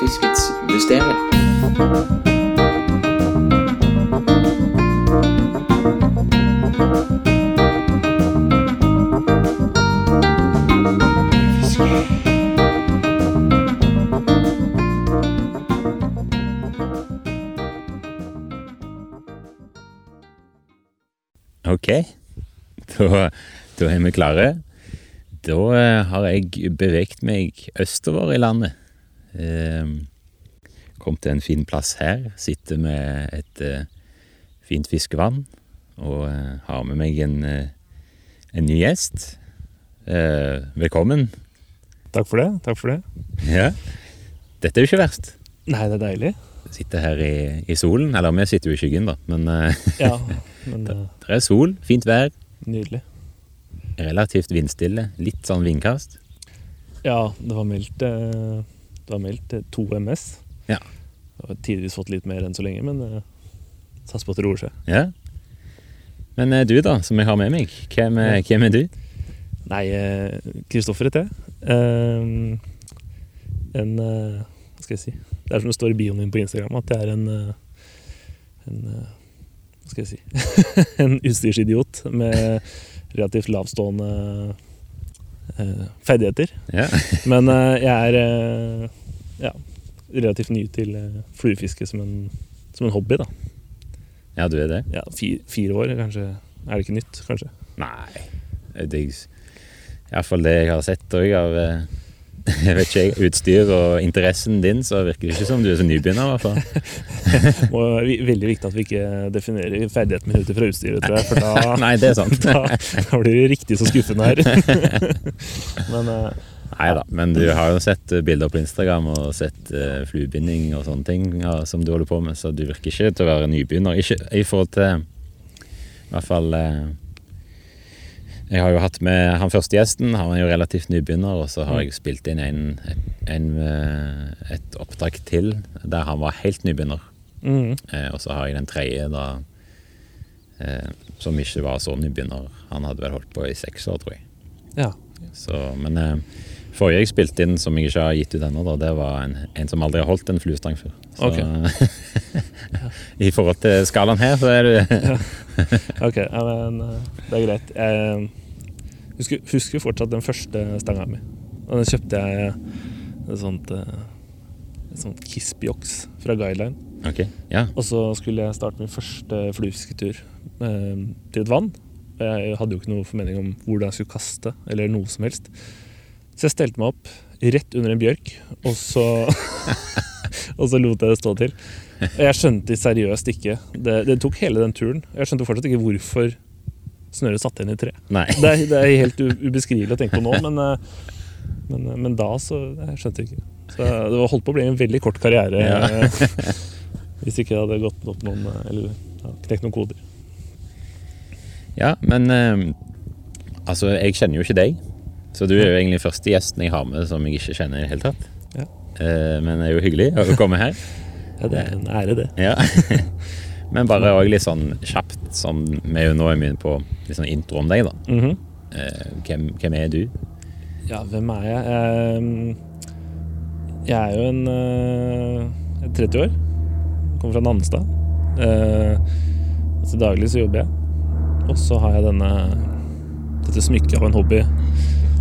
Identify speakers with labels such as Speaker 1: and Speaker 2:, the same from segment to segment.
Speaker 1: tilskuddsjustering.
Speaker 2: Ok, da, da er vi klare. Da eh, har jeg beveget meg østover i landet. Ehm, Kom til en fin plass her. Sitter med et eh, fint fiskevann og eh, har med meg en, eh, en ny gjest. Eh, velkommen.
Speaker 3: Takk for det. takk for det.
Speaker 2: Ja. Dette er jo ikke verst.
Speaker 3: Nei, det er deilig.
Speaker 2: Sitter her i, i solen. Eller vi sitter jo i skyggen, da, men eh,
Speaker 3: Ja, men eh,
Speaker 2: det er sol, fint vær,
Speaker 3: Nydelig.
Speaker 2: relativt vindstille, litt sånn vindkast.
Speaker 3: Ja, det var meldt eh, Det var meldt eh, to MS.
Speaker 2: Ja.
Speaker 3: Det har tidvis fått litt mer enn så lenge, men eh, satser på at det roer seg.
Speaker 2: Ja. Men eh, du, da, som jeg har med meg, hvem, eh, hvem er du?
Speaker 3: Nei, eh, Kristoffer heter jeg. Eh, en eh, Hva skal jeg si Det er som det står i bioen min på Instagram, at jeg er en eh, En eh, Hva skal jeg si En utstyrsidiot med relativt lavstående eh, ferdigheter.
Speaker 2: Ja.
Speaker 3: Men eh, jeg er eh, ja, relativt ny til eh, fluefiske som en, som en hobby. da
Speaker 2: ja, du er det?
Speaker 3: ja, fire, fire år, kanskje. Er det ikke nytt, kanskje?
Speaker 2: Nei. Det er iallfall det jeg har sett òg av eh, jeg vet ikke, jeg, utstyr og interessen din, så virker det ikke som du er så nybegynner. i hvert fall.
Speaker 3: Og det er veldig viktig at vi ikke definerer ferdigheten min ut fra utstyret, tror jeg. For da,
Speaker 2: Nei, det er sant.
Speaker 3: da, da blir det riktig så skuffende her. Men eh,
Speaker 2: Nei da, men du har jo sett eh, bilder på Instagram og sett eh, fluebinding og sånne ting ja, som du holder på med, så du virker ikke til å være nybegynner. Ikke i forhold til I hvert fall eh, Jeg har jo hatt med han første gjesten, han er jo relativt nybegynner, og så har jeg spilt inn en, en, eh, et oppdrag til der han var helt nybegynner.
Speaker 3: mm,
Speaker 2: Eh, og så har jeg den tredje, da, eh, som ikke var så nybegynner. Han hadde vel holdt på i seks år, tror jeg.
Speaker 3: ja.
Speaker 2: Så, men eh, forrige jeg spilte inn, som jeg ikke har gitt ut ennå, da, det var en, en som aldri har holdt en fluestang før. Så i forhold til skalaen her, så er du
Speaker 3: Ok, ja, men eh, det er greit. Jeg eh, husker, husker fortsatt den første stanga mi. Og den kjøpte jeg et sånt, eh, et sånt Kiss-bjoks fra Guideline.
Speaker 2: Ok, ja.
Speaker 3: Og så skulle jeg starte min første fluefisketur eh, til et vann. Og jeg hadde jo ikke noe formening om hvordan jeg skulle kaste, eller noe som helst. Så jeg stelte meg opp rett under en bjørk, og så Og så lot jeg det stå til. Og jeg skjønte seriøst ikke det, det tok hele den turen. Jeg skjønte fortsatt ikke hvorfor snøret satt igjen i tre.
Speaker 2: Nei.
Speaker 3: Det er, det er helt u- ubeskrivelig å tenke på nå, men, eh, men, eh, men da så Jeg skjønte ikke. Så eh, det var holdt på å bli en veldig kort karriere
Speaker 2: Ja.
Speaker 3: eh, hvis ikke jeg hadde gått opp noen eh, Eller ja, knekt noen koder.
Speaker 2: Ja, men eh, altså, jeg kjenner jo ikke deg. Så du er jo egentlig første gjesten jeg har med som jeg ikke kjenner i det hele tatt.
Speaker 3: Ja.
Speaker 2: Eh, men det er jo hyggelig å komme her.
Speaker 3: Ja, det er en ære, det.
Speaker 2: Ja. Men bare òg litt sånn kjapt, som vi er jo nå er mye på litt sånn intro om deg, da.
Speaker 3: Mhm.
Speaker 2: Eh, hvem, hvem er du?
Speaker 3: Ja, hvem er jeg? Ehm, Jeg er jo en eh, 30 år. Kommer fra Nanstad. Eh, Så daglig så jobber jeg. Og så har jeg denne dette smykket av en hobby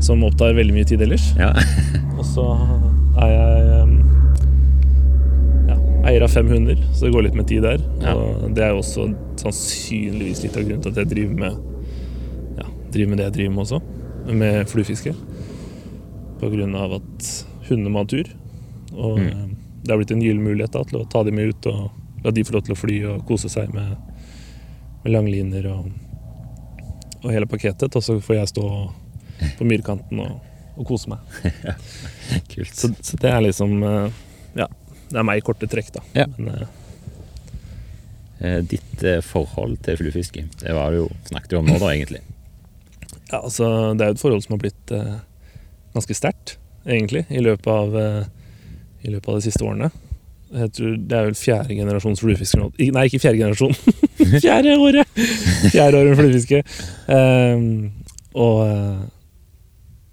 Speaker 3: som opptar veldig mye tid ellers.
Speaker 2: Ja.
Speaker 3: Og så er jeg um, ja, eier av fem hunder, så det går litt med tid der.
Speaker 2: Ja.
Speaker 3: Og det er jo også sannsynligvis litt av grunnen til at jeg driver med, ja, driver med det jeg driver med også, med fluefiske. På grunn av at hundene må ha tur. Og
Speaker 2: Mm.
Speaker 3: um, det har blitt en gyllen mulighet da, til å ta dem med ut og la de få lov til å fly og kose seg med, med langliner og, og hele pakketet. Og så får jeg stå på myrkanten og, og kose meg.
Speaker 2: Kult.
Speaker 3: Så, så det er liksom eh, Ja, det er meg i korte trekk, da.
Speaker 2: Ja.
Speaker 3: Men, eh,
Speaker 2: Eh, Ditt eh, forhold til fluefiske, det var det jo, snakket du om nå da, egentlig.
Speaker 3: ja, altså, det er jo et forhold som har blitt eh, ganske sterkt, egentlig, i løpet av eh, I løpet av de siste årene. Jeg tror Det er vel fjerde generasjons fluefisker nå. Ik- Nei, ikke fjerde generasjon. fjerde året! Fjerde året med fluefiske. Ehm, og eh,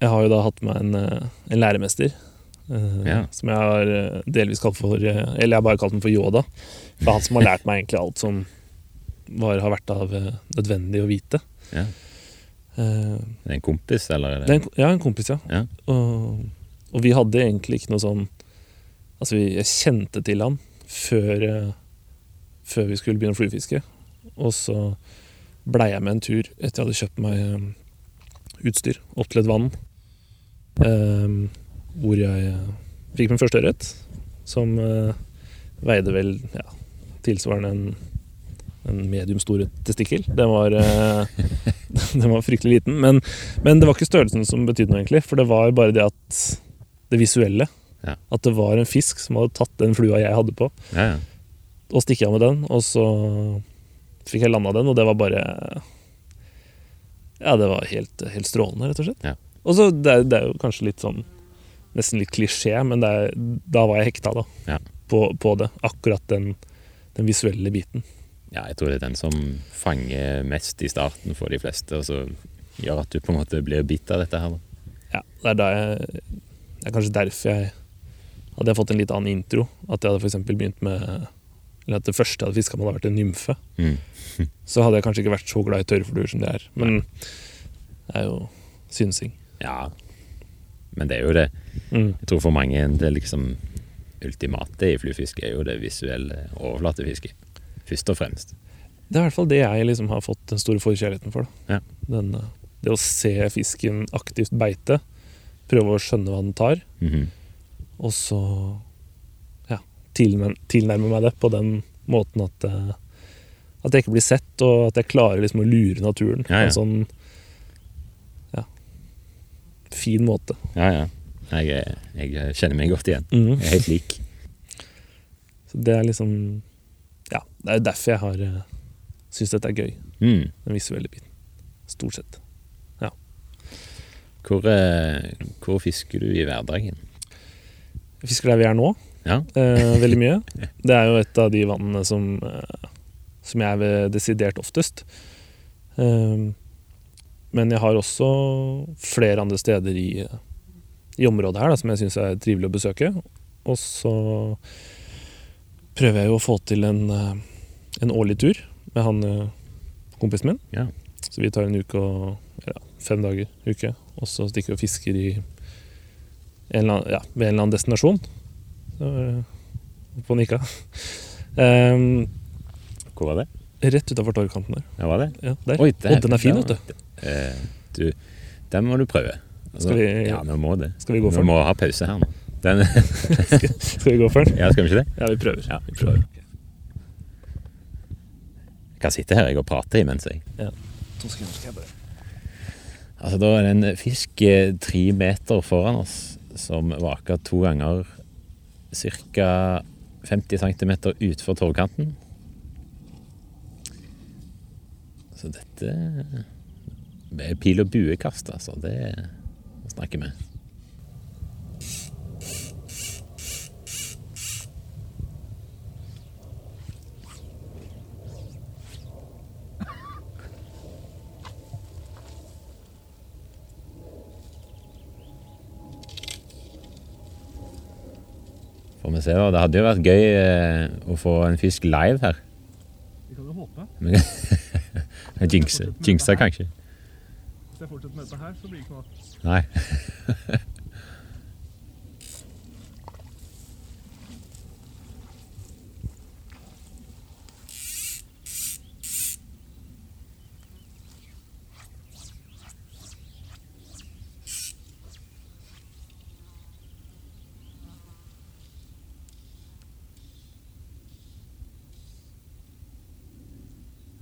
Speaker 3: jeg har jo da hatt meg en, eh, en læremester eh,
Speaker 2: Ja.
Speaker 3: Som jeg har eh, delvis kalt for eh, Eller jeg har bare kalt den for Yoda. For han som har lært meg egentlig alt som var, har vært av eh, nødvendig å vite.
Speaker 2: Ja.
Speaker 3: Eh,
Speaker 2: Er det en kompis, eller? Er
Speaker 3: det er
Speaker 2: det?
Speaker 3: en, ko- ja, en kompis, ja.
Speaker 2: Ja.
Speaker 3: Og, og vi hadde egentlig ikke noe sånn Altså, vi, jeg kjente til han før, eh, før vi skulle begynne å fluefiske. Og så blei jeg med en tur etter jeg hadde kjøpt meg eh, utstyr opp til et vann. eh, hvor jeg eh, fikk min første ørret, som eh, veide vel ja, tilsvarende en, en medium stor testikkel. Den var, eh, den var fryktelig liten. Men men det var ikke størrelsen som betydde noe, egentlig. For det var bare det at Det visuelle.
Speaker 2: Ja.
Speaker 3: At det var en fisk som hadde tatt den flua jeg hadde på,
Speaker 2: Ja, ja.
Speaker 3: og stikket av med den. Og så fikk jeg landa den, og det var bare Ja, det var helt, helt strålende, rett og slett.
Speaker 2: Ja.
Speaker 3: Og så det, er- det er jo kanskje litt sånn Nesten litt klisjé, men det er, da var jeg hekta, da.
Speaker 2: Ja.
Speaker 3: På, på det. Akkurat den, den visuelle biten.
Speaker 2: ja, jeg tror det er den som fanger mest i starten for de fleste, og så gjør at du på en måte blir bitt av dette her. da.
Speaker 3: Ja, det er da jeg Det er kanskje derfor jeg hadde jeg fått en litt annen intro. At jeg hadde for eksempel begynt med Eller at det første jeg hadde fiska med, hadde vært en nymfe.
Speaker 2: Mm.
Speaker 3: Så hadde jeg kanskje ikke vært så glad i tørrfluer som det er. Men det er jo synsing.
Speaker 2: Ja. Men det er jo det.
Speaker 3: Mm.
Speaker 2: Jeg tror for mange det liksom ultimate i fluefiske er jo det visuelle overflatefisket. Først og fremst.
Speaker 3: Det er i hvert fall det jeg liksom har fått den store forkjærligheten for. Da.
Speaker 2: Ja.
Speaker 3: Den, eh, det å se fisken aktivt beite, prøve å skjønne hva den tar,
Speaker 2: Mhm.
Speaker 3: og så ja, tilnærme, tilnærme meg det på den måten at, eh, at jeg ikke blir sett, og at jeg klarer liksom å lure naturen
Speaker 2: Ja, ja.
Speaker 3: på en sånn ja, fin måte.
Speaker 2: Ja, ja. Jeg, er- jeg kjenner meg godt igjen.
Speaker 3: Mhm.
Speaker 2: Jeg er helt lik.
Speaker 3: Så det er liksom Ja, det er jo derfor jeg har eh, syns dette er gøy,
Speaker 2: Mm.
Speaker 3: den visuelle biten. Stort sett.
Speaker 2: Hvor, eh, hvor fisker du i hverdagen?
Speaker 3: Jeg fisker der vi er nå,
Speaker 2: Ja.
Speaker 3: eh, veldig mye. Det er jo et av de vannene som, eh, som jeg er desidert oftest. Eh, men jeg har også flere andre steder i, eh, i området her da, som jeg syns er trivelig å besøke. Og så prøver jeg jo å få til en, eh, en årlig tur med han eh, kompisen min.
Speaker 2: Ja.
Speaker 3: Så vi tar en uke og ja, fem dager uke, og så stikker vi og fisker i en eller annen, ja, ved en eller annen destinasjon. Så, eh, På Nika. Ehm,
Speaker 2: Hvor var det?
Speaker 3: rett utafor torgkanten der.
Speaker 2: Ja, var det?
Speaker 3: Ja, der.
Speaker 2: Oi,
Speaker 3: og den er fin, vet du.
Speaker 2: Eh, du, den må du prøve.
Speaker 3: Skal vi,
Speaker 2: Ja, vi må det.
Speaker 3: skal vi gå for
Speaker 2: Vi
Speaker 3: den?
Speaker 2: må ha pause her nå. Den,
Speaker 3: Skal vi gå for den?
Speaker 2: ja, skal vi ikke det?
Speaker 3: Ja, vi prøver.
Speaker 2: Ja,
Speaker 3: vi prøver.
Speaker 2: Jeg kan sitte her jeg og prate imens. jeg.
Speaker 3: To sekunder skal jeg bare
Speaker 2: Altså, Da er det en fisk eh, tre meter foran oss som vaker to ganger ca. 50 cm utfor torvkanten. Så dette Det er pil- og buekast, altså. Det snakker vi. Får vi se, da. Det hadde jo vært gøy eh, å få en fisk live her.
Speaker 1: Vi kan jo håpe.
Speaker 2: Jinxe, jinxe kanskje.
Speaker 1: Hvis jeg fortsetter med dette her, så blir det ikke noe av.
Speaker 2: Nei.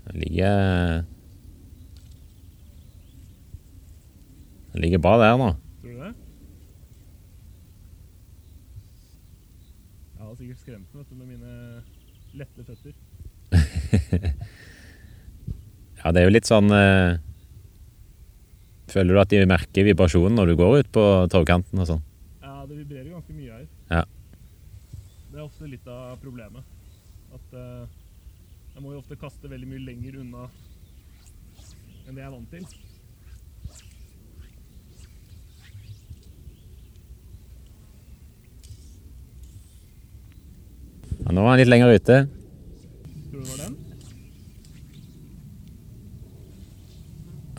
Speaker 2: Den ligger Den ligger bra der nå.
Speaker 1: Tror du det? Jeg har sikkert skremt den vet du, med mine lette føtter.
Speaker 2: Ja, det er jo litt sånn eh, Føler du at de merker vibrasjonen når du går ut på torvkanten og sånn?
Speaker 1: Ja, det vibrerer ganske mye her.
Speaker 2: Ja.
Speaker 1: Det er ofte litt av problemet. At eh, jeg må jo ofte kaste veldig mye lenger unna enn det jeg er vant til.
Speaker 2: Og nå er han litt lenger ute.
Speaker 1: Tror du det var den?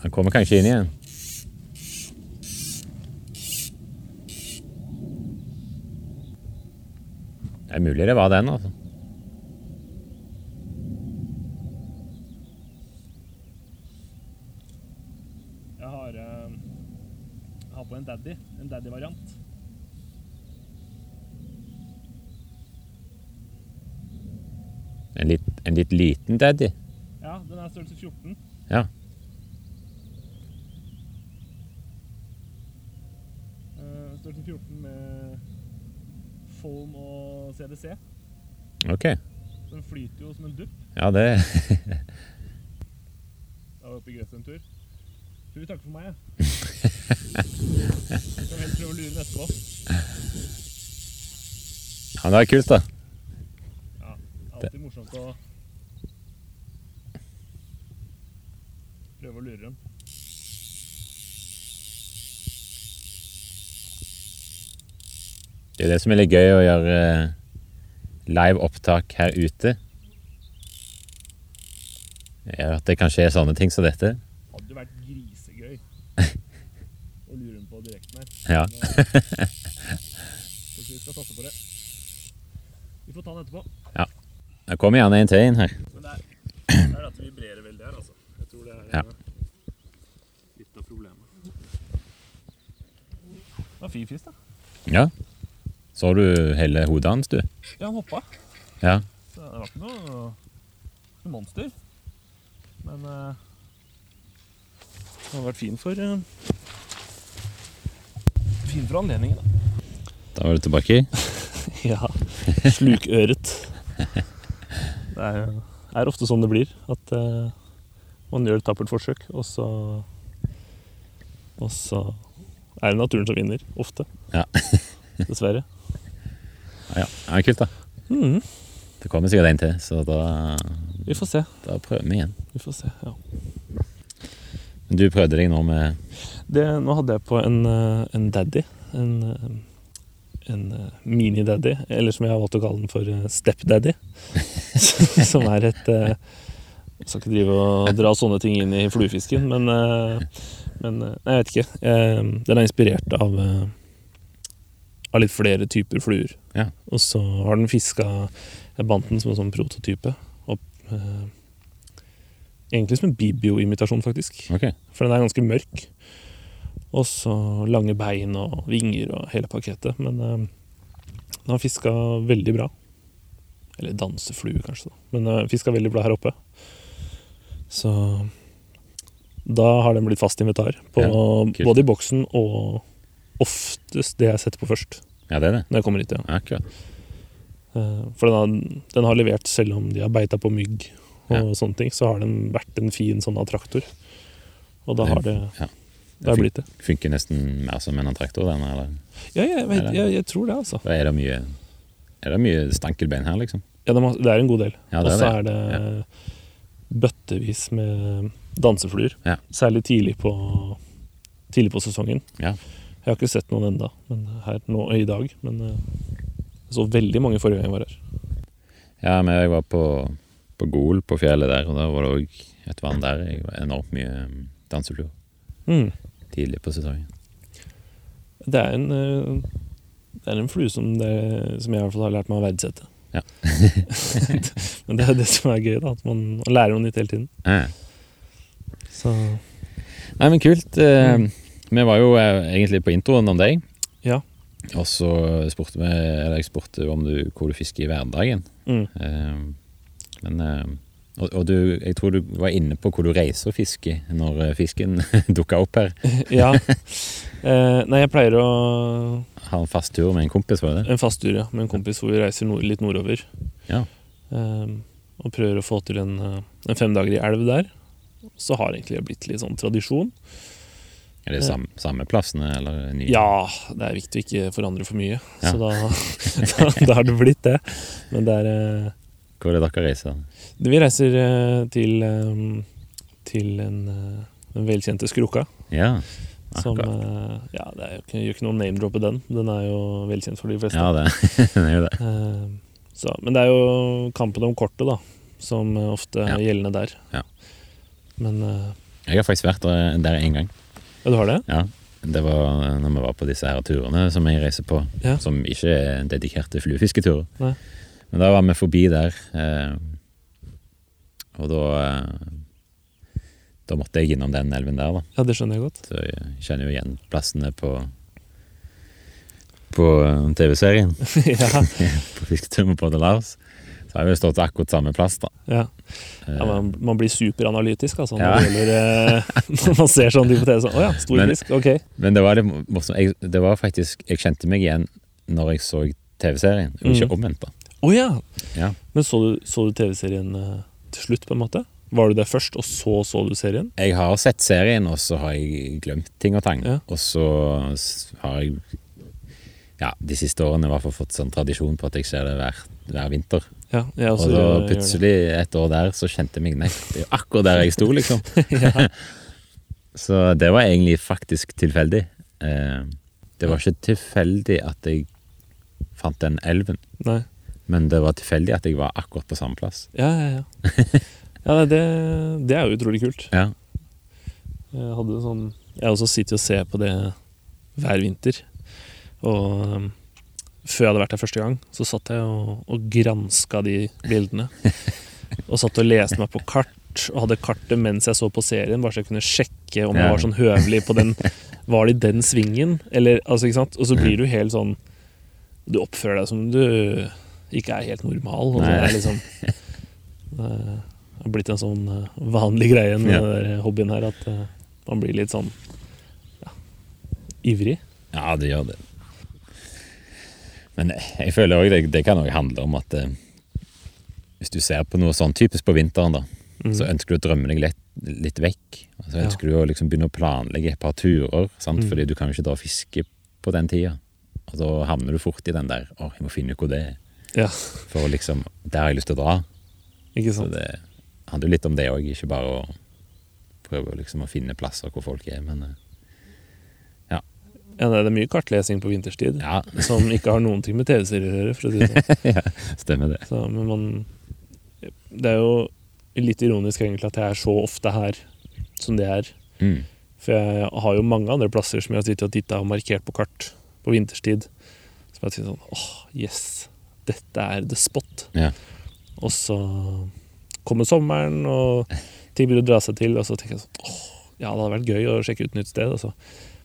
Speaker 2: Han kommer kanskje inn igjen. Det er mulig det var den, altså.
Speaker 1: Jeg har, eh, jeg har på en daddy. En daddy-variant.
Speaker 2: En litt, en litt liten daddy.
Speaker 1: Ja, den er størrelse 14.
Speaker 2: Ja.
Speaker 1: Eh, Størrelse 14 med foam og CDC.
Speaker 2: Ok.
Speaker 1: Den flyter jo som en dupp.
Speaker 2: Ja, det
Speaker 1: Da var jeg oppe i gresset en tur. Tror vi takker for meg, jeg. Skal helst prøve å lure den etterpå.
Speaker 2: Ja, det er kult, da.
Speaker 1: Ja, alltid morsomt å prøve å lure dem.
Speaker 2: Det er jo det som er litt gøy å gjøre eh, live opptak her ute. Er at det kan skje sånne ting som dette.
Speaker 1: Hadde jo vært grisegøy å lure dem på direkten her.
Speaker 2: Ja.
Speaker 1: Men, eh, jeg tror ikke vi skal satse på det. Vi får ta den etterpå.
Speaker 2: Det kommer gjerne en til inn her.
Speaker 1: Men det er, det er at det vibrerer veldig her, altså. Jeg tror det er
Speaker 2: Ja.
Speaker 1: eh, litt av problemet. Det var fin fisk, da.
Speaker 2: Ja. Så du hele hodet hans, du?
Speaker 1: Ja, han hoppa.
Speaker 2: Ja.
Speaker 1: Så det var ikke noe, noe monster. Men eh, det har vært fin for eh, Fin for anledningen, da.
Speaker 2: Da var du tilbake.
Speaker 3: Ja. Slukøret. Det er, er ofte sånn det blir. At eh, man gjør et tappert forsøk, og så Og så er det naturen som vinner. Ofte.
Speaker 2: Ja.
Speaker 3: Dessverre.
Speaker 2: Ja, ja. ja kult, da.
Speaker 3: Mhm.
Speaker 2: Det kommer sikkert en til, så da,
Speaker 3: Vi får se.
Speaker 2: da prøver vi igjen.
Speaker 3: Vi får se. Ja.
Speaker 2: Men du prøvde deg nå med
Speaker 3: Det, nå hadde jeg på en, eh, en daddy. En, eh, en eh, mini-daddy, eller som jeg har valgt å kalle den for eh, step-daddy. som er et eh, Jeg skal ikke drive og dra sånne ting inn i fluefisken, men, eh, men eh, Nei, jeg vet ikke. Eh, Den er inspirert av, eh, av litt flere typer fluer.
Speaker 2: Ja.
Speaker 3: Og så har den fiska Jeg bandt den som en sånn prototype. Opp, eh, egentlig som en bibio-imitasjon, faktisk.
Speaker 2: Ok.
Speaker 3: For den er ganske mørk. Og så lange bein og vinger og hele pakketet. Men eh, den har fiska veldig bra. Eller danseflue, kanskje. da. Men den har fiska veldig bra her oppe. Så da har den blitt fast inventar. På,
Speaker 2: Ja, kult.
Speaker 3: både i boksen og oftest det jeg setter på først.
Speaker 2: Ja, det er det.
Speaker 3: Når jeg kommer hit, ja.
Speaker 2: Ja, Akkurat.
Speaker 3: Eh, For den har, den har levert selv om de har beita på mygg og
Speaker 2: Ja.
Speaker 3: sånne ting, så har den vært en fin sånn attraktor. Og da har det,
Speaker 2: Ja.
Speaker 3: det har
Speaker 2: fun-
Speaker 3: blitt det.
Speaker 2: Funker nesten mer som en antraktor, den, eller?
Speaker 3: Ja, jeg, vet,
Speaker 2: Eller-
Speaker 3: jeg, jeg tror det, altså.
Speaker 2: Da er det mye, er det mye stankelbein her, liksom?
Speaker 3: Ja, det, må, det er en god del.
Speaker 2: Ja,
Speaker 3: og
Speaker 2: det er
Speaker 3: så er
Speaker 2: det.
Speaker 3: det bøttevis med dansefluer.
Speaker 2: Ja.
Speaker 3: Særlig tidlig på, tidlig på sesongen.
Speaker 2: Ja.
Speaker 3: Jeg har ikke sett noen enda, men eh, her nå i dag. Men eh, jeg så veldig mange forrige gang jeg var her.
Speaker 2: Ja, men jeg var på, på Gol på fjellet der, og da var det òg et vann der. Jeg var enormt mye um, dansefluer
Speaker 3: Mm.
Speaker 2: tidlig på sesongen.
Speaker 3: Det er en eh, Det er en flue som, det, som jeg i hvert fall har lært meg å verdsette.
Speaker 2: Ja.
Speaker 3: Men det er det som er gøy, da. At man, man lærer noe nytt hele tiden.
Speaker 2: Ja.
Speaker 3: Så
Speaker 2: Nei, men kult. eh, Vi var jo eh, egentlig på introen om deg.
Speaker 3: Ja.
Speaker 2: Og så spurte vi, eller jeg spurte om du, hvor du fisker i hverdagen.
Speaker 3: mm.
Speaker 2: Eh, Men eh, Og, og du, jeg tror du var inne på hvor du reiser og fisker når eh, fisken dukka opp her.
Speaker 3: Ja. Eh, nei, jeg pleier å
Speaker 2: Har en fast tur med en kompis, var det det?
Speaker 3: En fast tur, ja, med en kompis hvor vi reiser nord, litt nordover.
Speaker 2: Ja.
Speaker 3: Eh, og prøver å få til en, eh, en fem dager i elv der. Så har egentlig det blitt litt sånn tradisjon.
Speaker 2: Er det samme, samme plassene, eller nye?
Speaker 3: Ja, det er viktig å ikke forandre for mye,
Speaker 2: Ja.
Speaker 3: så da, da, da har det blitt det. Men det er eh,
Speaker 2: Hvor er det dere reiser?
Speaker 3: Vi reiser eh, til, eh, til en, eh, den velkjente Skrukka.
Speaker 2: Ja,
Speaker 3: Som,
Speaker 2: akkurat.
Speaker 3: eh, ja, det er jo ikke, gjør ikke noe å name-droppe den. Den er jo velkjent for de fleste.
Speaker 2: Ja, det. det er jo det.
Speaker 3: Eh, Så, men det er jo kampen om kortet, da, som eh, ofte er
Speaker 2: Ja.
Speaker 3: gjeldende der.
Speaker 2: Ja.
Speaker 3: Men eh,
Speaker 2: Jeg har faktisk vært der der én gang.
Speaker 3: Ja, du har det?
Speaker 2: Ja, Det var eh, når vi var på disse her turene som jeg reiser på,
Speaker 3: Ja.
Speaker 2: som ikke er dedikerte fluefisketurer.
Speaker 3: Nei.
Speaker 2: Men da var vi forbi der, eh, og da eh, Da måtte jeg innom den elven der, da.
Speaker 3: Ja, det skjønner jeg godt.
Speaker 2: Så jeg kjenner jo igjen plassene på På eh, TV-serien.
Speaker 3: ja,
Speaker 2: På fisketur med Både Lars. Så har vi jo stått akkurat samme plass, da.
Speaker 3: ja.
Speaker 2: Eh,
Speaker 3: ja man, man blir superanalytisk, altså, når,
Speaker 2: Ja.
Speaker 3: det gjelder, eh, når man ser sånn type TV. Sånn, Å ja, stor
Speaker 2: Men-
Speaker 3: fisk, ok.
Speaker 2: Men det var litt morsomt. Jeg, det var faktisk, jeg kjente meg igjen når jeg så TV-serien, og ikke
Speaker 3: Mhm.
Speaker 2: omvendt. da.
Speaker 3: Å ja!
Speaker 2: Ja.
Speaker 3: Men så du, så du TV-serien eh, til slutt, på en måte? Var du der først, og så så du serien?
Speaker 2: Jeg har sett serien, og så har jeg glemt ting og tang.
Speaker 3: Ja.
Speaker 2: Og så s- har jeg ja, de siste årene i hvert fall fått sånn tradisjon på at jeg ser det hver, hver vinter.
Speaker 3: Ja, jeg også
Speaker 2: og da
Speaker 3: gjør- gjør det.
Speaker 2: plutselig, et år der, så kjente jeg meg nett det er jo akkurat der jeg sto, liksom. så det var egentlig faktisk tilfeldig. Eh, det var ikke tilfeldig at jeg fant den elven,
Speaker 3: Nei.
Speaker 2: men det var tilfeldig at jeg var akkurat på samme plass.
Speaker 3: Ja, ja, ja. ja nei, det, det er jo utrolig kult.
Speaker 2: Ja,
Speaker 3: Jeg hadde en sånn Jeg også sitter og ser på det hver vinter. Og um, før jeg hadde vært der første gang, så satt jeg og, og granska de bildene. Og satt og leste meg på kart, og hadde kartet mens jeg så på serien, bare så jeg kunne sjekke om jeg
Speaker 2: Ja.
Speaker 3: var sånn høvelig på den Var det i den svingen? Eller, altså, ikke sant? Og så blir du helt sånn Du oppfører deg som du ikke er helt normal. Og så
Speaker 2: Nei.
Speaker 3: er det liksom eh, det har blitt en sånn eh, vanlig greie med
Speaker 2: Ja.
Speaker 3: den der hobbyen her, at eh, man blir litt sånn ja, ivrig.
Speaker 2: ja det gjør det. Men jeg føler òg det, det kan også handle om at eh, hvis du ser på noe sånn typisk på vinteren, da,
Speaker 3: Mm.
Speaker 2: så ønsker du å drømme deg litt, litt vekk. Og så
Speaker 3: Ja.
Speaker 2: ønsker du å liksom begynne å planlegge et par turer, sant?
Speaker 3: Mm.
Speaker 2: fordi du kan jo ikke dra og fiske på den tida. Og da havner du fort i den der Å, jeg må finne ut hvor det er.
Speaker 3: Ja,
Speaker 2: For å liksom Der har jeg lyst til å dra.
Speaker 3: ikke
Speaker 2: Så
Speaker 3: sant.
Speaker 2: det handler jo litt om det òg, ikke bare å prøve å liksom å finne plasser hvor folk er. Men eh,
Speaker 3: Ja, nei, det er mye kartlesing på vinterstid
Speaker 2: ja,
Speaker 3: som ikke har noen ting med TV-serier å gjøre, for å si det sånn.
Speaker 2: stemmer det.
Speaker 3: Så, men man Det er jo litt ironisk egentlig at jeg er så ofte her som det er.
Speaker 2: Mm.
Speaker 3: For jeg har jo mange andre plasser som jeg har sittet og titta og markert på kart på vinterstid. Som jeg har tenkt sånn åh, yes! Dette er the spot.
Speaker 2: Ja.
Speaker 3: Og så kommer sommeren, og ting begynner å dra seg til. Og så tenker jeg sånn åh, ja, det hadde vært gøy å sjekke ut et nytt sted. Og så,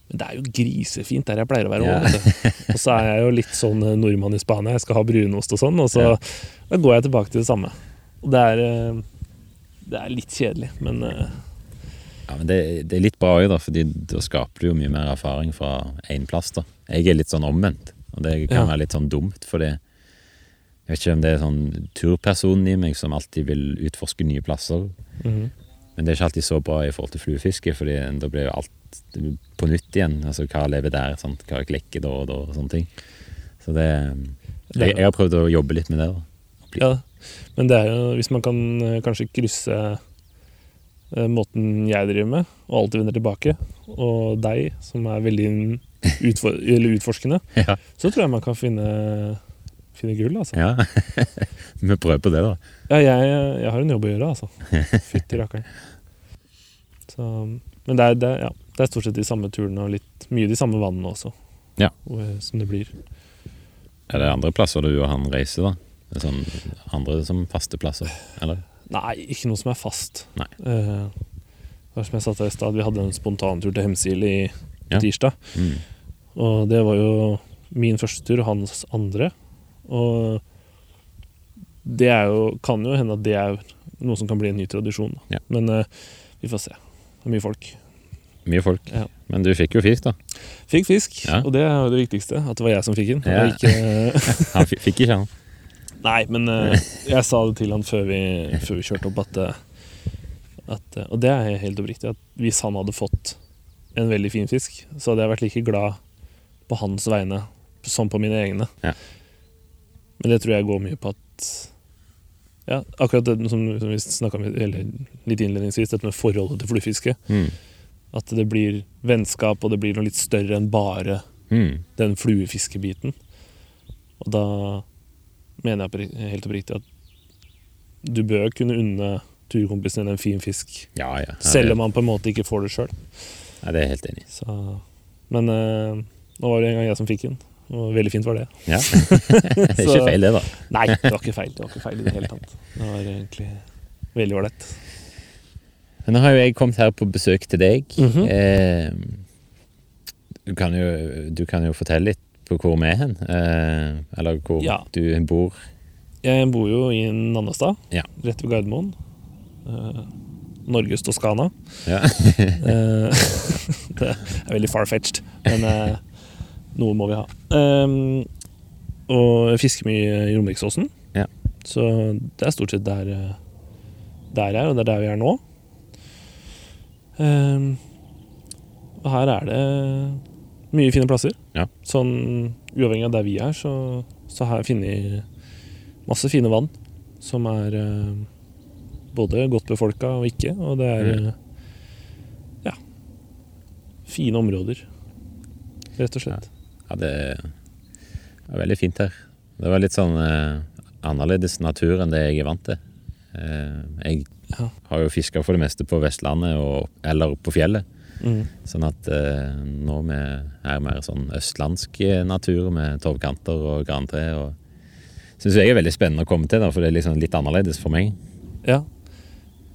Speaker 3: men det er jo grisefint der jeg pleier å være
Speaker 2: Ja.
Speaker 3: òg. Og så er jeg jo litt sånn eh, nordmann i Spania, jeg skal ha brunost og sånn. Og så
Speaker 2: Ja.
Speaker 3: da går jeg tilbake til det samme. Og det er, eh, det er litt kjedelig, men eh,
Speaker 2: Ja, men det, det er litt bra òg, da, fordi da skaper du jo mye mer erfaring fra én plass. da. Jeg er litt sånn omvendt, og det kan
Speaker 3: Ja.
Speaker 2: være litt sånn dumt, for det Jeg vet ikke om det er sånn turpersonen i meg som alltid vil utforske nye plasser,
Speaker 3: mhm.
Speaker 2: men det er ikke alltid så bra i forhold til fluefiske, fordi da blir jo alt på nytt igjen. Altså hva lever der, sant? hva klikker da og da, og sånne ting. Så det
Speaker 3: Det er-
Speaker 2: Jeg, jeg har prøvd å jobbe litt med det. da.
Speaker 3: Ja, men det er jo Hvis man kan eh, kanskje krysse eh, måten jeg driver med, og alltid vender tilbake, og deg, som er veldig utfor, eller utforskende,
Speaker 2: Ja.
Speaker 3: så tror jeg man kan finne, finne gull, altså.
Speaker 2: Ja. Vi prøver på det, da.
Speaker 3: Ja, jeg, jeg har en jobb å gjøre, altså. Fytti rakkeren. Så, men det er, det, er- ja, det er stort sett de samme turene og litt mye de samme vannene også.
Speaker 2: Ja.
Speaker 3: Og, som det blir.
Speaker 2: Er det andre plasser du og han reiser, da? Det er Sånn, andre som faste plasser, eller?
Speaker 3: Nei, ikke noe som er fast.
Speaker 2: Nei.
Speaker 3: Eh, det var som jeg sa til deg i stad, vi hadde en spontantur til Hemsil i
Speaker 2: Ja.
Speaker 3: tirsdag.
Speaker 2: Mm.
Speaker 3: Og det var jo min første tur og hans andre. Og det er jo, kan jo hende at det er noe som kan bli en ny tradisjon. da.
Speaker 2: Ja.
Speaker 3: Men eh, vi får se. Det er mye folk.
Speaker 2: Mye folk.
Speaker 3: Ja.
Speaker 2: Men du fikk jo fisk, da.
Speaker 3: Fikk fisk,
Speaker 2: Ja.
Speaker 3: og det er jo det viktigste. At det var jeg som fikk den.
Speaker 2: Ja.
Speaker 3: og Ikke,
Speaker 2: Han fi- fikk ikke han.
Speaker 3: nei, men eh, jeg sa det til han før vi, før vi kjørte opp, at, eh, at eh, Og det er helt oppriktig, at hvis han hadde fått en veldig fin fisk, så hadde jeg vært like glad på hans vegne som på mine egne.
Speaker 2: Ja.
Speaker 3: Men det tror jeg går mye på at ja, akkurat det som, som vi snakka om eller litt innledningsvis, dette med forholdet til fluefiske.
Speaker 2: Mm.
Speaker 3: At det blir vennskap, og det blir noe litt større enn bare
Speaker 2: Mm.
Speaker 3: den fluefiskebiten. Og da mener jeg oppri- helt oppriktig at du bør kunne unne turkompisen din en fin fisk,
Speaker 2: Ja, ja. ja
Speaker 3: selv
Speaker 2: det-
Speaker 3: om man på en måte ikke får det sjøl.
Speaker 2: Ja, det er jeg helt enig i.
Speaker 3: Men eh, nå var det en gang jeg som fikk den, og veldig fint var det.
Speaker 2: Ja. det er ikke
Speaker 3: Så-
Speaker 2: feil, det, da.
Speaker 3: Nei, det var ikke feil. Det var ikke feil i det hele tatt. Det var egentlig veldig ålreit.
Speaker 2: Men nå har jo jeg kommet her på besøk til deg.
Speaker 3: Mhm.
Speaker 2: eh, du, kan jo, du kan jo fortelle litt på hvor vi er hen, eh, eller hvor
Speaker 3: Ja.
Speaker 2: du bor.
Speaker 3: Jeg bor jo i Nannestad,
Speaker 2: Ja.
Speaker 3: rett ved Gardermoen. Eh, Norges Toskana.
Speaker 2: Ja.
Speaker 3: Eh, det er veldig far-fetched, men eh, noe må vi ha. Um, og jeg fisker mye i Romeriksåsen.
Speaker 2: Ja.
Speaker 3: Så det er stort sett der, eh, der jeg er, og det er der vi er nå. Um, og her er det mye fine plasser.
Speaker 2: Ja.
Speaker 3: Sånn uavhengig av der vi er, så, så har jeg funnet masse fine vann som er eh, både godt befolka og ikke, og det er
Speaker 2: Mm.
Speaker 3: eh, ja fine områder, rett og slett.
Speaker 2: ja, det var veldig fint her. Det var litt sånn eh, annerledes natur enn det jeg er vant til. Eh, jeg
Speaker 3: Ja.
Speaker 2: har jo fiska for det meste på Vestlandet og, eller på fjellet.
Speaker 3: Mm.
Speaker 2: Sånn at eh, nå med, er det mer sånn østlandsk natur med torvkanter og grantre. Og syns jeg er veldig spennende å komme til, da, for det er liksom litt annerledes for meg.
Speaker 3: Ja,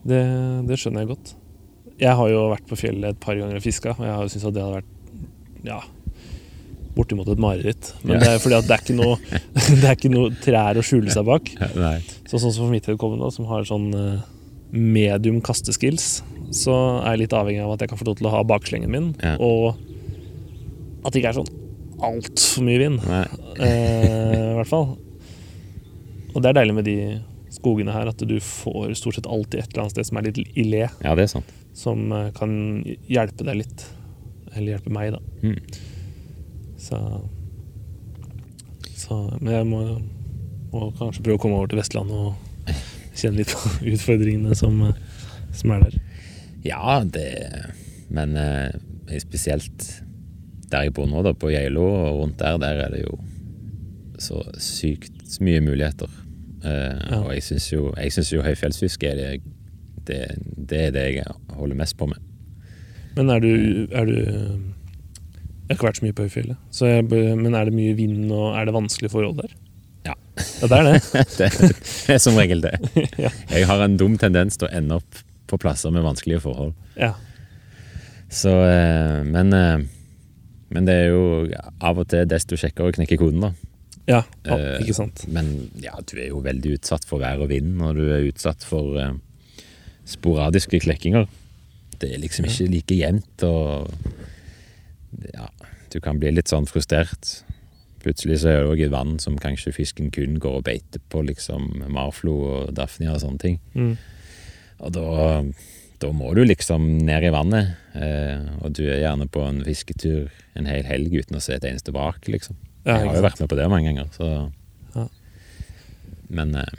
Speaker 3: det, det skjønner jeg godt. Jeg har jo vært på fjellet et par ganger og fiska, og jeg har jo syntes at det hadde vært ja, bortimot et mareritt. Men
Speaker 2: Ja.
Speaker 3: det er fordi at det er ikke noe, det er ikke noe trær å skjule seg bak.
Speaker 2: Nei.
Speaker 3: Så sånn som for mitt vedkommende, som har sånn eh, medium kasteskills, så er jeg litt avhengig av at jeg kan få lov til å ha bakslengen min,
Speaker 2: Ja.
Speaker 3: og at det ikke er sånn altfor mye vind.
Speaker 2: Nei.
Speaker 3: Eh, I hvert fall. Og det er deilig med de skogene her, at du får stort sett alltid et eller annet sted som er litt i le,
Speaker 2: Ja, det er sånn. sant.
Speaker 3: som eh, kan hjelpe deg litt. Eller hjelpe meg, da.
Speaker 2: Mm.
Speaker 3: Så, så Men jeg må, må kanskje prøve å komme over til Vestlandet og kjenne litt på utfordringene som, eh, som er der.
Speaker 2: Ja, det Men eh, jeg spesielt der jeg bor nå, da, på Geilo og rundt der, der er det jo så sykt mye muligheter. Eh,
Speaker 3: Ja.
Speaker 2: Og jeg syns jo, jeg synes jo høyfjellsfiske er det, det, det er det jeg holder mest på med.
Speaker 3: Men er du, er du Jeg har ikke vært så mye på høyfjellet, så jeg, bør- men er det mye vind, og er det vanskelige forhold der?
Speaker 2: Ja.
Speaker 3: Ja, det er det.
Speaker 2: Det er som regel det.
Speaker 3: Ja.
Speaker 2: Jeg har en dum tendens til å ende opp på plasser med vanskelige forhold.
Speaker 3: Ja.
Speaker 2: Så, eh, men, eh, men det er jo av og til desto kjekkere å knekke koden, da.
Speaker 3: Ja, ja
Speaker 2: Eh,
Speaker 3: ikke sant.
Speaker 2: Men ja, du er jo veldig utsatt for vær og vind, og du er utsatt for eh, sporadiske klekkinger. Det er liksom ikke like jevnt, og ja, du kan bli litt sånn frustrert. Plutselig så er det òg et vann som kanskje fisken kun går og beiter på, liksom Marflo og Daphnia og sånne ting.
Speaker 3: Mm.
Speaker 2: Og da, da må du liksom ned i vannet, eh, og du er gjerne på en fisketur en hel helg uten å se et eneste vrak, liksom.
Speaker 3: Ja,
Speaker 2: jeg har
Speaker 3: ikke
Speaker 2: jo
Speaker 3: sant.
Speaker 2: vært med på det mange ganger, så
Speaker 3: Ja.
Speaker 2: Men eh,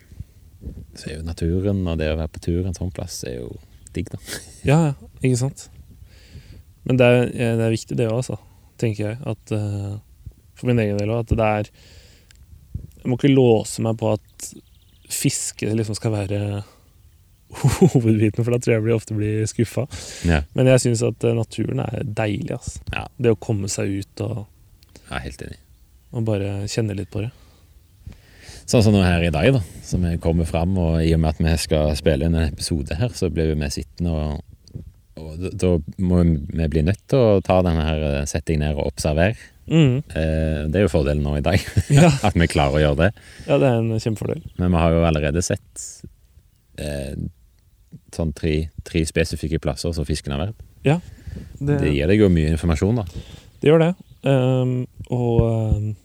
Speaker 2: så er jo naturen og det å være på tur en sånn plass, er jo digg, da.
Speaker 3: Ja, ja, ikke sant. Men det er, eh, det er viktig det òg, altså, tenker jeg. At, eh, for min egen del òg, at det er Jeg må ikke låse meg på at fiske liksom skal være hovedbiten, for da tror jeg jeg blir- ofte blir skuffa.
Speaker 2: Ja,
Speaker 3: Men jeg syns at eh, naturen er deilig. Altså.
Speaker 2: Ja.
Speaker 3: Det å komme seg ut og,
Speaker 2: jeg er helt enig.
Speaker 3: og bare kjenne litt på det.
Speaker 2: Sånn som nå her i dag, da, som vi kommer fram, og i og med at vi skal spille inn en episode her, så blir vi sittende og og da- da må vi bli nødt til å ta denne her, eh, sette deg ned og observere.
Speaker 3: Mm.
Speaker 2: Eh, Det er jo fordelen nå i dag,
Speaker 3: Ja.
Speaker 2: at vi klarer å gjøre det.
Speaker 3: ja, det er en kjempefordel.
Speaker 2: Men vi har jo allerede sett eh, sånn tre, tre spesifikke plasser som fisken har vært.
Speaker 3: Det,
Speaker 2: Det gir deg jo mye informasjon, da.
Speaker 3: det gjør det. Ehm, og ehm,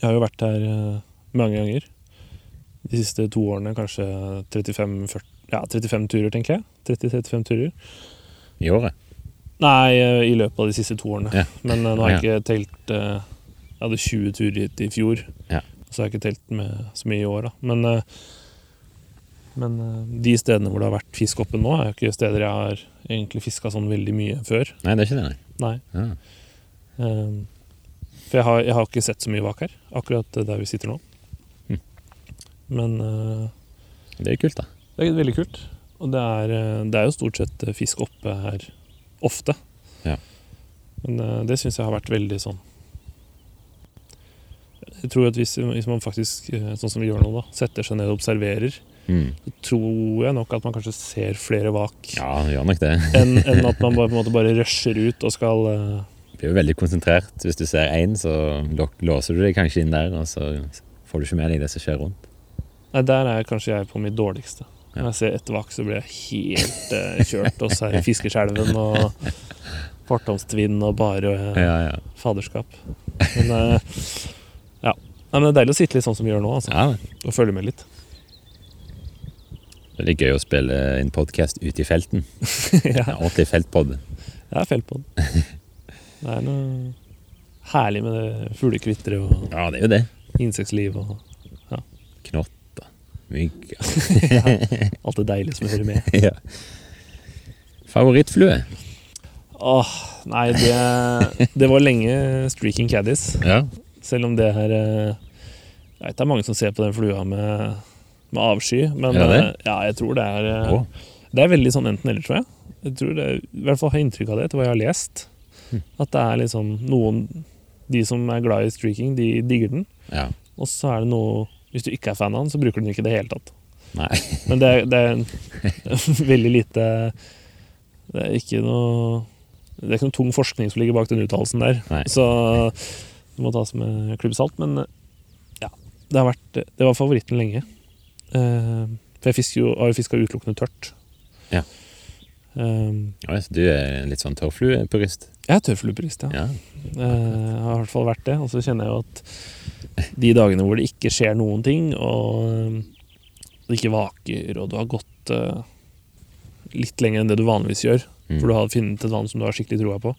Speaker 3: jeg har jo vært her eh, mange ganger. De siste to årene kanskje 35-40 Ja, 35 turer, tenker jeg. 30-35 turer.
Speaker 2: I året.
Speaker 3: Nei, eh, i løpet av de siste to årene.
Speaker 2: Ja.
Speaker 3: Men eh, nå har jeg ikke telt eh, Jeg hadde 20 turer hit i fjor,
Speaker 2: Ja.
Speaker 3: så jeg har ikke telt med så mye i år. Da. Men, eh, men eh, de stedene hvor det har vært fisk oppe nå, er jo ikke steder jeg har egentlig fiska sånn veldig mye før.
Speaker 2: Nei, det er ikke det, nei.
Speaker 3: Nei.
Speaker 2: Ja.
Speaker 3: Eh, For jeg har, jeg har ikke sett så mye vak her, akkurat eh, der vi sitter nå.
Speaker 2: Mhm.
Speaker 3: Men eh,
Speaker 2: Det er kult, da.
Speaker 3: det er veldig kult. Og det er, eh, det er jo stort sett eh, fisk oppe her ofte.
Speaker 2: Ja.
Speaker 3: Men eh, det syns jeg har vært veldig sånn Jeg tror at hvis, hvis man faktisk, eh, sånn som vi gjør nå, da, setter seg ned og observerer,
Speaker 2: Mm.
Speaker 3: så tror jeg nok at man kanskje ser flere vak
Speaker 2: Ja, det gjør nok det.
Speaker 3: enn enn at man bare, på en måte bare rusher ut og skal eh,
Speaker 2: Det blir jo veldig konsentrert. Hvis du ser én, så lå- låser du deg kanskje inn der, og så får du ikke med deg det som skjer rundt.
Speaker 3: Nei, der er kanskje jeg på mitt dårligste.
Speaker 2: Ja.
Speaker 3: Når jeg ser ett vak, så blir jeg helt eh, kjørt. Og så er det Fiskeskjelven og Partomstvinn og bare eh,
Speaker 2: Ja, ja.
Speaker 3: faderskap. Men eh, ja. Nei, men det er deilig å sitte litt sånn som vi gjør nå, altså.
Speaker 2: ja
Speaker 3: Og følge med litt.
Speaker 2: det er litt gøy å spille en podkast ute i felten.
Speaker 3: ja,
Speaker 2: En ordentlig feltpod.
Speaker 3: jeg er felt på den. Det er noe herlig med det fuglekvitteret og
Speaker 2: Ja, det er jo det.
Speaker 3: insektliv og
Speaker 2: Knott og mygg.
Speaker 3: ja, alt det deilige som hører med.
Speaker 2: Ja. Favorittflue?
Speaker 3: Åh, nei, det, det var lenge streaking caddies.
Speaker 2: Ja.
Speaker 3: Selv om det er eh, Jeg vet det er mange som ser på den flua med, med avsky, men
Speaker 2: Er det det?
Speaker 3: eh, ja, jeg tror det er eh,
Speaker 2: Å.
Speaker 3: Det er veldig sånn enten-eller, tror jeg. jeg tror det, I hvert fall har jeg inntrykk av det etter hva jeg har lest.
Speaker 2: Hm.
Speaker 3: At det er liksom noen De som er glad i streaking, de digger den.
Speaker 2: ja.
Speaker 3: Og så er det noe Hvis du ikke er fan av den, så bruker du den ikke i det hele tatt.
Speaker 2: Nei.
Speaker 3: Men det er, det er en veldig lite Det er ikke noe Det er ikke noe tung forskning som ligger bak den uttalelsen der.
Speaker 2: Nei.
Speaker 3: Så det må tas med en klype salt. Men ja, det, har vært, det var favoritten lenge. Eh, For jeg fisker jo, har jo fiska utelukkende tørt.
Speaker 2: Ja.
Speaker 3: Eh,
Speaker 2: Oi, så du er litt sånn tørrfluepurist?
Speaker 3: Jeg er tørrfluepurist, ja.
Speaker 2: Ja.
Speaker 3: Eh, har i hvert fall vært det. Og så kjenner jeg jo at de dagene hvor det ikke skjer noen ting, og eh, det ikke vaker, og du har gått eh, litt lenger enn det du vanligvis gjør,
Speaker 2: Mm.
Speaker 3: for du har funnet et vann som du har skikkelig troa på,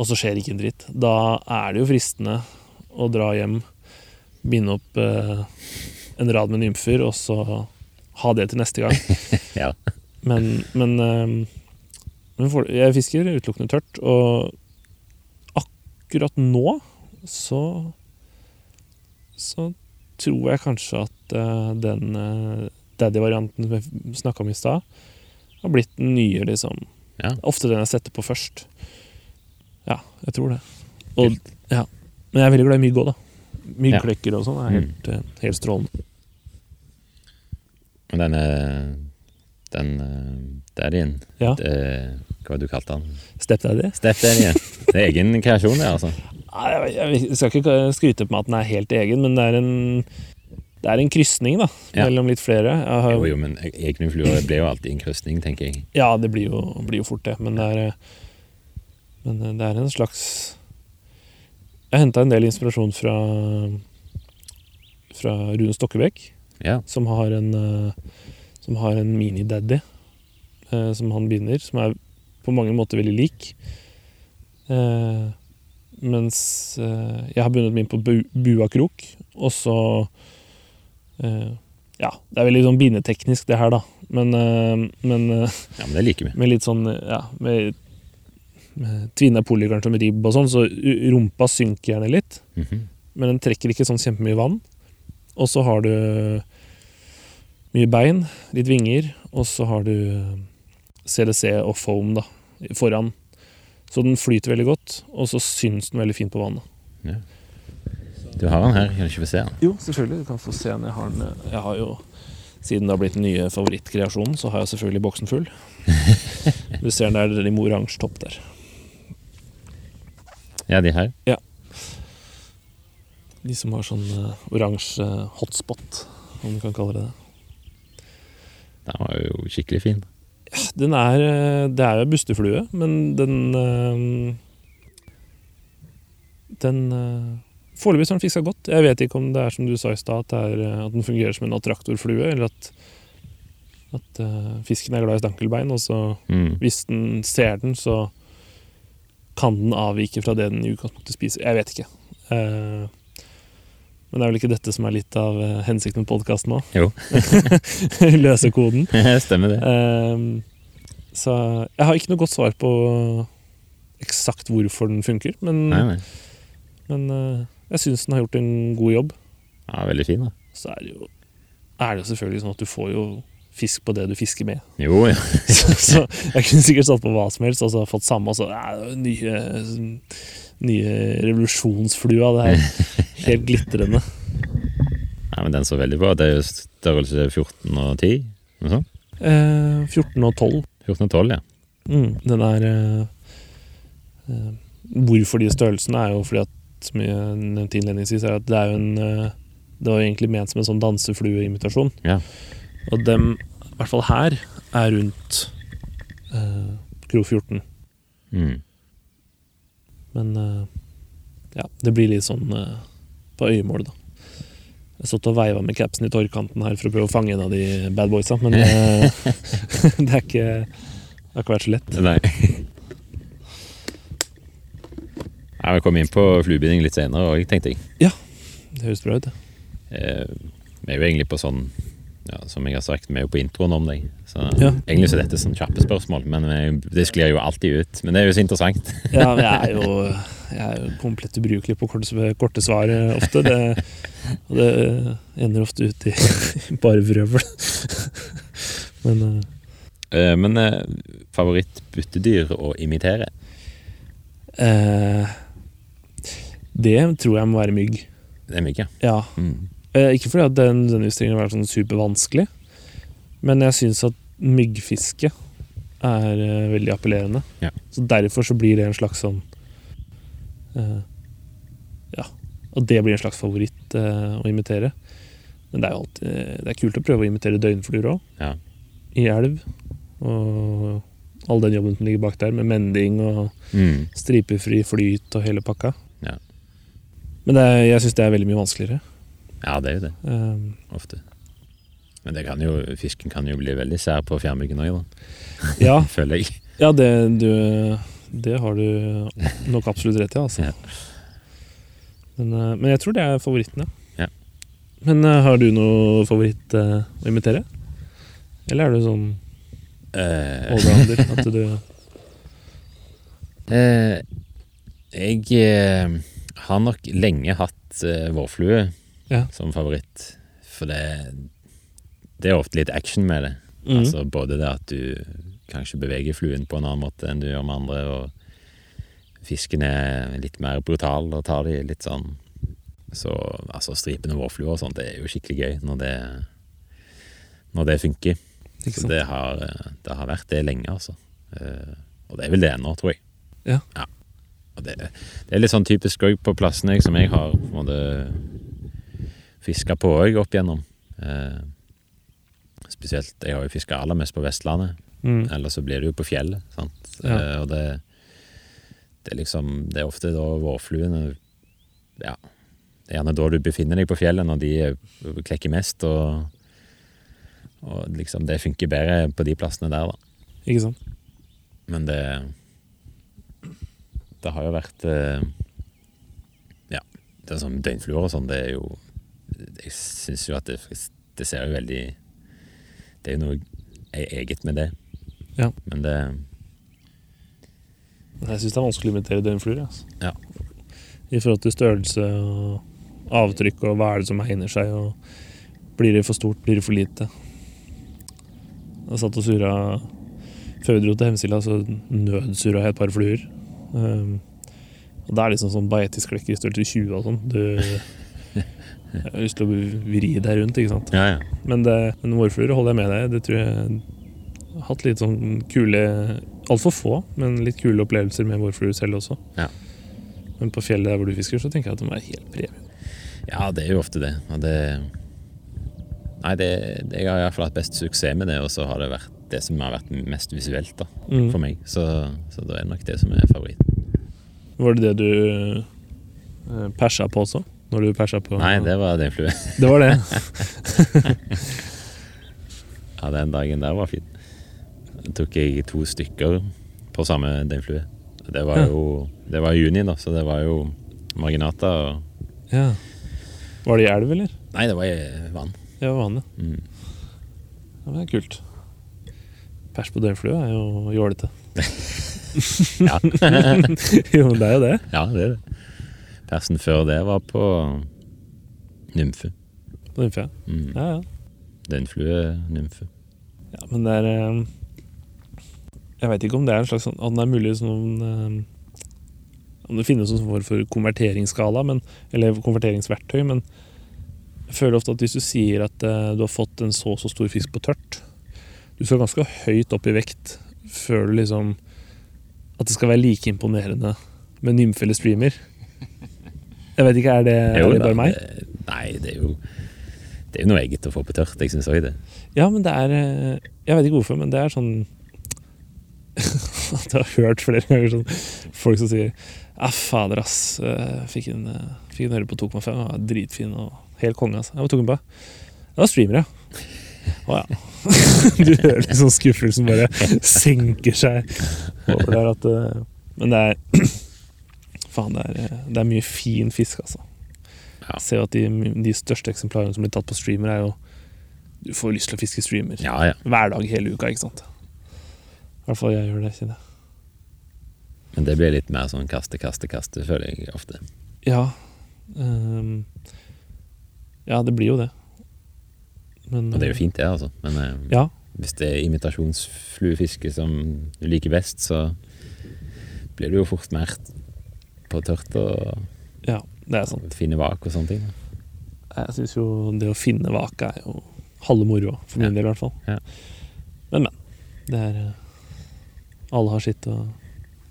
Speaker 3: og så skjer ikke en dritt, da er det jo fristende å dra hjem, binde opp eh, en rad med nymfer, og så ha det til neste gang.
Speaker 2: Mm. Ja.
Speaker 3: Men, men, ehm, men for, jeg fisker utelukkende tørt, og akkurat nå så Så tror jeg kanskje at eh, den eh, daddy-varianten som jeg snakka om i stad, har blitt den nye, liksom.
Speaker 2: Ja.
Speaker 3: Ofte den jeg setter på først. Ja, jeg tror det. Og, ja. Men jeg er veldig glad i mygg òg, da. Myggklekker og sånn er helt, eh, helt strålende.
Speaker 2: Men denne den eh, daddyen
Speaker 3: Ja.
Speaker 2: det- Hva var det du kalte han?
Speaker 3: Stepdaddy?
Speaker 2: Stepdaddyen. Det er egen kreasjon, det, altså.
Speaker 3: Nei, jeg, jeg, jeg skal ikke skryte på meg at den er helt egen, men det er en det er en krysning da,
Speaker 2: Ja.
Speaker 3: mellom litt flere. Jeg har,
Speaker 2: Jo, jo, men e- egne fluer blir jo alltid en krysning, tenker jeg.
Speaker 3: Ja, det blir jo, blir jo fort det, men det er, eh, men eh, det er en slags Jeg henta en del inspirasjon fra, fra Rune Stokkebekk,
Speaker 2: Ja.
Speaker 3: som har en, eh, som har en mini-daddy eh, som han binder, som er på mange måter veldig lik. Eh, mens eh, jeg har bundet min på bu buakrok, og så eh, Ja, det er veldig sånn bindeteknisk, det her, da. Men, eh, men eh,
Speaker 2: ja, men det liker vi.
Speaker 3: med litt sånn Ja, med, med tvinna polygarn som ribb og sånn, så u- rumpa synker gjerne litt.
Speaker 2: Mhm.
Speaker 3: Men den trekker ikke sånn kjempemye vann. Og så har du mye bein, litt vinger, og så har du CDC og foam da, foran. Så den flyter veldig godt, og så syns den veldig fint på vannet.
Speaker 2: Du har han her, kan du ikke få se han?
Speaker 3: Jo, selvfølgelig. Du kan få se den. Jeg har, den, jeg har jo Siden det har blitt den nye favorittkreasjonen, så har jeg selvfølgelig boksen full. Du ser den der den i oransje topp der.
Speaker 2: Ja, de her.
Speaker 3: De som har sånn eh, oransje hotspot, om du kan kalle det det.
Speaker 2: Den var jo skikkelig fin.
Speaker 3: Den er, eh, det er jo en busteflue, men den eh, Den eh, Foreløpig så har den fiska godt. Jeg vet ikke om det er som du sa i stad, at, det er, eh, at den fungerer som en attraktorflue, eller at, at eh, fisken er glad i stankelbein, og så
Speaker 2: Mm.
Speaker 3: hvis den ser den, så kan den avvike fra det den i utgangspunktet spiser. Jeg vet ikke. Eh, men det er vel ikke dette som er litt av eh, hensikten med podkasten nå?
Speaker 2: Jo.
Speaker 3: Løse koden.
Speaker 2: Stemmer det.
Speaker 3: Ehm, så jeg har ikke noe godt svar på eksakt hvorfor den funker, men,
Speaker 2: Nei, nei.
Speaker 3: men eh, jeg syns den har gjort en god jobb.
Speaker 2: Ja, veldig fin, da.
Speaker 3: Så er det jo er det selvfølgelig sånn at du får jo fisk på det du fisker med.
Speaker 2: Jo, ja.
Speaker 3: Så, så jeg kunne sikkert satt på hva som helst og så fått samme. Og så, "Nei, det er jo nye, nye revolusjonsflua, det her. Helt glitrende.
Speaker 2: Nei, men den så veldig bra. Det er jo størrelse 14 og 10. Noe sånt.
Speaker 3: Eh, 14 og 12.
Speaker 2: 14 og 12, ja.
Speaker 3: Mm, den er eh, eh, Hvorfor de størrelsene er jo fordi at som jeg nevnte innledningsvis, er at det er jo en eh, Det var jo egentlig ment som en sånn danseflueimitasjon.
Speaker 2: Ja.
Speaker 3: Og dem, i hvert fall her, er rundt eh, kro 14.
Speaker 2: Mm.
Speaker 3: Men eh, ja, det blir litt sånn eh, på øyemål, da. Jeg satt og veiva med capsen i torgkanten her for å prøve å fange en av de bad boysa, men eh, det, er ikke, det har ikke vært så lett.
Speaker 2: Nei. Nei, Vi kom inn på fluebinding litt senere òg, tenkte jeg.
Speaker 3: Det høres bra ut, det.
Speaker 2: Eh, vi er jo egentlig på sånn ja, Som jeg har sagt, vi er jo på introen om deg. Så
Speaker 3: Ja.
Speaker 2: egentlig så er dette sånn kjappe spørsmål, men vi- det sklir jo alltid ut. Men det er jo så interessant.
Speaker 3: Ja, men jeg er jo, jeg er jo komplett ubrukelig på korte, korte svar eh, ofte. Det, og det eh, ender ofte ut i bare vrøvl. Men eh,
Speaker 2: Eh, men eh, favorittbyttedyr å imitere?
Speaker 3: eh, Det tror jeg må være mygg.
Speaker 2: Det er mygg, ja.
Speaker 3: Ja.
Speaker 2: Mm.
Speaker 3: Eh, ikke fordi at den, den utstillingen har vært sånn supervanskelig, men jeg syns at myggfiske er eh, veldig appellerende.
Speaker 2: Ja.
Speaker 3: Så derfor så blir det en slags sånn eh, Ja. Og det blir en slags favoritt eh, å imitere. Men det er jo alltid Det er kult å prøve å imitere døgnfluer òg,
Speaker 2: Ja.
Speaker 3: i elv. Og all den jobben som ligger bak der, med mending og
Speaker 2: Mm.
Speaker 3: stripefri flyt og hele pakka.
Speaker 2: Ja.
Speaker 3: Men det er, jeg syns det er veldig mye vanskeligere.
Speaker 2: ja, det er jo det.
Speaker 3: Eh,
Speaker 2: Ofte. Men det kan jo, fisken kan jo bli veldig sær på fjærmyggen òg,
Speaker 3: ja,
Speaker 2: føler jeg.
Speaker 3: Ja, det, du, det har du nok absolutt rett i, altså.
Speaker 2: Ja.
Speaker 3: Men, eh, men jeg tror det er favoritten,
Speaker 2: Ja.
Speaker 3: Men eh, har du noe favoritt eh, å imitere? Eller er du sånn
Speaker 2: Eh,
Speaker 3: allrounder? At du
Speaker 2: eh, jeg eh, har nok lenge hatt eh, vårflue
Speaker 3: Ja.
Speaker 2: som favoritt, for det, det er ofte litt action med det.
Speaker 3: mm.
Speaker 2: Altså Både det at du kanskje beveger fluen på en annen måte enn du gjør med andre, og fisken er litt mer brutal og tar de litt sånn Så altså stripen og vårflua og sånt, det er jo skikkelig gøy når det, når det funker.
Speaker 3: Ikke
Speaker 2: Så
Speaker 3: sant?
Speaker 2: det har, eh, det har vært det lenge, altså. Eh, Og det er vel det ennå, tror jeg.
Speaker 3: Ja.
Speaker 2: Og det, det er litt sånn typisk òg på plassen jeg, som jeg har på en måte fiska på òg opp igjennom. Eh, Spesielt, jeg har jo fiska aller mest på Vestlandet.
Speaker 3: Mm.
Speaker 2: Eller så blir det jo på fjellet. Sant?
Speaker 3: Ja.
Speaker 2: Eh, og det, det er liksom Det er ofte da vårfluene Ja. Det er gjerne da du befinner deg på fjellet, når de er- klekker mest. Og, og liksom det funker bedre på de plassene der, da.
Speaker 3: Ikke sant?
Speaker 2: Men det Det har jo vært eh, Ja, det er sånn døgnfluer og sånn, det er jo Jeg syns jo at det, det ser jo veldig Det er jo noe e- eget med det.
Speaker 3: Ja.
Speaker 2: Men det
Speaker 3: Men Jeg syns det er vanskelig å imitere døgnfluer. Altså.
Speaker 2: Ja.
Speaker 3: I forhold til størrelse og avtrykk og hva er det som egner seg. Og blir det for stort, blir det for lite. Jeg satt og surra før vi dro til Hemsila, så nødsurra jeg et par fluer. Um, og det er liksom sånn bajettisklekker i størrelse 20 og sånn. Du jeg har lyst til å vri deg rundt, ikke sant.
Speaker 2: Ja, ja.
Speaker 3: Men, det, men vårfluer holder jeg med deg. Det tror jeg jeg har hatt litt sånn kule Altfor få, men litt kule opplevelser med vårfluer selv også.
Speaker 2: Ja.
Speaker 3: Men på fjellet der hvor du fisker, så tenker jeg at de er helt premie.
Speaker 2: Ja, det er jo ofte det. Og det Nei, det, det, jeg har iallfall hatt best suksess med det, og så har det vært det som har vært mest visuelt da,
Speaker 3: Mm.
Speaker 2: for meg. Så, så da er det nok det som er favoritten.
Speaker 3: Var det det du eh, persa på også? Når du persa på
Speaker 2: Nei, det var den flue.
Speaker 3: Det var det.
Speaker 2: Ja, den dagen der var fin. Da tok jeg to stykker på samme døgnflue. Det var
Speaker 3: Ja.
Speaker 2: jo Det var i juni, da, så det var jo marginata og
Speaker 3: Ja. Var det i elv, eller?
Speaker 2: Nei, det var i vann.
Speaker 3: Ja, vannet.
Speaker 2: Mm.
Speaker 3: Ja, men det er kult. Pers på døgnflue er jo jålete.
Speaker 2: Ja.
Speaker 3: jo, men det er jo det.
Speaker 2: ja, det er det. Persen før det var på nymfe.
Speaker 3: På nymfe.
Speaker 2: Mm.
Speaker 3: Ja, ja.
Speaker 2: Døgnfluenymfe.
Speaker 3: Ja, men det er eh, Jeg veit ikke om det er en slags sånn- Om det er mulig sånn eh, Om det finnes noen form for konverteringsskala, men, eller konverteringsverktøy, men jeg føler ofte at hvis du sier at eh, du har fått en så og så stor fisk på tørt Du skal ganske høyt opp i vekt før du liksom At det skal være like imponerende med nymfe eller streamer. Jeg vet ikke, er det, er det bare meg?
Speaker 2: Nei, det er jo Det er jo noe eget å få på tørt. Jeg syns òg det.
Speaker 3: Ja, men det er eh, Jeg vet ikke hvorfor, men det er sånn At jeg har hørt flere ganger sånn folk som sier Ja, fader, ass. eh, Fikk en, eh, fikk en øre på 2,5. den var Dritfin og helt konge, ass. Ja, Hva tok den på? Det var streamer, ja. Å ja. du hører liksom skuffelsen bare senker seg over der at eh, Men det er Faen, det er, eh, det er mye fin fisk, altså.
Speaker 2: Ja.
Speaker 3: Ser jo at de, de største eksemplarene som blir tatt på streamer, er jo Du får lyst til å fiske streamer
Speaker 2: Ja, ja.
Speaker 3: hver dag hele uka, ikke sant? I hvert fall jeg gjør det, kjenner jeg.
Speaker 2: Men det blir litt mer sånn kaste, kaste, kaste, føler jeg ofte.
Speaker 3: Ja. ehm, ja, det blir jo det. Men,
Speaker 2: Og det er jo fint, det, altså. Men eh,
Speaker 3: Ja.
Speaker 2: hvis det er imitasjonsfluefiske som du liker best, så blir du jo fort mer på tørt og sånn,
Speaker 3: Ja, det er sant.
Speaker 2: fine vak og sånne ting.
Speaker 3: Jeg syns jo det å finne vake er jo halve moroa, for min
Speaker 2: Ja.
Speaker 3: del i hvert fall.
Speaker 2: Ja.
Speaker 3: Men, men. Det er eh, Alle har sitt å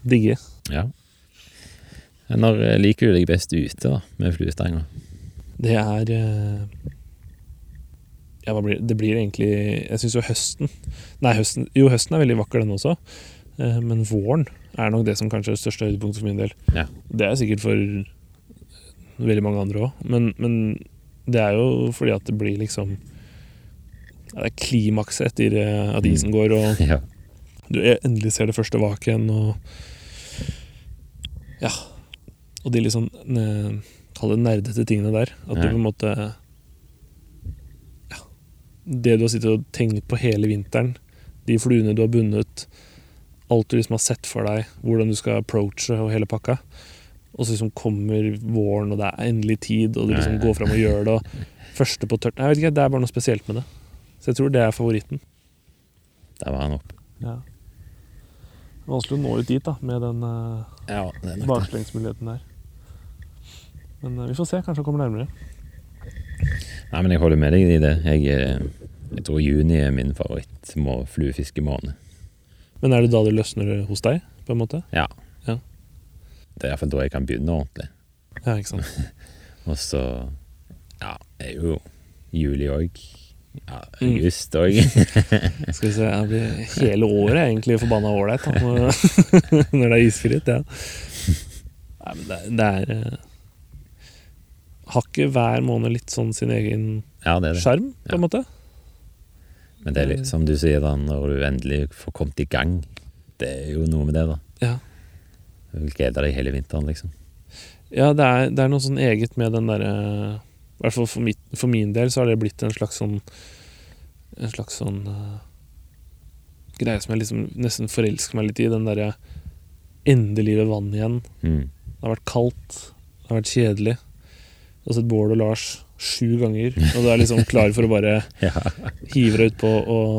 Speaker 3: digge.
Speaker 2: Ja. Når eh, liker du deg best ute da, med fluestang? da?
Speaker 3: Det er eh, ja, hva blir, Det blir egentlig Jeg syns jo høsten Nei, høsten, jo, høsten er veldig vakker, den også. Eh, Men våren er nok det som kanskje er det største høydepunktet for min del.
Speaker 2: Ja.
Speaker 3: Det er sikkert for veldig mange andre òg, men, men det er jo fordi at det blir liksom ja, Det er klimakset etter eh, at isen går, og
Speaker 2: Ja.
Speaker 3: du endelig ser det første vaken og Ja. Og de litt sånn ne- Kall det nerdete tingene der. At du
Speaker 2: Ja.
Speaker 3: på en måte Ja. Det du har sittet og tenkt på hele vinteren, de fluene du har bundet, alt du liksom har sett for deg, hvordan du skal approache og hele pakka. Og så liksom kommer våren, og det er endelig tid, og du
Speaker 2: Ja,
Speaker 3: liksom
Speaker 2: ja.
Speaker 3: går fram og gjør det. Og første på tørt Nei, Jeg vet ikke, Det er bare noe spesielt med det. Så jeg tror det er favoritten.
Speaker 2: Der var han oppe.
Speaker 3: Ja. Det er vanskelig å nå ut dit da, med den uh,
Speaker 2: Ja, det er nok det.
Speaker 3: baklengsmuligheten der. Men eh, vi får se, kanskje han kommer nærmere.
Speaker 2: Nei, men jeg holder med deg i det. Jeg, eh, jeg tror juni er min favoritt må- fluefiskemåned.
Speaker 3: Men er det da det løsner eh, hos deg, på en måte?
Speaker 2: Ja.
Speaker 3: Ja.
Speaker 2: Det er iallfall da jeg kan begynne ordentlig.
Speaker 3: Ja, ikke sant?
Speaker 2: Og så ja, er jo juli òg. Ja,
Speaker 3: Mm.
Speaker 2: august òg.
Speaker 3: Skal vi se, jeg blir Hele året er egentlig forbanna ålreit, da, når når det er isfritt. Ja. Nei, men det, er- det er eh, Har ikke hver måned litt sånn sin egen
Speaker 2: ja, det er det.
Speaker 3: sjarm, på en måte?
Speaker 2: Men det er litt som du sier, da, når du endelig får kommet i gang. Det er jo noe med det, da.
Speaker 3: Ja.
Speaker 2: Du vil glede deg hele vinteren, liksom.
Speaker 3: Ja, det er, det er noe sånn eget med den derre I hvert fall for, mitt, for min del så har det blitt en slags sånn En slags sånn eh, greie som jeg liksom nesten forelsker meg litt i. Den derre endelig ved vannet igjen.
Speaker 2: Mm.
Speaker 3: Det har vært kaldt. Det har vært kjedelig. Du har sett Bård og Lars sju ganger, og du er liksom klar for å bare
Speaker 2: Ja.
Speaker 3: hive deg utpå og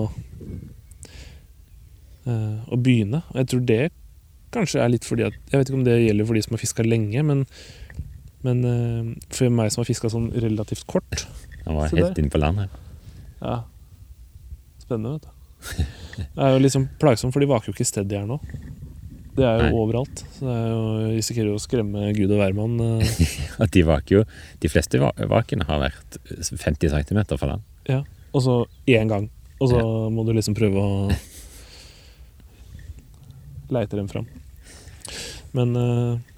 Speaker 3: eh, og begynne. Og jeg tror det kanskje er litt fordi at Jeg vet ikke om det gjelder for de som har fiska lenge, men, men eh, for meg som har fiska sånn relativt kort
Speaker 2: Han var
Speaker 3: Se
Speaker 2: helt
Speaker 3: der.
Speaker 2: inne på land her.
Speaker 3: ja. Spennende, vet du. Det er jo liksom plagsomt, for de vaker jo ikke steady her nå. Det er jo
Speaker 2: Nei.
Speaker 3: overalt. Så det er jo, jeg risikerer jo å skremme gud og hvermann. eh,
Speaker 2: At de vaker jo De fleste va- vakene har vært 50 cm fra land.
Speaker 3: Og så én gang. Og så må du liksom prøve å leite dem fram. Men eh,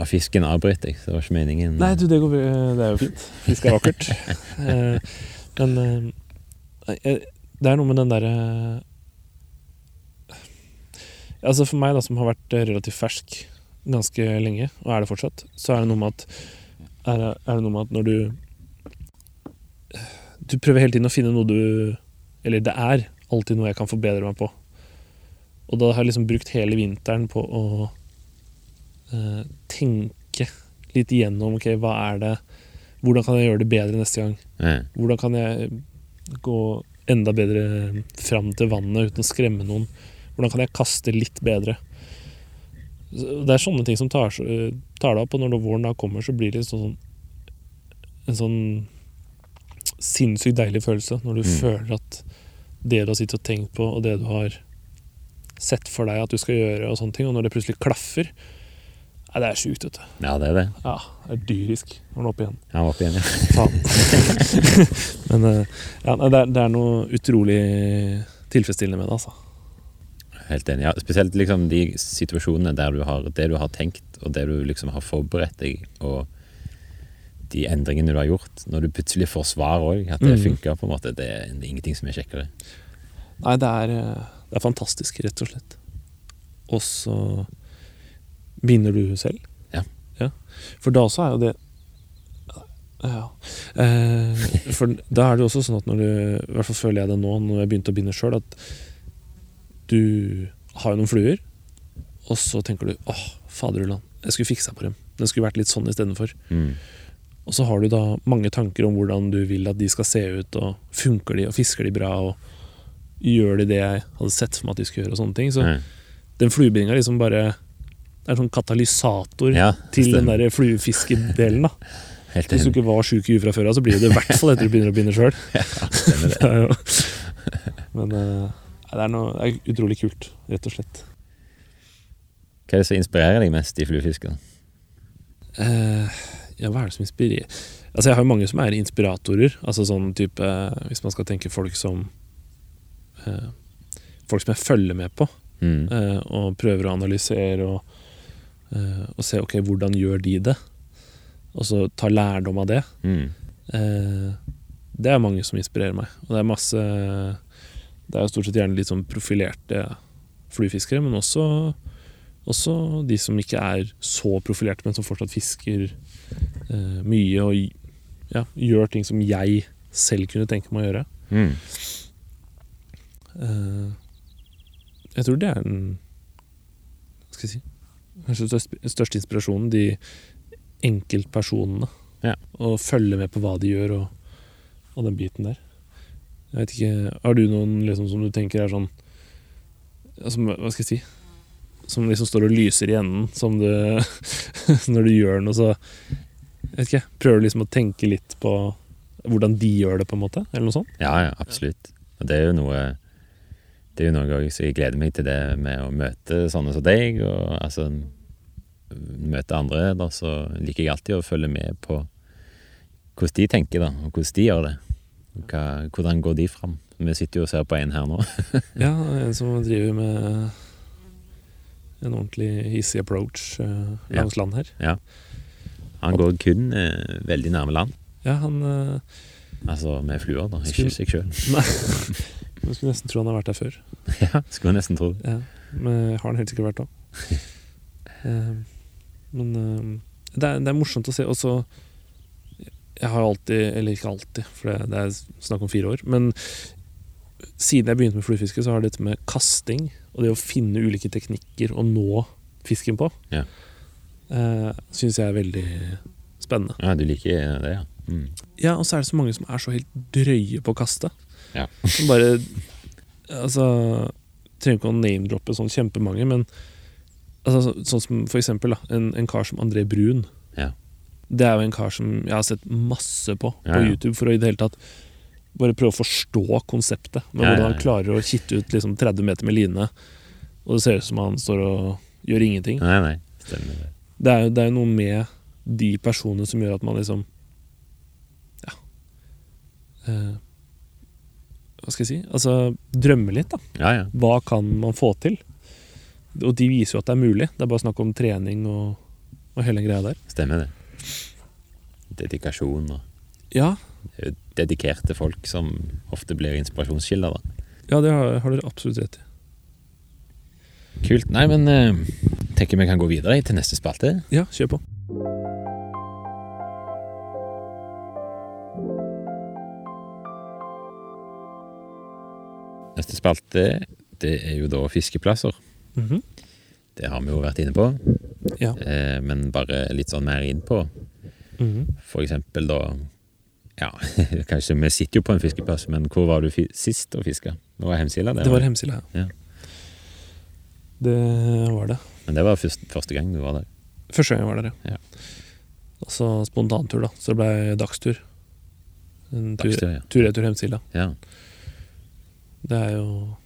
Speaker 2: Og fisken avbryter jeg, så det var ikke meningen.
Speaker 3: Nei, du, det, går, det er jo fint. Fisk er vakkert. Eh, men eh, jeg- det er noe med den derre eh, Altså For meg, da, som har vært eh, relativt fersk ganske lenge, og er det fortsatt, så er det noe med at er, det- er det noe med at når du Du prøver hele tiden å finne noe du Eller det er alltid noe jeg kan forbedre meg på. Og da har jeg liksom brukt hele vinteren på å eh, tenke litt igjennom ok, hva er det Hvordan kan jeg gjøre det bedre neste gang?
Speaker 2: Ja.
Speaker 3: Hvordan kan jeg gå enda bedre fram til vannet uten å skremme noen? Hvordan kan jeg kaste litt bedre? Så Det er sånne ting som tar, s- tar deg opp, og når våren da kommer, så blir det sånn, en sånn sinnssykt deilig følelse når du
Speaker 2: Mm.
Speaker 3: føler at det du har sittet og tenkt på, og det du har sett for deg at du skal gjøre, og sånne ting, og når det plutselig klaffer Nei, det er sjukt, vet du.
Speaker 2: Ja, det er det.
Speaker 3: Ja, det er dyrisk når den er oppe igjen.
Speaker 2: Han var oppe igjen, ja.
Speaker 3: Faen. Men eh, ja, nei, det, er, det er noe utrolig tilfredsstillende med det, altså.
Speaker 2: Helt enig. Ja, spesielt liksom de situasjonene der du har det du har tenkt, og det du liksom har forberedt deg, og de endringene du har gjort, når du plutselig får svar òg, at det
Speaker 3: Mhm.
Speaker 2: funker, på en måte, det er ingenting som er kjekkere.
Speaker 3: Nei, det er, eh, det er fantastisk, rett og slett. Og så binder du selv.
Speaker 2: Ja.
Speaker 3: For da også er jo det ja. Eh, For da er det jo også sånn at når du I hvert fall føler jeg det nå, når jeg begynte å binde sjøl, at du har jo noen fluer, og så tenker du åh, faderullan, jeg skulle fiksa på dem. Den skulle vært litt sånn istedenfor.
Speaker 2: Mm.
Speaker 3: Og så har du da mange tanker om hvordan du vil at de skal se ut, og funker de, og fisker de bra, og gjør de det jeg hadde sett for meg at de skulle gjøre, og sånne ting. Så
Speaker 2: Ja.
Speaker 3: den fluebindinga liksom bare Det er en sånn katalysator
Speaker 2: Ja,
Speaker 3: til den
Speaker 2: stemmer.
Speaker 3: der fluefiskedelen, da.
Speaker 2: Helt
Speaker 3: Hvis du
Speaker 2: enig.
Speaker 3: ikke var sjuk i huet fra før av, så blir det det i hvert fall etter du begynner å binde sjøl.
Speaker 2: Stemmer det.
Speaker 3: Men eh, det er noe det er utrolig kult, rett og slett.
Speaker 2: Hva er det som inspirerer deg mest i fluefisken?
Speaker 3: Eh, ja, hva er det som inspirerer Altså, jeg har jo mange som er inspiratorer. Altså sånn type eh, Hvis man skal tenke folk som eh, Folk som jeg følger med på,
Speaker 2: Mm.
Speaker 3: eh, og prøver å analysere og, eh, og se ok, hvordan gjør de det? Og så ta lærdom av det.
Speaker 2: Mm.
Speaker 3: Eh, det er mange som inspirerer meg. Og det er masse Det er jo stort sett gjerne litt sånn profilerte fluefiskere, men også, også de som ikke er så profilerte, men som fortsatt fisker eh, mye og ja, gjør ting som jeg selv kunne tenke meg å gjøre.
Speaker 2: Mm.
Speaker 3: Eh, jeg tror det er den hva skal jeg si, kanskje den største- største inspirasjonen. De enkeltpersonene.
Speaker 2: Ja.
Speaker 3: Og følge med på hva de gjør, og, og den biten der. Jeg vet ikke, Har du noen liksom, som du tenker er sånn ja, som, Hva skal jeg si? Som liksom står og lyser i enden som du, når du gjør noe, så jeg vet ikke, Prøver du liksom å tenke litt på hvordan de gjør det, på en måte? Eller noe sånt?
Speaker 2: Ja, ja, absolutt. Og det er jo noe Det er jo noe også- jeg gleder meg til det med å møte sånne som deg, og altså møte andre. Da så liker jeg alltid å følge med på hvordan de tenker, da, og hvordan de gjør det. Og Hva, hvordan går de fram? Vi sitter jo og ser på en her nå.
Speaker 3: Ja, en som driver med en ordentlig hissig approach eh,
Speaker 2: Ja.
Speaker 3: langs land her.
Speaker 2: Han går kun eh, veldig nærme land,
Speaker 3: Ja, han eh,
Speaker 2: altså med fluer, da, ikke
Speaker 3: Skulle-
Speaker 2: seg sjøl.
Speaker 3: Nei, man skulle nesten tro han har vært der før.
Speaker 2: Ja, skulle nesten tro det.
Speaker 3: Ja, men har han helt sikkert vært òg. Men eh, det er, det er morsomt å se. Og så Jeg har alltid, eller ikke alltid, for det, det er snakk om fire år, men siden jeg begynte med fluefiske, så har dette med kasting og det å finne ulike teknikker å nå fisken på,
Speaker 2: Ja.
Speaker 3: syns jeg er veldig spennende.
Speaker 2: Ja, du liker det, ja. Mm.
Speaker 3: Ja, og så er det så mange som er så helt drøye på å kaste.
Speaker 2: Ja.
Speaker 3: Som bare Altså Trenger ikke å name-droppe sånn kjempemange, men altså, så- sånn som for eksempel da, en, en kar som André Brun.
Speaker 2: Ja.
Speaker 3: Det er jo en kar som jeg har sett masse på
Speaker 2: Ja,
Speaker 3: på
Speaker 2: ja.
Speaker 3: YouTube for å i det hele tatt bare prøve å forstå konseptet. Med
Speaker 2: Ja, ja,
Speaker 3: hvordan
Speaker 2: ja.
Speaker 3: han klarer å kitte ut liksom 30 meter med line, og det ser ut som han står og gjør ingenting.
Speaker 2: Nei, nei, stemmer det.
Speaker 3: Det er, jo- det er jo noe med de personene som gjør at man liksom Ja eh, Hva skal jeg si? Altså drømmer litt, da.
Speaker 2: Ja, ja.
Speaker 3: Hva kan man få til? Og de viser jo at det er mulig. Det er bare snakk om trening og, og hele den greia der.
Speaker 2: Stemmer det. Dedikasjon og
Speaker 3: Ja,
Speaker 2: Det er jo dedikerte folk som ofte blir inspirasjonskilder. da.
Speaker 3: ja det har, har dere absolutt rett i.
Speaker 2: Kult. Nei, men eh, tenker vi kan gå videre til neste spalte.
Speaker 3: Ja, kjør på.
Speaker 2: Neste spalte det er jo da fiskeplasser.
Speaker 3: Mhm.
Speaker 2: Det har vi jo vært inne på.
Speaker 3: Ja.
Speaker 2: Eh, men bare litt sånn mer inn på.
Speaker 3: Mhm.
Speaker 2: For eksempel da Ja, kanskje vi sitter jo på en fiskeplass, men hvor var du fi sist og fiska? Det var Hemsila, det.
Speaker 3: Det var
Speaker 2: vel?
Speaker 3: Hemsila,
Speaker 2: Ja.
Speaker 3: Det var det.
Speaker 2: Men det var først, første gang du var der.
Speaker 3: Første gang jeg var der,
Speaker 2: Ja.
Speaker 3: Altså spontantur, da. Så det ble dagstur. En tur-
Speaker 2: Dagstur, ja.
Speaker 3: Tur-retur Hemsila.
Speaker 2: Ja.
Speaker 3: Det er jo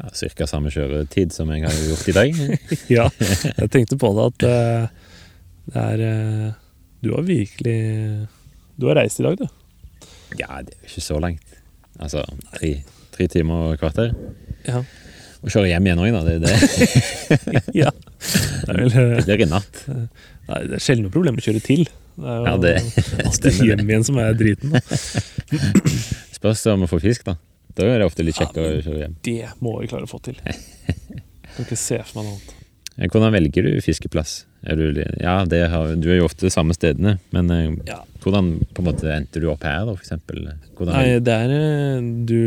Speaker 2: ja Cirka samme kjøretid som jeg har gjort i dag.
Speaker 3: Ja, jeg tenkte på det at eh, det er eh, Du har virkelig Du har reist i dag, du.
Speaker 2: ja, det er jo ikke så langt. Altså tre, tre timer og et kvarter.
Speaker 3: Ja.
Speaker 2: Og kjøre hjem igjen òg, da. Det, det,
Speaker 3: ja. Det er vel eh,
Speaker 2: det blir i natt.
Speaker 3: Nei, det er sjelden noe problem å kjøre til. Det er jo
Speaker 2: Ja, det
Speaker 3: alltid hjem igjen som er driten. Da.
Speaker 2: Spørs om vi får fisk, da. Da er det ofte litt kjekkere å kjøre hjem.
Speaker 3: Det må vi klare å få til. Kan ikke se for meg noe annet.
Speaker 2: Eh, Hvordan velger du fiskeplass? Er du, li- ja, det har, du er jo ofte samme stedene, men eh,
Speaker 3: Ja.
Speaker 2: hvordan på en måte endte du opp her, da, for eksempel? Hvordan,
Speaker 3: Nei, det er eh, du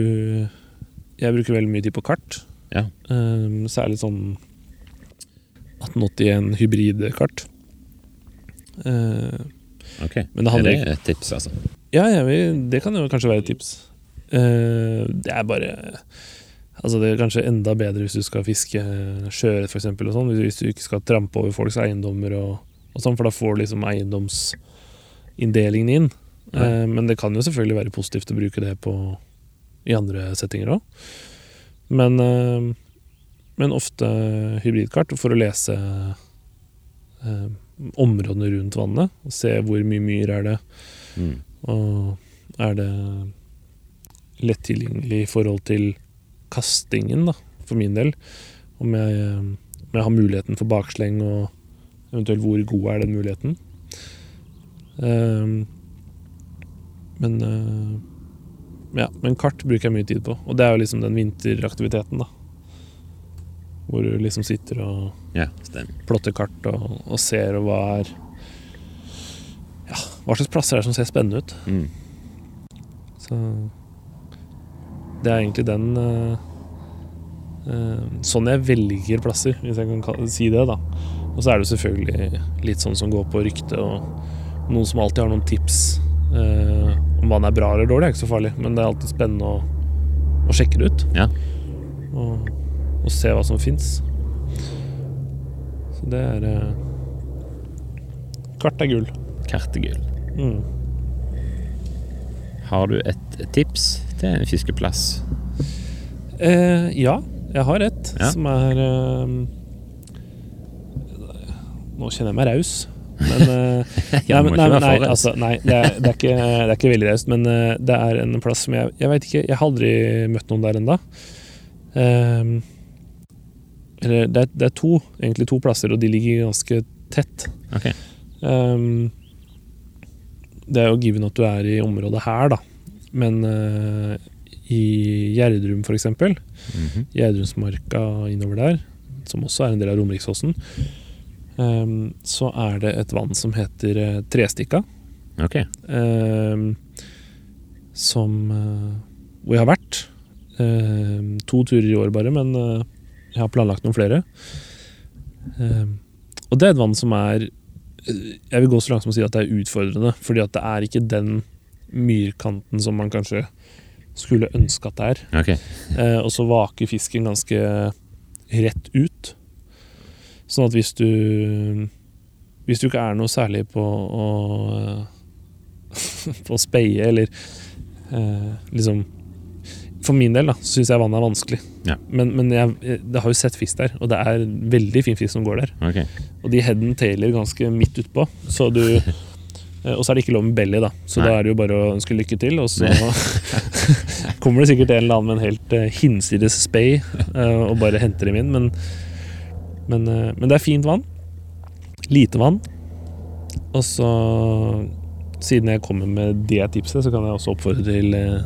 Speaker 3: Jeg bruker veldig mye tid på kart.
Speaker 2: Ja.
Speaker 3: Um, særlig sånn 1881 hybridkart. Eh,
Speaker 2: Ok,
Speaker 3: men det
Speaker 2: er
Speaker 3: handler
Speaker 2: det
Speaker 3: ikke-
Speaker 2: et tips, altså?
Speaker 3: Ja, jeg vil, det kan jo kanskje være et tips. Eh, det er bare Altså Det er kanskje enda bedre hvis du skal fiske sjøørret f.eks. sånn, Hvis du ikke skal trampe over folks eiendommer, og, og sånn, for da får du liksom eiendomsinndelingen inn.
Speaker 2: Ja.
Speaker 3: Eh, men det kan jo selvfølgelig være positivt å bruke det på i andre settinger òg. Men, eh, men ofte hybridkart for å lese eh, områdene rundt vannet. Og se hvor mye myr er det.
Speaker 2: Mm.
Speaker 3: Og er det lett tilgjengelig i forhold til kastingen, da, for min del? Om jeg, eh, om jeg har muligheten for baksleng, og eventuelt hvor god er den muligheten? Ehm, men eh, ja, men kart bruker jeg mye tid på, og det er jo liksom den vinteraktiviteten, da. Hvor du liksom sitter og
Speaker 2: Ja, stemmer.
Speaker 3: plotter kart og, og ser og hva er ja, Hva slags plasser er det som ser spennende ut?
Speaker 2: Mm.
Speaker 3: Så det er egentlig den eh, eh, Sånn jeg velger plasser, hvis jeg kan kall- si det, da. Og så er det jo selvfølgelig litt sånn som går på rykte, og noen som alltid har noen tips eh, om hva den er bra eller dårlig, er ikke så farlig, men det er alltid spennende å, å sjekke det ut.
Speaker 2: Ja.
Speaker 3: Og, og se hva som fins. Så det er eh, Kart er gull.
Speaker 2: Kartegull.
Speaker 3: Mm.
Speaker 2: Har du et tips til en fiskeplass?
Speaker 3: Eh, ja, jeg har et
Speaker 2: Ja.
Speaker 3: som er eh, Nå kjenner jeg meg raus, men eh,
Speaker 2: Ja, du må
Speaker 3: men-
Speaker 2: ikke
Speaker 3: nei,
Speaker 2: være
Speaker 3: men- nei,
Speaker 2: for raus.
Speaker 3: altså, nei det, er, det, er ikke, det er ikke veldig raust, men eh, det er en plass som jeg Jeg vet ikke, jeg har aldri møtt noen der ennå. eller det er, det er to, egentlig to plasser, og de ligger ganske tett.
Speaker 2: Ok.
Speaker 3: Ehm, det er jo given at du er i området her, da. Men eh, i Gjerdrum, for eksempel,
Speaker 2: Mhm.
Speaker 3: Gjerdrumsmarka innover der, som også er en del av Romeriksåsen, ehm, så er det et vann som heter eh, Trestikka.
Speaker 2: Ok.
Speaker 3: ehm, som eh, Hvor jeg har vært. Ehm, to turer i år, bare, men eh, jeg har planlagt noen flere. Ehm, og det er et vann som er eh, Jeg vil gå så langt som å si at det er utfordrende, fordi at det er ikke den myrkanten som man kanskje skulle ønske at det er.
Speaker 2: ok.
Speaker 3: Eh, og så vaker fisken ganske rett ut. Sånn at hvis du Hvis du ikke er noe særlig på å eh, På å speie, eller eh, liksom For min del da, så syns jeg vannet er vanskelig.
Speaker 2: Ja.
Speaker 3: Men, men jeg, jeg har jo sett fisk der, og det er veldig fin fisk som går der.
Speaker 2: ok.
Speaker 3: Og de head and tailer ganske midt utpå. Så du eh, Og så er det ikke lov med belly, da. Så
Speaker 2: Nei.
Speaker 3: da er det jo bare å ønske lykke til. Og så kommer det sikkert en eller annen med en helt eh, hinsides spay eh, og bare henter dem inn. Men, men, eh, men det er fint vann. Lite vann. Og så, siden jeg kommer med det tipset, så kan jeg også oppfordre til eh,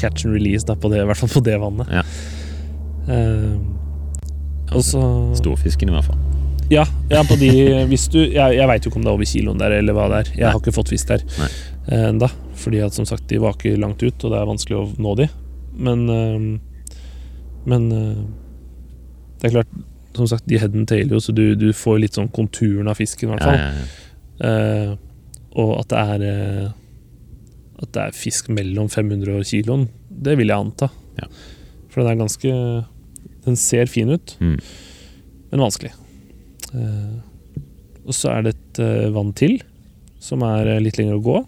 Speaker 3: catch and release, da, på det, i hvert fall på det vannet.
Speaker 2: Ja.
Speaker 3: Eh, og så
Speaker 2: Storfisken i hvert fall.
Speaker 3: ja, ja på de, hvis du, jeg, jeg veit jo ikke om det er over kiloen der, eller hva det er. Jeg har ikke fått fisk der
Speaker 2: Nei.
Speaker 3: ennå. Fordi at som sagt, de vaker langt ut, og det er vanskelig å nå de. Men øhm, Men øh, det er klart, som sagt, de headen tailer jo, så du, du får litt sånn
Speaker 2: Sånn.
Speaker 3: konturen av fisken, i hvert
Speaker 2: Ja,
Speaker 3: fall.
Speaker 2: ja, ja.
Speaker 3: Eh, og at det er eh, At det er fisk mellom 500 og kiloen, det vil jeg anta.
Speaker 2: Ja.
Speaker 3: For den er ganske Den ser fin ut,
Speaker 2: Mm.
Speaker 3: men vanskelig. Eh, og så er det et eh, vann til, som er eh, litt lenger å gå.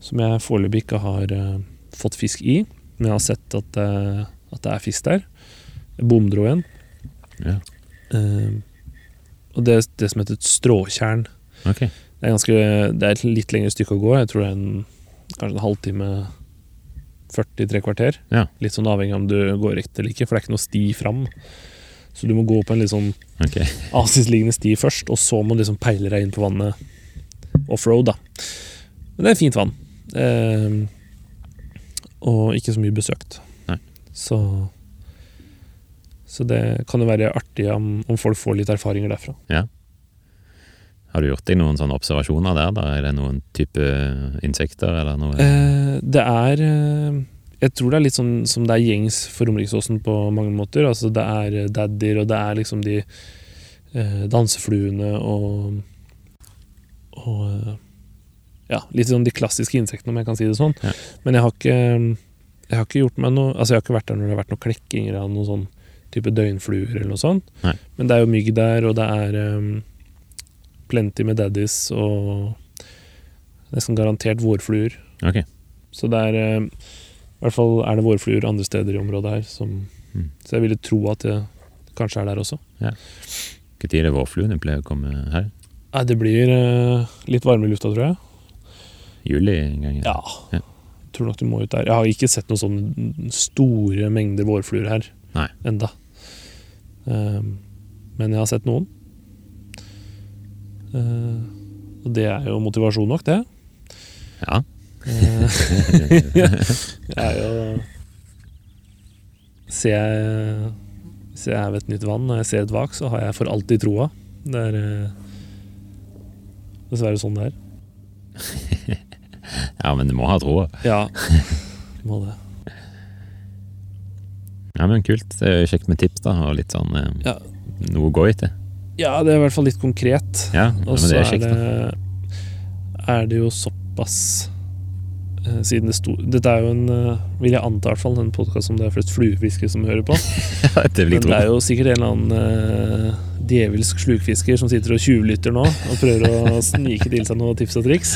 Speaker 3: Som jeg foreløpig ikke har eh, fått fisk i, men jeg har sett at, eh, at det er fisk der. Jeg bomdro igjen.
Speaker 2: Ja.
Speaker 3: Eh, og det, det som heter et stråtjern.
Speaker 2: Ok.
Speaker 3: Det er, ganske, det er et litt lengre stykke å gå. Jeg tror det er en, kanskje en halvtime, 43 kvarter.
Speaker 2: Ja.
Speaker 3: Litt sånn avhengig av om du går riktig eller ikke, for det er ikke noe sti fram. Så du må gå på en litt sånn
Speaker 2: ok.
Speaker 3: avsidesliggende sti først, og så må du liksom peile deg inn på vannet offroad, da. Men det er fint vann. Ehm, og ikke så mye besøkt.
Speaker 2: Nei.
Speaker 3: Så så det kan jo være artig om, om folk får litt erfaringer derfra.
Speaker 2: Har du gjort deg noen sånne observasjoner der? da? Er det noen type insekter eller noe?
Speaker 3: Eh, det er eh, Jeg tror det er litt sånn som det er gjengs for Romeriksåsen på mange måter. Altså det er eh, daddier, og det er liksom de eh, dansefluene og Og eh, ja, litt sånn de klassiske insektene, om jeg kan si det sånn.
Speaker 2: Ja.
Speaker 3: Men jeg har ikke Jeg har ikke gjort meg noe Altså jeg har ikke vært der når det har vært noen klekkinger av noen sånn type døgnfluer eller noe sånt.
Speaker 2: Nei.
Speaker 3: Men det er jo mygg der, og det er eh, plenty med daddies og nesten garantert vårfluer.
Speaker 2: Ok.
Speaker 3: Så det er eh, I hvert fall er det vårfluer andre steder i området her som
Speaker 2: Mm.
Speaker 3: Så jeg ville tro at det kanskje er der også.
Speaker 2: Når er det vårfluene pleier å komme her?
Speaker 3: Nei, det blir eh, litt varme i lufta, tror jeg.
Speaker 2: Juli en gang?
Speaker 3: Ja.
Speaker 2: Ja.
Speaker 3: Jeg tror nok du må ut der. Jeg har ikke sett noen sånne store mengder vårfluer her
Speaker 2: Nei.
Speaker 3: enda. Ehm, men jeg har sett noen. Eh, og det er jo motivasjon nok, det.
Speaker 2: Ja.
Speaker 3: Eh, jeg er jo Ser jeg, ser jeg ved et nytt vann og jeg ser et vak, så har jeg for alltid troa. Det er eh, dessverre sånn det er.
Speaker 2: ja, men du må ha troa.
Speaker 3: Ja, må det.
Speaker 2: Ja, men kult. Det er jo kjekt med tips da, og litt sånn eh,
Speaker 3: Ja.
Speaker 2: noe å gå etter.
Speaker 3: Ja, det er i hvert fall litt konkret.
Speaker 2: Ja, ja,
Speaker 3: Og
Speaker 2: men
Speaker 3: så
Speaker 2: det er
Speaker 3: er,
Speaker 2: kjekt. da.
Speaker 3: det, er det jo såpass eh, siden det sto Dette er jo en eh, vil jeg anta i hvert fall en podkast som det er flest fluefiskere som hører på.
Speaker 2: Ja, det vil
Speaker 3: Men
Speaker 2: jeg
Speaker 3: det
Speaker 2: tro.
Speaker 3: er jo sikkert en eller annen eh, djevelsk slukfisker som sitter og tjuvlytter nå og prøver å snike til seg noen tips og triks.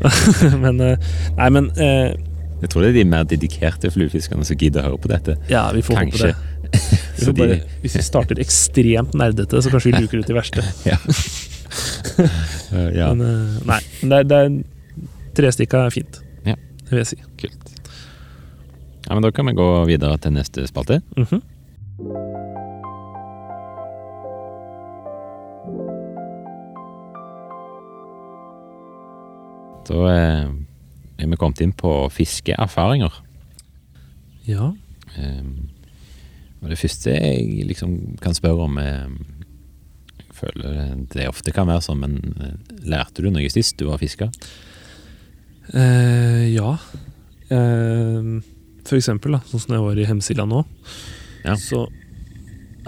Speaker 3: men eh, Nei, men eh,
Speaker 2: Jeg tror det er de mer dedikerte fluefiskerne som gidder å høre på dette.
Speaker 3: Ja, vi får håpe
Speaker 2: Kanskje.
Speaker 3: det. Vi
Speaker 2: Så
Speaker 3: får bare,
Speaker 2: de,
Speaker 3: hvis vi starter ekstremt nerdete, så kanskje vi luker ut de verste.
Speaker 2: eh, ja,
Speaker 3: Men eh, nei, men det er, det er Trestikka er fint.
Speaker 2: Ja.
Speaker 3: Det vil jeg si.
Speaker 2: kult. Ja, men da kan vi gå videre til neste spalte.
Speaker 3: Mhm.
Speaker 2: Da eh, er vi kommet inn på fiskeerfaringer.
Speaker 3: Ja.
Speaker 2: Ehm, og det første jeg liksom kan spørre om er Jeg føler det ofte kan være sånn, men eh, lærte du noe sist du var fisker?
Speaker 3: Eh, ja. Eh, for eksempel, da, sånn som jeg var i Hemsila nå,
Speaker 2: Ja.
Speaker 3: så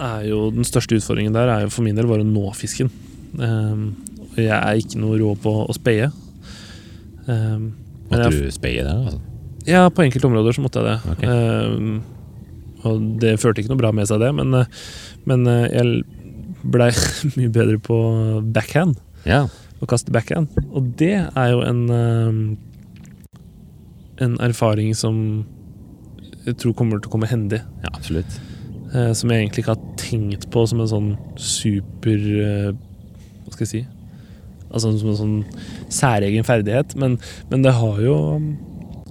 Speaker 3: er jo den største utfordringen der er jo for min del bare å nå fisken. Eh, og jeg er ikke noe rå på å speie. Eh, men
Speaker 2: Måtte
Speaker 3: jeg,
Speaker 2: du speie der? Altså?
Speaker 3: ja, på enkelte områder så måtte jeg det.
Speaker 2: Ok.
Speaker 3: Eh, og det førte ikke noe bra med seg, det, men, eh, men eh, jeg blei mye bedre på backhand.
Speaker 2: Ja.
Speaker 3: å kaste backhand. Og det er jo en eh, En erfaring som jeg tror kommer til å komme hendig.
Speaker 2: ja, absolutt.
Speaker 3: eh, som jeg egentlig ikke har tenkt på som en sånn super eh, Hva skal jeg si? Altså som en sånn særegen ferdighet. Men, men det har jo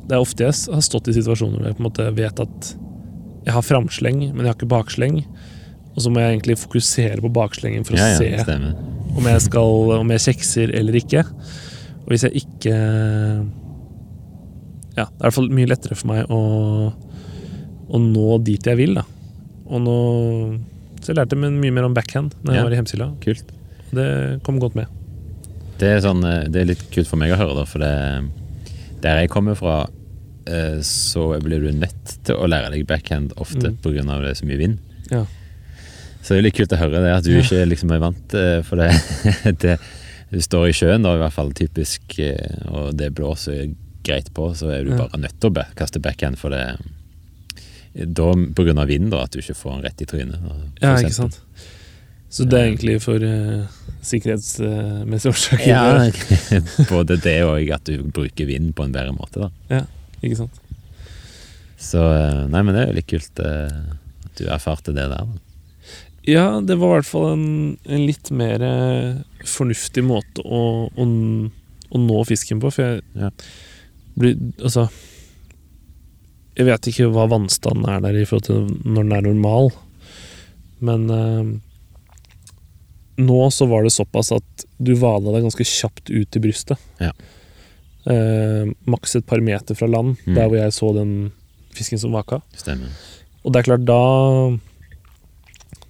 Speaker 3: Det er ofte jeg s- har stått i situasjoner hvor jeg på en måte vet at jeg har framsleng, men jeg har ikke baksleng. Og så må jeg egentlig fokusere på bakslengeren for å
Speaker 2: Ja, ja,
Speaker 3: se
Speaker 2: det stemmer.
Speaker 3: om jeg skal Om jeg kjekser eller ikke. Og hvis jeg ikke Ja, det er i hvert fall mye lettere for meg å, å nå dit jeg vil, da. Og nå Så jeg lærte men mye mer om backhand når jeg
Speaker 2: Ja.
Speaker 3: var i Hemsila.
Speaker 2: Kult.
Speaker 3: Det kom godt med.
Speaker 2: Det er, sånn, eh, det er litt kult for meg å høre, da, for det, der jeg kommer fra, eh, så blir du nødt til å lære deg backhand ofte
Speaker 3: Mm.
Speaker 2: på grunn av det er så mye vind.
Speaker 3: Ja.
Speaker 2: Så det er litt kult å høre det, at du ikke liksom er vant eh, for det. det. Du står i sjøen, da, i hvert fall typisk, eh, og det blåser greit på, så er du
Speaker 3: Ja.
Speaker 2: bare nødt til å back- kaste backhand, for det da, På grunn av vind, da, at du ikke får den rett i trynet. for
Speaker 3: Ja,
Speaker 2: eksempel.
Speaker 3: ikke sant. Så det er egentlig for eh, sikkerhetsmessige årsaker.
Speaker 2: Ja, både det og at du bruker vind på en bedre måte, da.
Speaker 3: Ikke sant?
Speaker 2: Så eh, Nei, men det er jo litt kult eh, at du erfarte det der. Da.
Speaker 3: Ja, det var i hvert fall en, en litt mer eh, fornuftig måte å, å, n- å nå fisken på, for jeg
Speaker 2: Ja.
Speaker 3: blir Altså Jeg vet ikke hva vannstanden er der i forhold til når den er normal, men eh, nå så var det såpass at du vala deg ganske kjapt ut til brystet.
Speaker 2: Ja.
Speaker 3: Eh, maks et par meter fra land,
Speaker 2: Mm.
Speaker 3: der hvor jeg så den fisken som vaka.
Speaker 2: Stemmer.
Speaker 3: Og det er klart, da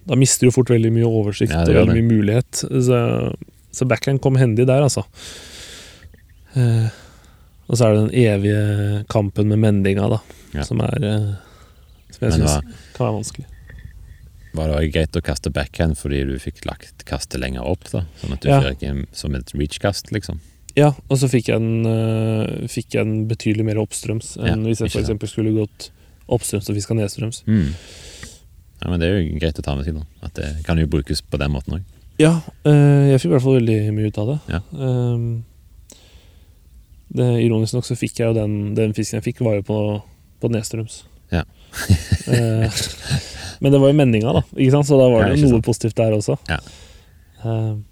Speaker 3: Da mister du fort veldig mye oversikt
Speaker 2: Ja, det gjør
Speaker 3: og veldig mye mulighet. Så, så backhand kom hendig der, altså. Eh, og så er det den evige kampen med mendinga, da.
Speaker 2: Ja.
Speaker 3: Som er eh, Som jeg
Speaker 2: Men
Speaker 3: syns
Speaker 2: var,
Speaker 3: kan være vanskelig.
Speaker 2: var det også greit å kaste backhand fordi du fikk lagt kastet lenger opp? da Sånn at du
Speaker 3: Ja.
Speaker 2: fikk en, som et reach-kast, liksom?
Speaker 3: Ja, og så fikk jeg den, eh, fikk jeg den betydelig mer oppstrøms enn
Speaker 2: Ja,
Speaker 3: hvis jeg
Speaker 2: ikke sant.
Speaker 3: f.eks. skulle gått oppstrøms og fiska nedstrøms.
Speaker 2: Mm. Ja, men Det er jo greit å ta med seg. da At Det kan jo brukes på den måten òg.
Speaker 3: Ja, eh, jeg fikk i hvert fall veldig mye ut av det.
Speaker 2: Ja.
Speaker 3: Ehm, det ironisk nok så fikk jeg jo den, den fisken jeg fikk, var jo på, på nedstrøms.
Speaker 2: Ja.
Speaker 3: Eh, men det var jo meninga, da. Ikke sant? Så da var
Speaker 2: Ja,
Speaker 3: det
Speaker 2: ikke
Speaker 3: jo noe
Speaker 2: sant.
Speaker 3: positivt der også.
Speaker 2: Ja.
Speaker 3: Ehm,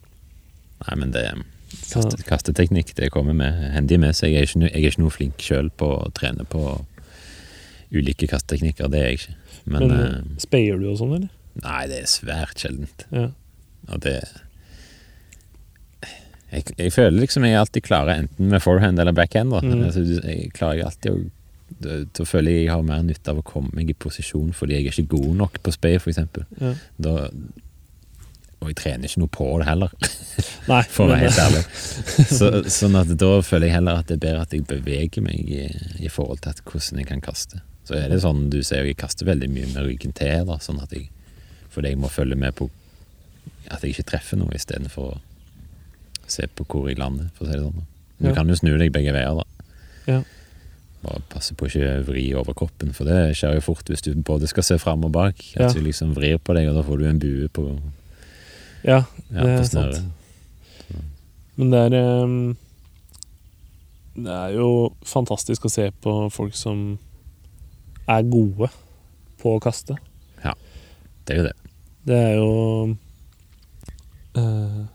Speaker 2: Nei, men det
Speaker 3: så,
Speaker 2: kaste, kasteteknikk det kommer med, hendig med seg. Jeg er ikke, no- jeg er ikke noe flink sjøl på å trene på ulike kasteteknikker. Det er jeg ikke. Men,
Speaker 3: men speier du og sånn, eller?
Speaker 2: eh, nei, det er svært sjeldent.
Speaker 3: Ja.
Speaker 2: Og det jeg, jeg føler liksom jeg alltid klarer enten med forehand eller backhand. Da.
Speaker 3: Mm.
Speaker 2: Altså, du- jeg klarer alltid å Da føler jeg jeg har mer nytte av å komme meg i posisjon fordi jeg er ikke god nok på spay, for eksempel
Speaker 3: ja.
Speaker 2: Da Og jeg trener ikke noe på det heller,
Speaker 3: Nei,
Speaker 2: for å
Speaker 3: men,
Speaker 2: være helt
Speaker 3: eh,
Speaker 2: ærlig. Så, sånn at da føler jeg heller at det er bedre at jeg beveger meg i, i forhold til at hvordan jeg kan kaste. Så er det sånn du ser jeg kaster veldig mye med ryggen til, da, sånn at jeg fordi jeg må følge med på at jeg ikke treffer noe istedenfor å se på hvor jeg lander, for å si det sånn. da. Men
Speaker 3: Ja.
Speaker 2: du kan jo snu deg begge veier, da.
Speaker 3: Ja.
Speaker 2: Bare passe på å ikke vri over kroppen, for det skjer jo fort hvis du både skal se fram og bak. At
Speaker 3: Ja.
Speaker 2: du liksom vrir på deg, og da får du en bue på,
Speaker 3: ja,
Speaker 2: ja,
Speaker 3: det
Speaker 2: på
Speaker 3: er sant.
Speaker 2: snøret.
Speaker 3: Men det er ehm, Det er jo fantastisk å se på folk som er gode på å kaste.
Speaker 2: Det er jo det.
Speaker 3: Det er jo eh,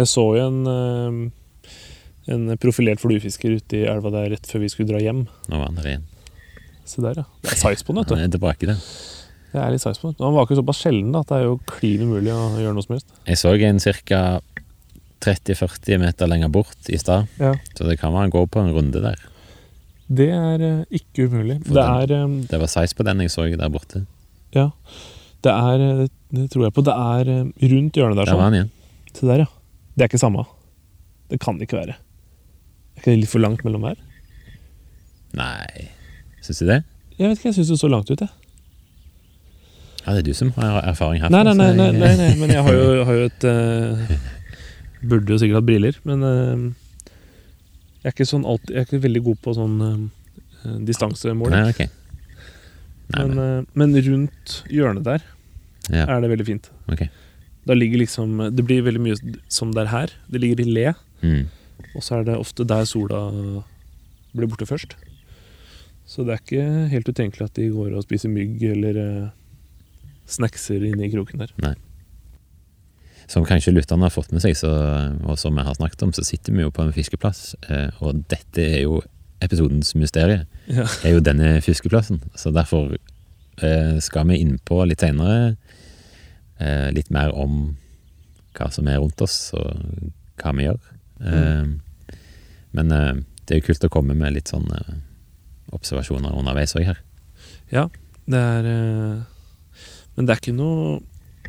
Speaker 3: Jeg så jo en eh, En profilert fluefisker ute i elva der rett før vi skulle dra hjem.
Speaker 2: Nå var han der igjen.
Speaker 3: Se der, ja. Det er size på den, vet
Speaker 2: Han
Speaker 3: du.
Speaker 2: er tilbake der.
Speaker 3: Det er litt size på den. Han vaker såpass sjelden da, at det er jo klin umulig å gjøre noe som helst.
Speaker 2: Jeg så en ca. 30-40 meter lenger bort i stad,
Speaker 3: Ja.
Speaker 2: så det kan være han går på en runde der.
Speaker 3: Det er eh, ikke umulig.
Speaker 2: For
Speaker 3: Det er, eh,
Speaker 2: Det var size på den jeg så der borte.
Speaker 3: ja, det er eh, det, det tror jeg på. Det er eh, rundt hjørnet der.
Speaker 2: Der
Speaker 3: sånn.
Speaker 2: var han igjen.
Speaker 3: Se der, ja. Det er ikke samme. Det kan det ikke være. Er ikke det litt for langt mellom her?
Speaker 2: Nei, syns du det?
Speaker 3: Jeg vet ikke, jeg syns det så langt ut, jeg.
Speaker 2: Ja, det er du som har erfaring herfra.
Speaker 3: Nei, nei, nei,
Speaker 2: så
Speaker 3: nei,
Speaker 2: jeg-
Speaker 3: nei, nei men jeg har jo, har jo et eh, Burde jo sikkert hatt briller, men eh, jeg er ikke sånn alltid Jeg er ikke veldig god på sånn eh, distansemål.
Speaker 2: Nei, ok. Nei,
Speaker 3: men,
Speaker 2: men,
Speaker 3: eh, men rundt hjørnet der
Speaker 2: ja,
Speaker 3: er det veldig fint.
Speaker 2: ok.
Speaker 3: Da ligger liksom Det blir veldig mye som det er her. Det ligger i le.
Speaker 2: Mm.
Speaker 3: Og så er det ofte der sola blir borte først. Så det er ikke helt utenkelig at de går og spiser mygg eller eh, snackser inne i kroken der.
Speaker 2: Som kanskje lytterne har fått med seg, så, og som vi har snakket om, så sitter vi jo på en fiskeplass, eh, og dette er jo episodens mysterie,
Speaker 3: Ja.
Speaker 2: er jo denne fiskeplassen. Så derfor eh, skal vi innpå litt senere eh, litt mer om hva som er rundt oss, og hva vi gjør. Eh, Men eh, det er jo kult å komme med litt sånn eh, observasjoner underveis òg her.
Speaker 3: Det er eh, Men det er ikke noe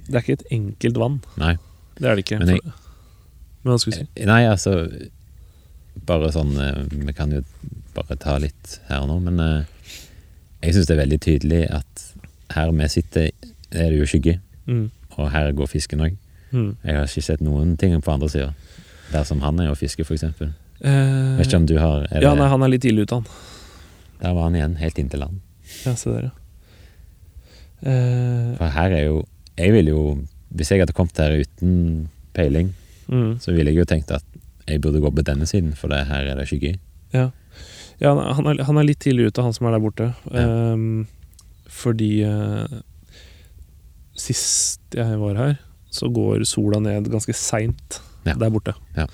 Speaker 3: Det er ikke et enkelt vann.
Speaker 2: Nei.
Speaker 3: Det er det ikke.
Speaker 2: Men jeg-
Speaker 3: for, men hva skulle du si?
Speaker 2: Eh, Nei, altså Bare sånn eh, Vi kan jo bare ta litt her nå, men eh, jeg syns det er veldig tydelig at her vi sitter, er det jo skygge,
Speaker 3: Mm.
Speaker 2: og her går fisken òg.
Speaker 3: Mm.
Speaker 2: Jeg har ikke sett noen ting på andre sida. Der som han er og fisker, f.eks.
Speaker 3: Eh,
Speaker 2: Vet ikke om du har er det,
Speaker 3: ja, nei, han er litt ille ute, han.
Speaker 2: Der var han igjen, helt inntil land.
Speaker 3: Ja, se der, ja. Eh,
Speaker 2: For her er jo Jeg ville jo Hvis jeg hadde kommet her uten peiling,
Speaker 3: mm,
Speaker 2: så ville jeg jo tenkt at jeg burde gå på denne siden, for det her er det skygge. i.
Speaker 3: ja. ja han, er- han, er, han er litt tidlig ute, han som er der borte.
Speaker 2: Ja.
Speaker 3: Eh, fordi eh, sist jeg var her, så går sola ned ganske seint
Speaker 2: Ja.
Speaker 3: der borte.
Speaker 2: Ja.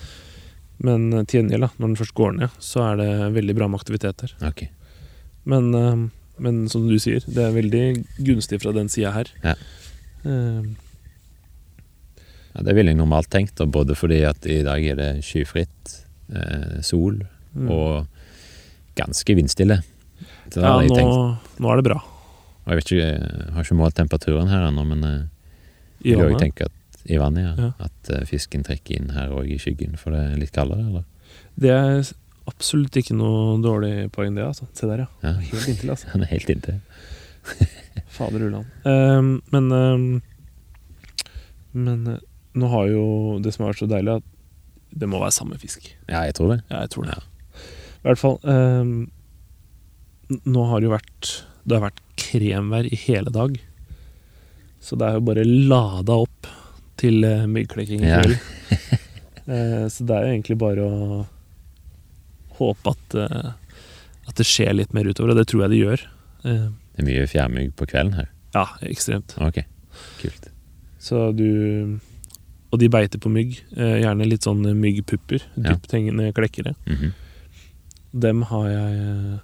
Speaker 3: Men eh, til gjengjeld, da, når den først går ned, så er det veldig bra med aktiviteter.
Speaker 2: Ok.
Speaker 3: Men, eh, men som du sier, det er veldig gunstig fra den sida her.
Speaker 2: Ja.
Speaker 3: Eh,
Speaker 2: Ja, det ville jeg normalt tenkt, og både fordi at i dag er det skyfritt, eh, sol
Speaker 3: mm.
Speaker 2: og ganske vindstille. Så da
Speaker 3: ja,
Speaker 2: hadde jeg
Speaker 3: nå,
Speaker 2: tenkt,
Speaker 3: nå er det bra.
Speaker 2: og jeg vet ikke, jeg har ikke målt temperaturen her ennå, men eh,
Speaker 3: I
Speaker 2: jeg vil jo
Speaker 3: vannet.
Speaker 2: tenke at i vannet, ja,
Speaker 3: Ja.
Speaker 2: at eh, fisken trekker inn her òg i skyggen, for det er litt kaldere, eller?
Speaker 3: Det er absolutt ikke noe dårlig poeng, det. altså Se der, ja.
Speaker 2: Ja,
Speaker 3: Helt inntil, altså.
Speaker 2: han er helt inntil.
Speaker 3: Fader ulland. Ehm, men ehm, Men eh, nå har jo det som har vært så deilig, at det må være samme fisk.
Speaker 2: Ja, jeg tror det.
Speaker 3: Ja, jeg tror det. I hvert fall ehm, n- Nå har det jo vært Det har vært kremvær i hele dag. Så det er jo bare lada opp til eh, myggklekking i
Speaker 2: Ja.
Speaker 3: kveld. Eh, så det er jo egentlig bare å håpe at, eh, at det skjer litt mer utover, og det tror jeg det gjør. Eh,
Speaker 2: Det er mye fjærmygg på kvelden her.
Speaker 3: ja, ekstremt.
Speaker 2: Ok, kult.
Speaker 3: Så du Og de beiter på mygg. eh, gjerne litt sånn myggpupper.
Speaker 2: Ja.
Speaker 3: Dypthengende klekkere.
Speaker 2: Mhm.
Speaker 3: Dem har jeg eh,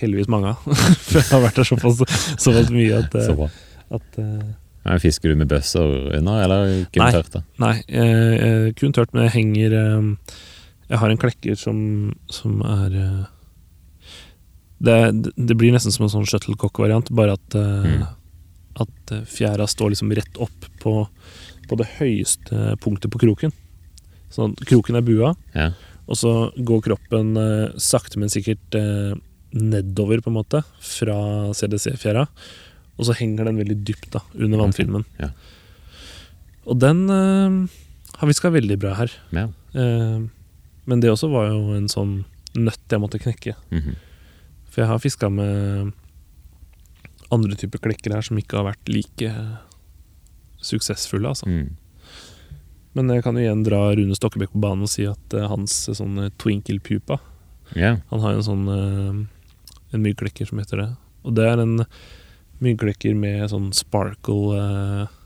Speaker 3: heldigvis mange av. For jeg har vært der såpass, såpass mye at, eh,
Speaker 2: Så bra.
Speaker 3: at eh,
Speaker 2: Ja, fisker du med bøsser under, eller kun
Speaker 3: Nei.
Speaker 2: tørt? da?
Speaker 3: Nei, jeg, jeg kun tørt, men jeg henger eh, Jeg har en klekker som, som er eh, det, det blir nesten som en sånn shuttlecock-variant, bare at, eh,
Speaker 2: Mm.
Speaker 3: at eh, fjæra står liksom rett opp på, på det høyeste punktet på kroken. Sånn at kroken er bua,
Speaker 2: Ja.
Speaker 3: Og så går kroppen eh, sakte, men sikkert eh, nedover, på en måte, fra CDC-fjæra. Og så henger den veldig dypt da, under vannfilmen.
Speaker 2: ja.
Speaker 3: Og den eh, har viska veldig bra her.
Speaker 2: ja.
Speaker 3: Eh, men det også var jo en sånn nøtt jeg måtte knekke.
Speaker 2: Mhm.
Speaker 3: For jeg har fiska med andre typer klekker her som ikke har vært like eh, suksessfulle, altså.
Speaker 2: Mm.
Speaker 3: Men jeg kan jo igjen dra Rune Stokkebekk på banen og si at eh, hans eh, sånne twinkle pupa
Speaker 2: Ja,
Speaker 3: Han har jo en sånn eh, En myggklekker som heter det. Og det er en myggklekker med sånn sparkle eh,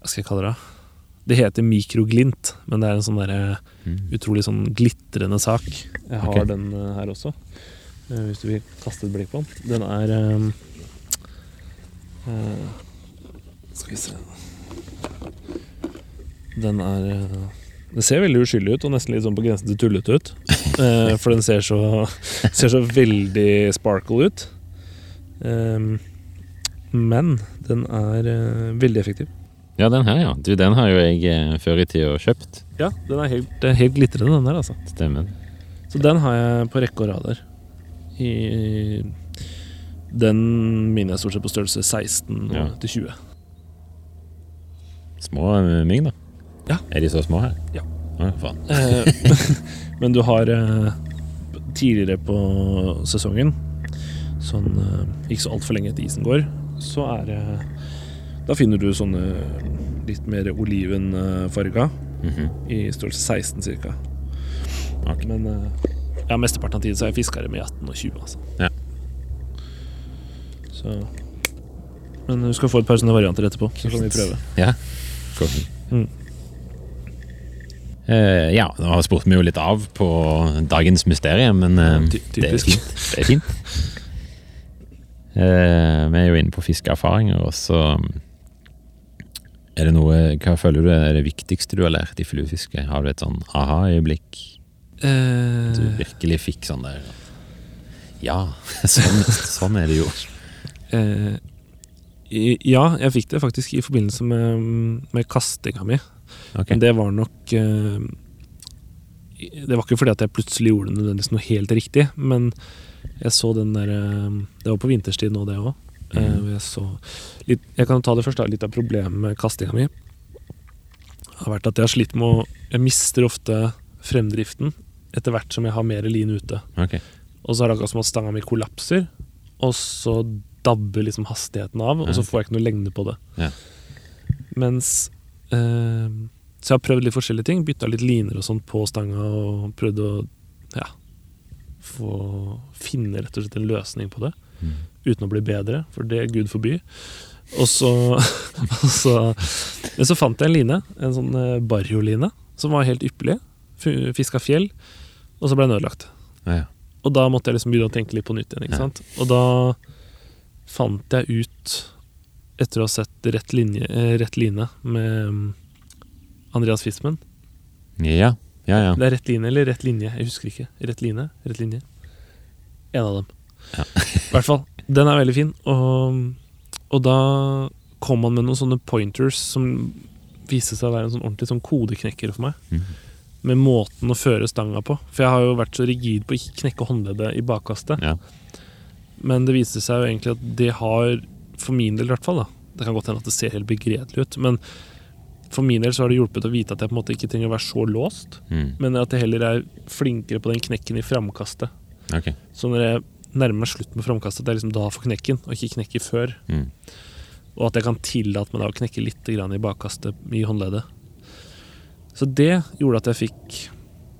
Speaker 3: Hva skal jeg kalle det? da? Det heter mikroglint, men det er en sånn derre
Speaker 2: Mm.
Speaker 3: utrolig sånn glitrende sak. Jeg har
Speaker 2: Ok.
Speaker 3: den eh, her også, eh, hvis du vil kaste et blikk på den. Den er eh, eh, Skal vi se Den er eh, Den ser veldig uskyldig ut, og nesten litt sånn på grensen til tullete ut. Eh, for den ser så, ser så veldig sparkle ut. Ehm, men den er eh, veldig effektiv.
Speaker 2: ja den her, ja. Du, den har jo jeg eh, før i tida kjøpt.
Speaker 3: Ja, den er helt, eh, helt glitrende, den der, altså.
Speaker 2: Stemmer.
Speaker 3: Så den har jeg på rekke og rad her. I, den minner jeg stort sett på størrelse 16 og
Speaker 2: Ja.
Speaker 3: til 20.
Speaker 2: Små eh, mygg, da.
Speaker 3: Ja.
Speaker 2: Er de så små her?
Speaker 3: Ja.
Speaker 2: Å, faen.
Speaker 3: Eh, Men du har eh, tidligere på sesongen, sånn eh, ikke så altfor lenge etter isen går, så er det Da finner du sånne litt mer olivenfarga
Speaker 2: Mhm.
Speaker 3: i størrelse 16 cirka.
Speaker 2: Ok.
Speaker 3: Men eh, ja, mesteparten av tiden så har jeg fiska det med 18 og 20, altså.
Speaker 2: Ja.
Speaker 3: Så Men du skal få et par sånne varianter etterpå, så kan vi prøve.
Speaker 2: Ja. Kongen.
Speaker 3: Mm.
Speaker 2: Eh, ja, nå spurte vi jo litt av på dagens mysterium, men eh,
Speaker 3: Ty- typisk.
Speaker 2: det er fint. Det er fint. Eh, vi er jo inne på fiskeerfaringer, og så eh, er det noe Hva føler du er det viktigste du har lært i fluefiske? Har du et sånn aha-øyeblikk? Du
Speaker 3: Eh,
Speaker 2: virkelig fikk sånn der Ja, sånn, sånn er det jo.
Speaker 3: Eh, i- ja, jeg fikk det faktisk i forbindelse med, med kastinga mi.
Speaker 2: Ok.
Speaker 3: Men det var nok eh, Det var ikke fordi at jeg plutselig gjorde nødvendigvis noe helt riktig, men jeg så den der eh, Det var på vinterstid nå, det òg.
Speaker 2: Mhm.
Speaker 3: Jeg, så litt, jeg kan ta det først, da. Litt av problemet med kastinga mi har vært at jeg har slitt med å Jeg mister ofte fremdriften etter hvert som jeg har mer lin ute.
Speaker 2: Ok.
Speaker 3: Og så er det akkurat som at stanga mi kollapser, og så dabber liksom hastigheten av, og
Speaker 2: Ja.
Speaker 3: så får jeg ikke noe lengde på det.
Speaker 2: Ja.
Speaker 3: Mens eh, Så jeg har prøvd litt forskjellige ting. Bytta litt liner og sånt på stanga, og prøvd å ja, få finne rett og slett en løsning på det.
Speaker 2: Mm.
Speaker 3: Uten å bli bedre, for det er gud forby. Og så, og så Men så fant jeg en line, en sånn eh, barrioline, som var helt ypperlig. Fiska fjell, og så ble den ødelagt.
Speaker 2: Ja, ja.
Speaker 3: Og da måtte jeg liksom begynne å tenke litt på nytt igjen. ikke
Speaker 2: Ja.
Speaker 3: sant? Og da fant jeg ut, etter å ha sett Rett, linje, eh, rett line med mm, Andreas Fismen
Speaker 2: Ja, ja, ja.
Speaker 3: Det er Rett line eller Rett linje, jeg husker ikke. Rett line, Rett linje. En av dem.
Speaker 2: Ja.
Speaker 3: I hvert fall. Den er veldig fin. Og, og da kom han med noen sånne pointers som viste seg å være en sånn ordentlig sånn kodeknekker for meg
Speaker 2: Mhm.
Speaker 3: med måten å føre stanga på. For jeg har jo vært så rigid på å ikke knekke håndleddet i bakkastet.
Speaker 2: Ja.
Speaker 3: Men det viste seg jo egentlig at det har, for min del i hvert fall da, Det kan godt hende at det ser helt begredelig ut, men for min del så har det hjulpet å vite at jeg på en måte ikke trenger å være så låst,
Speaker 2: Mm.
Speaker 3: men at jeg heller er flinkere på den knekken i framkastet.
Speaker 2: Ok.
Speaker 3: Så når jeg nærmer meg slutten på framkastet, det er liksom da jeg får knekken, og ikke knekke før.
Speaker 2: Mm.
Speaker 3: Og at jeg kan tillate meg da å knekke litt grann i bakkastet i håndleddet. Så det gjorde at jeg fikk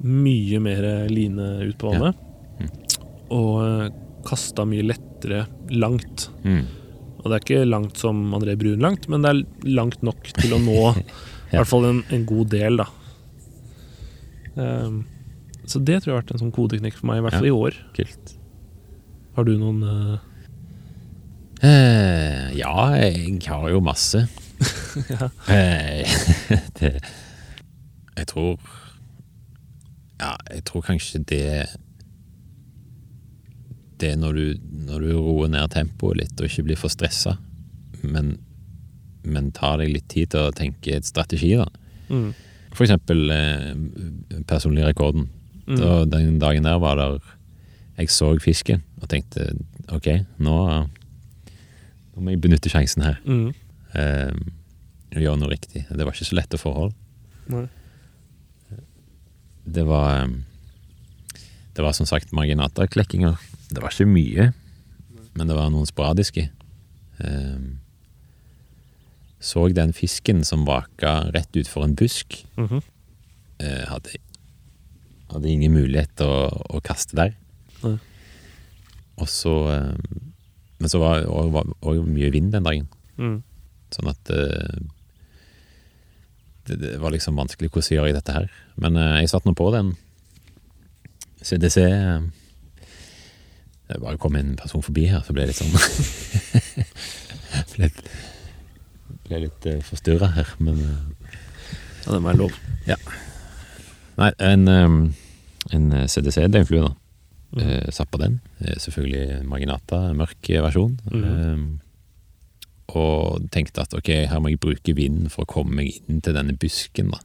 Speaker 3: mye mer line ut på vannet. Og kasta mye lettere langt.
Speaker 2: Mm.
Speaker 3: Og det er ikke langt som André Brun langt, men det er langt nok til å nå i
Speaker 2: Ja.
Speaker 3: hvert fall en, en god del, da. Ehm, så det tror jeg har vært en sånn kodeknekk for meg, i hvert fall i år.
Speaker 2: Kult.
Speaker 3: Har du noen eh,
Speaker 2: Eh, ja, jeg har jo masse.
Speaker 3: Ja.
Speaker 2: Eh, det, jeg tror Ja, jeg tror kanskje det Det er når du, når du roer ned tempoet litt og ikke blir for stressa, men, men tar deg litt tid til å tenke et strategi, da.
Speaker 3: mm,
Speaker 2: For eksempel eh, personlig rekorden.
Speaker 3: mm,
Speaker 2: Da, den dagen der var der Jeg så fisken og tenkte OK, nå, nå må jeg benytte sjansen her.
Speaker 3: mm,
Speaker 2: Eh, og gjøre noe riktig. Det var ikke så lette forhold.
Speaker 3: nei.
Speaker 2: Det var eh, Det var som sagt marginata-klekkinger. Det var ikke mye, men det var noen sporadiske. Eh, så den fisken som vaka rett utfor en busk,
Speaker 3: Mhm.
Speaker 2: eh, hadde, hadde ingen mulighet til å, å kaste der.
Speaker 3: Nei.
Speaker 2: Og så eh, Men så var det og- var- og mye vind den dagen,
Speaker 3: mm,
Speaker 2: sånn at eh, det, det var liksom vanskelig. Hvordan gjør jeg dette her? Men eh, jeg satt nå på den CDC eh, Det bare kom en person forbi her, så ble jeg litt sånn Ble, ble litt uh, forstyrra her, men eh,
Speaker 3: Ja, det må være lov.
Speaker 2: Nei, en, ehm, en CDC, det er en flue da
Speaker 3: Mhm.
Speaker 2: eh, Satt på den Eh, Selvfølgelig Maginata, en mørk versjon
Speaker 3: Mhm.
Speaker 2: Eh, Og tenkte at ok, her må jeg bruke vinden For å komme meg inn til denne busken da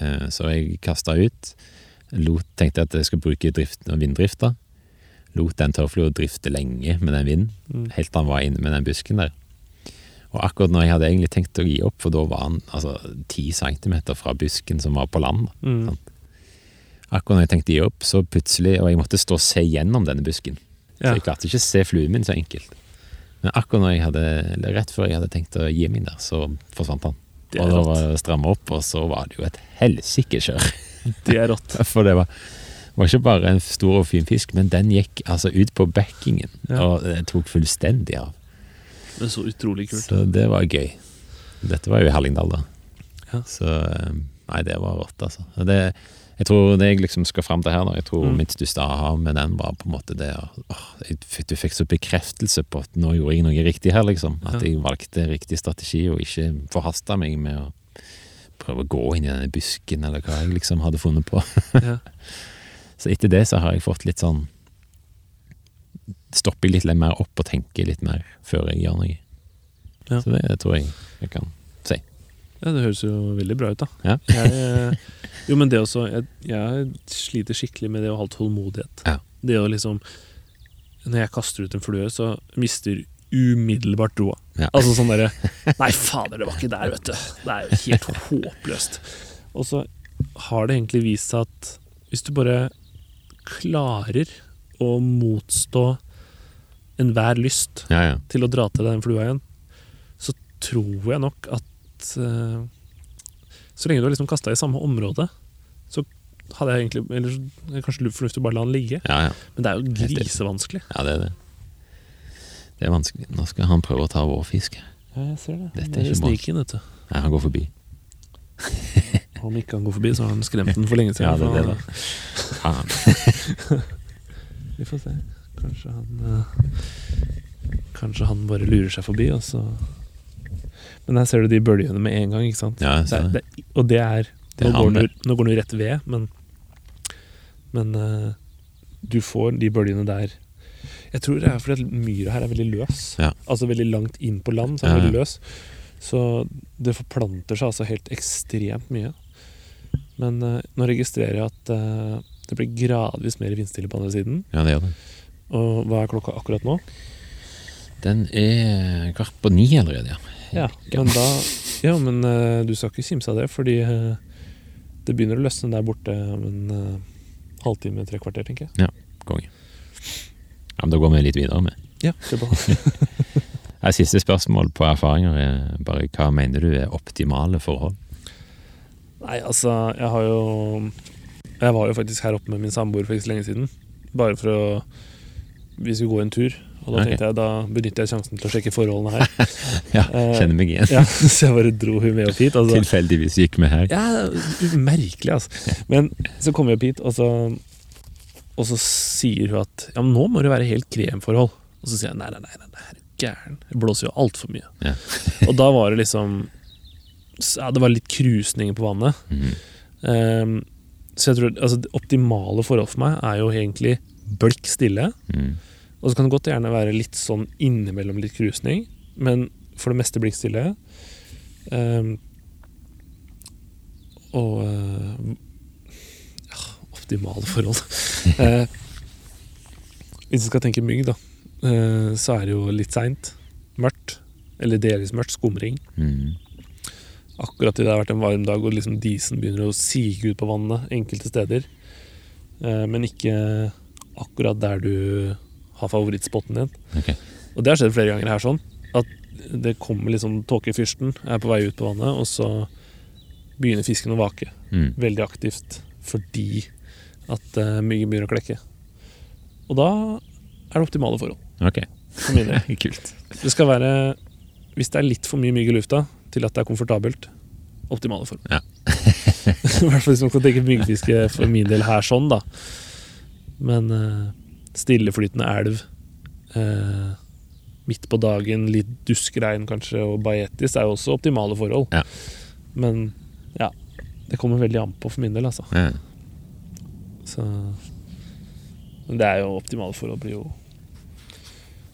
Speaker 2: Eh, Så jeg kastet ut lot, Tenkte at jeg skulle bruke driften og vinddrifta Lot den tørrflua drifte lenge med den vinden
Speaker 3: Mm.
Speaker 2: Helt til han var inne med den busken der Og akkurat når jeg hadde egentlig tenkt å gi opp For da var han altså, 10 centimeter fra busken som var på land da
Speaker 3: Mm.
Speaker 2: Akkurat når jeg tenkte å gi opp, så plutselig Og jeg måtte stå og se gjennom denne busken.
Speaker 3: Ja.
Speaker 2: Så jeg klarte ikke å se fluen min så enkelt. Men akkurat når jeg hadde, eller rett før jeg hadde tenkt å gi meg der, så forsvant han.
Speaker 3: Det
Speaker 2: Og
Speaker 3: er
Speaker 2: da
Speaker 3: rått.
Speaker 2: var det stramma opp, og så var det jo et helsikes kjør.
Speaker 3: Det er rått.
Speaker 2: For det var, var ikke bare en stor og fin fisk, men den gikk altså ut på backingen,
Speaker 3: Ja.
Speaker 2: og det tok fullstendig av.
Speaker 3: Men så utrolig kult.
Speaker 2: Så det var gøy. Dette var jo i Hallingdal, da.
Speaker 3: Ja.
Speaker 2: Så eh, Nei, det var rått, altså. Og Det, jeg tror det jeg liksom skal fram til her, da, jeg tror
Speaker 3: Mm.
Speaker 2: mitt største aha med den var på en måte det å- åh, jeg fikk, Du fikk så bekreftelse på at nå gjorde jeg noe riktig her, liksom. At
Speaker 3: Ja.
Speaker 2: jeg valgte riktig strategi og ikke forhasta meg med å prøve å gå inn i denne busken, eller hva jeg liksom hadde funnet på.
Speaker 3: Ja.
Speaker 2: Så etter det så har jeg fått litt sånn Stopper litt mer opp og tenker litt mer før jeg gjør noe.
Speaker 3: Ja.
Speaker 2: Så det, tror jeg jeg kan si.
Speaker 3: Ja, det høres jo veldig bra ut, da.
Speaker 2: Ja.
Speaker 3: Jeg, eh, jo, men det også jeg, jeg sliter skikkelig med det å ha tålmodighet.
Speaker 2: Ja.
Speaker 3: Det å liksom Når jeg kaster ut en flue, så mister umiddelbart roa.
Speaker 2: Ja.
Speaker 3: Altså sånn derre Nei, fader, det var ikke der, vet du. Det er jo helt håpløst. Og så har det egentlig vist seg at hvis du bare klarer å motstå enhver lyst
Speaker 2: Ja, ja.
Speaker 3: til å dra til den flua igjen, så tror jeg nok at eh, Så lenge du har liksom kasta i samme område, så hadde jeg egentlig Eller så er det kanskje fornuftig å bare la den ligge.
Speaker 2: ja, ja.
Speaker 3: Men det er jo
Speaker 2: Helt enig.
Speaker 3: grisevanskelig.
Speaker 2: Ja, det er det. Det er vanskelig. Nå skal han prøve å ta vår fisk.
Speaker 3: Ja, jeg ser det.
Speaker 2: Dette er ikke bra.
Speaker 3: Sniken, vet du.
Speaker 2: Nei, han går forbi.
Speaker 3: Om ikke han går forbi, så har han skremt den for lenge
Speaker 2: Ja,
Speaker 3: siden.
Speaker 2: det er det,
Speaker 3: for-
Speaker 2: da. Faen.
Speaker 3: Vi får se. Kanskje han eh, Kanskje han bare lurer seg forbi, og så Men her ser du de bølgene med en gang, ikke sant?
Speaker 2: Ja, jeg
Speaker 3: det
Speaker 2: ser
Speaker 3: er,
Speaker 2: det.
Speaker 3: det er, og det er,
Speaker 2: Det er
Speaker 3: nå, går
Speaker 2: han,
Speaker 3: den,
Speaker 2: det.
Speaker 3: jo- nå går den jo rett ved, men Men eh, du får de bølgene der Jeg tror det er fordi at myra her er veldig løs.
Speaker 2: Ja.
Speaker 3: Altså veldig langt inn på land, så er den
Speaker 2: Ja, ja.
Speaker 3: veldig løs. Så det forplanter seg altså helt ekstremt mye. Men eh, nå registrerer jeg at eh, det blir gradvis mer vindstille på andre siden.
Speaker 2: Ja, det gjør det.
Speaker 3: Og hva er klokka akkurat nå?
Speaker 2: Den er kvart på ni allerede, ja.
Speaker 3: Ja, men da Ja, men eh, du skal ikke kimse av det, fordi eh, det begynner å løsne der borte om en eh, halvtime, tre kvarter, tenker jeg.
Speaker 2: Konge. Ja, men da går vi litt videre med.
Speaker 3: Ja, det er bra.
Speaker 2: Nei, siste spørsmål på erfaringer er bare hva mener du er optimale forhold?
Speaker 3: Nei, altså, jeg har jo Jeg var jo faktisk her oppe med min samboer for ikke så lenge siden. Bare for å Vi skulle gå en tur. Og da
Speaker 2: Ok.
Speaker 3: tenkte jeg, da benytter jeg sjansen til å sjekke forholdene her.
Speaker 2: Ja,
Speaker 3: Eh,
Speaker 2: kjenner meg igjen.
Speaker 3: Ja, så jeg bare dro hun med opp hit. Altså.
Speaker 2: Tilfeldigvis gikk vi her.
Speaker 3: Ja, merkelig, altså. Men så kommer vi opp hit, og så, og så sier hun at Ja, men nå må det være helt kremforhold. Og så sier jeg nei, nei, nei, nei, nei er du gæren. Det blåser jo altfor mye.
Speaker 2: Ja.
Speaker 3: og da var det liksom Ja, det var litt krusninger på vannet.
Speaker 2: Mhm.
Speaker 3: Ehm, så jeg tror altså, det optimale forhold for meg er jo egentlig blikk stille.
Speaker 2: Mhm.
Speaker 3: Og så kan det godt gjerne være litt sånn innimellom litt krusning, men for det meste blikk stille. Ehm, og eh, ja, optimale forhold. Eh, hvis vi skal tenke mygg, da, eh, så er det jo litt seint. Mørkt. Eller delvis mørkt. Skumring.
Speaker 2: Mhm.
Speaker 3: Akkurat til det har vært en varm dag og liksom disen begynner å sige ut på vannet enkelte steder. Eh, men ikke akkurat der du har favorittspotten din.
Speaker 2: Ok.
Speaker 3: Og det har skjedd flere ganger her sånn. At det kommer liksom tåkefyrsten, er på vei ut på vannet, og så begynner fisken å vake
Speaker 2: Mhm.
Speaker 3: veldig aktivt fordi at eh, myggen begynner å klekke. Og da er det optimale forhold,
Speaker 2: Ok,
Speaker 3: for min del.
Speaker 2: kult.
Speaker 3: Det skal være Hvis det er litt for mye mygg i lufta til at det er komfortabelt, optimale form.
Speaker 2: Ja.
Speaker 3: I hvert fall hvis man skal tenke myggfiske for min del her sånn, da. Men eh, stilleflytende elv eh, midt på dagen, litt duskregn kanskje, og bajetis er jo også optimale forhold.
Speaker 2: Ja.
Speaker 3: Men ja, det kommer veldig an på for min del, altså.
Speaker 2: Ja.
Speaker 3: Så Men det er jo optimale forhold blir jo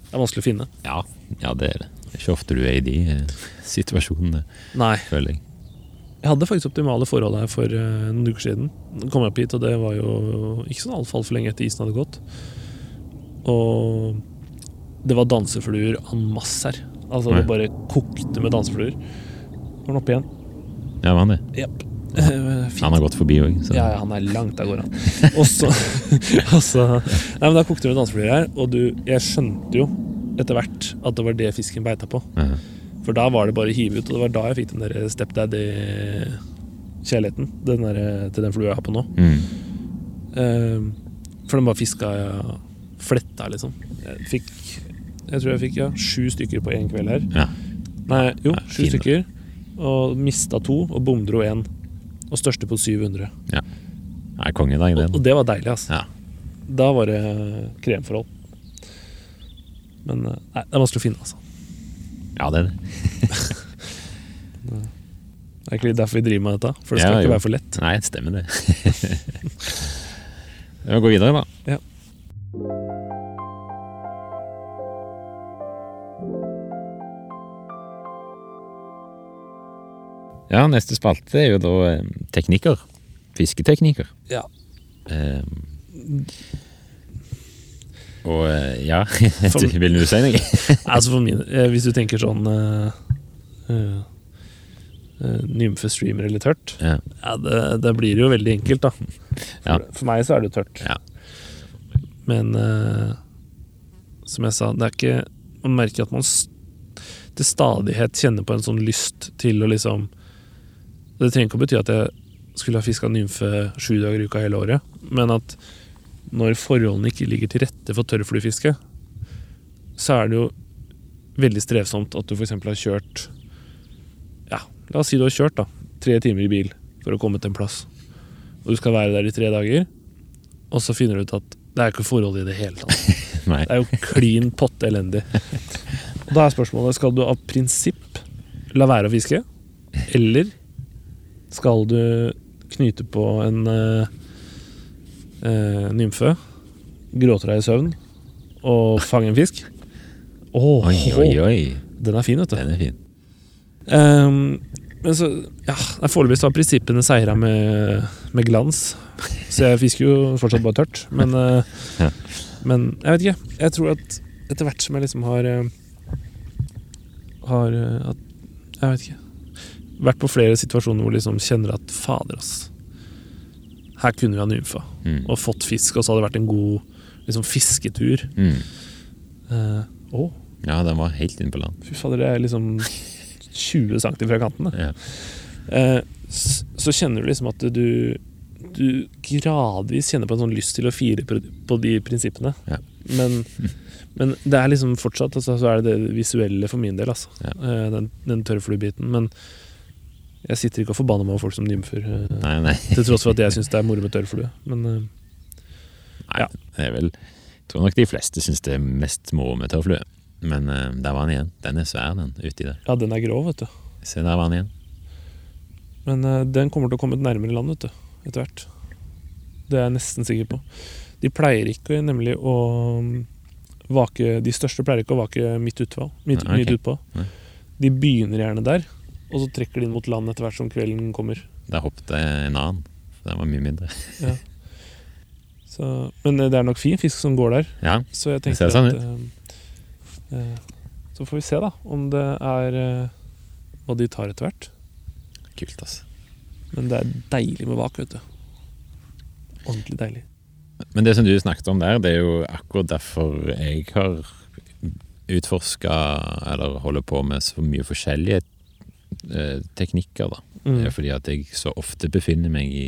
Speaker 3: Det er vanskelig å finne.
Speaker 2: Ja, ja det er det. Det er ikke ofte du er i de eh, situasjonene,
Speaker 3: Nei.
Speaker 2: føler jeg.
Speaker 3: Jeg hadde faktisk optimale forhold her for eh, noen uker siden. Da kom jeg opp hit, og det var jo ikke sånn altfor altfor lenge etter isen hadde gått. Og det var dansefluer en masse her. Altså, det
Speaker 2: Ja.
Speaker 3: bare kokte med dansefluer. Var den oppe igjen?
Speaker 2: Ja, var han det?
Speaker 3: Jepp. Eh, fint.
Speaker 2: Han har gått forbi òg, så
Speaker 3: Ja, ja, han er langt av gårde, han. Og så og så- Nei, men da kokte det med dansefluer her, og du Jeg skjønte jo etter hvert at det var det fisken beita på.
Speaker 2: Ja.
Speaker 3: For da var det bare å hive ut, og det var da jeg fikk den der Step Daddy-kjærligheten. Den der, til den flua jeg har på nå.
Speaker 2: Mm.
Speaker 3: Ehm, for den bare fiska ja, fletta, liksom. Jeg fikk Jeg tror jeg fikk ja, sju stykker på én kveld her.
Speaker 2: Ja.
Speaker 3: Nei, jo,
Speaker 2: Nei,
Speaker 3: sju
Speaker 2: fin, da.
Speaker 3: stykker. Og mista to, og bomdro én. Og største på 700.
Speaker 2: Nei, kongedag,
Speaker 3: Og, og
Speaker 2: den.
Speaker 3: det var deilig, altså.
Speaker 2: Ja.
Speaker 3: Da var det kremforhold. Men eh, nei, det er vanskelig å finne, altså.
Speaker 2: Ja, det er det.
Speaker 3: Det er egentlig derfor vi driver med dette. For det
Speaker 2: Ja,
Speaker 3: skal ikke
Speaker 2: jo.
Speaker 3: være for lett.
Speaker 2: Nei, det stemmer det. Vi må gå videre, da.
Speaker 3: Ja.
Speaker 2: Ja, neste spalte er jo da eh, teknikker. Fisketeknikker.
Speaker 3: Ja.
Speaker 2: Eh, og eh, ja, du, vil du si noe?
Speaker 3: Nei, Altså for min, eh, Hvis du tenker sånn eh, eh, eh, nymfe streamer eller tørt,
Speaker 2: Ja.
Speaker 3: ja, det, det blir jo veldig enkelt, da. For,
Speaker 2: Ja.
Speaker 3: for meg så er det jo tørt.
Speaker 2: Ja.
Speaker 3: Men eh, som jeg sa, det er ikke Man merker at man s- til stadighet kjenner på en sånn lyst til å liksom Det trenger ikke å bety at jeg skulle ha fiska nymfe sju dager i uka hele året, men at når forholdene ikke ligger til rette for tørrfluefiske, så er det jo veldig strevsomt at du f.eks. har kjørt Ja, la oss si du har kjørt da tre timer i bil for å komme til en plass. Og du skal være der i tre dager, og så finner du ut at det er ikke forhold i det hele tatt.
Speaker 2: Nei.
Speaker 3: Det er jo klin potte elendig. Og da er spørsmålet skal du av prinsipp la være å fiske, eller skal du knyte på en eh, eh, nymfe, gråte deg i søvn og fange en fisk? Åh,
Speaker 2: Oi, oi, oi.
Speaker 3: den er fin, vet du.
Speaker 2: Den er fin.
Speaker 3: Ehm, men så, ja, det er Foreløpig så har prinsippene seira med, med glans. Så jeg fisker jo fortsatt bare tørt. Men, eh,
Speaker 2: Ja.
Speaker 3: men jeg vet ikke. Jeg tror at etter hvert som jeg liksom har eh, Har eh, at, Jeg vet ikke. Vært på flere situasjoner hvor jeg liksom kjenner at fader, ass. Her kunne vi ha nymfa
Speaker 2: Mm.
Speaker 3: og fått fisk, og så hadde det vært en god liksom, fisketur.
Speaker 2: Mm.
Speaker 3: Eh, Å,
Speaker 2: Ja, den var helt inne på land.
Speaker 3: fy fader, det er liksom 20 cm fra kanten. da.
Speaker 2: Ja.
Speaker 3: Eh, s- så kjenner du liksom at du Du gradvis kjenner på en sånn lyst til å fire pr- på de prinsippene.
Speaker 2: Ja.
Speaker 3: Men, men det er liksom fortsatt altså, Så er det det visuelle for min del, altså.
Speaker 2: Ja.
Speaker 3: Eh, den den tørrfluebiten. Men jeg sitter ikke og forbanner meg over folk som nymfer. Eh,
Speaker 2: Nei, nei.
Speaker 3: til tross for at jeg syns det er moro med tørrflue. Men eh,
Speaker 2: Nei, det er vel Jeg tror nok de fleste syns det er mest moro med tørrflue. Men eh, der var den igjen. Den er svær, den, uti der.
Speaker 3: ja, den er grå, vet du.
Speaker 2: Se, der var den igjen.
Speaker 3: Men eh, den kommer til å komme nærmere land vet du, etter hvert. Det er jeg nesten sikker på. De pleier ikke nemlig å um, vake De største pleier ikke å vake midt utpå. Midt,
Speaker 2: Nei, ok.
Speaker 3: midt utpå.
Speaker 2: Nei.
Speaker 3: De begynner gjerne der, og så trekker de inn mot land etter hvert som kvelden kommer.
Speaker 2: Der hoppet en annen. Den var mye mindre.
Speaker 3: Ja. Så, men eh, det er nok fin fisk som går der,
Speaker 2: Ja,
Speaker 3: så jeg
Speaker 2: Det ser
Speaker 3: tenker
Speaker 2: sånn
Speaker 3: at eh, eh, Så får vi se, da, om det er eh, hva de tar etter hvert.
Speaker 2: kult, altså.
Speaker 3: Men det er deilig med vak, vet du. Ordentlig deilig.
Speaker 2: Men det som du snakket om der, det er jo akkurat derfor jeg har utforska eller holder på med så mye forskjellige eh, teknikker, da.
Speaker 3: Mm.
Speaker 2: Det er fordi at jeg så ofte befinner meg i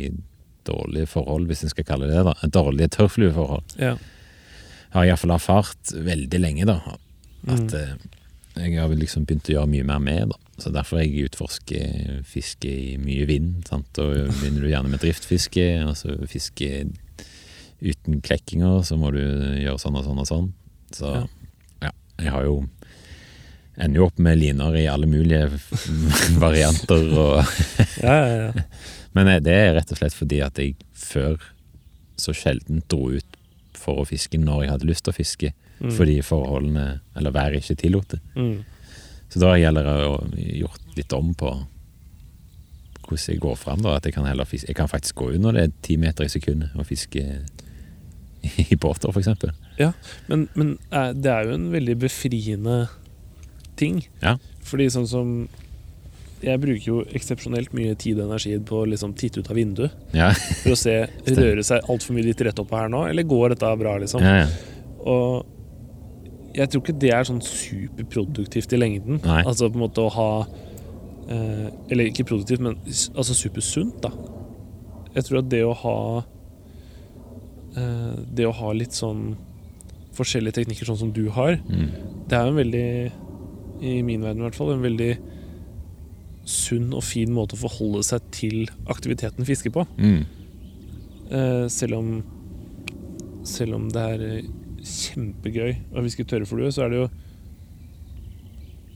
Speaker 2: dårlige forhold, hvis en skal kalle det det. da. Dårlige tørrflueforhold.
Speaker 3: Ja.
Speaker 2: Jeg har iallfall erfart veldig lenge, da,
Speaker 3: Mm.
Speaker 2: at eh, jeg har vel liksom begynt å gjøre mye mer med. da. Så derfor jeg utforsker fiske i mye vind. sant? Og begynner du gjerne med driftfiske, og så fiske uten klekkinger, så må du gjøre sånn og sånn og sånn. Så
Speaker 3: Ja.
Speaker 2: ja, jeg har jo Ender jo opp med liner i alle mulige varianter og
Speaker 3: ja, ja, ja.
Speaker 2: Men eh, det er rett og slett fordi at jeg før så sjelden dro ut for å fiske når jeg hadde lyst til å fiske,
Speaker 3: Mm.
Speaker 2: fordi forholdene, eller været, ikke tillot det.
Speaker 3: Mm.
Speaker 2: Så da gjelder det å gjort litt om på hvordan jeg går fram, da. At jeg kan, heller fiske. Jeg kan faktisk gå under det ti meter i sekundet og fiske i båter, for eksempel.
Speaker 3: Men, men eh, det er jo en veldig befriende ting.
Speaker 2: Ja.
Speaker 3: Fordi sånn som Jeg bruker jo eksepsjonelt mye tid og energi på å liksom titte ut av vinduet
Speaker 2: Ja,
Speaker 3: for å se røre seg altfor mye litt rett opp her nå, eller går dette bra, liksom?
Speaker 2: ja, ja.
Speaker 3: Og jeg tror ikke det er sånn superproduktivt i lengden.
Speaker 2: Nei.
Speaker 3: Altså på en måte å ha eh, Eller ikke produktivt, men s- altså supersunt, da. Jeg tror at det å ha eh, Det å ha litt sånn forskjellige teknikker, sånn som du har,
Speaker 2: Mm.
Speaker 3: det er jo en veldig I min verden i hvert fall, en veldig sunn og fin måte å forholde seg til aktiviteten fiske på.
Speaker 2: Mm.
Speaker 3: Eh, selv om Selv om det er eh, kjempegøy å fiske tørrflue, så er det jo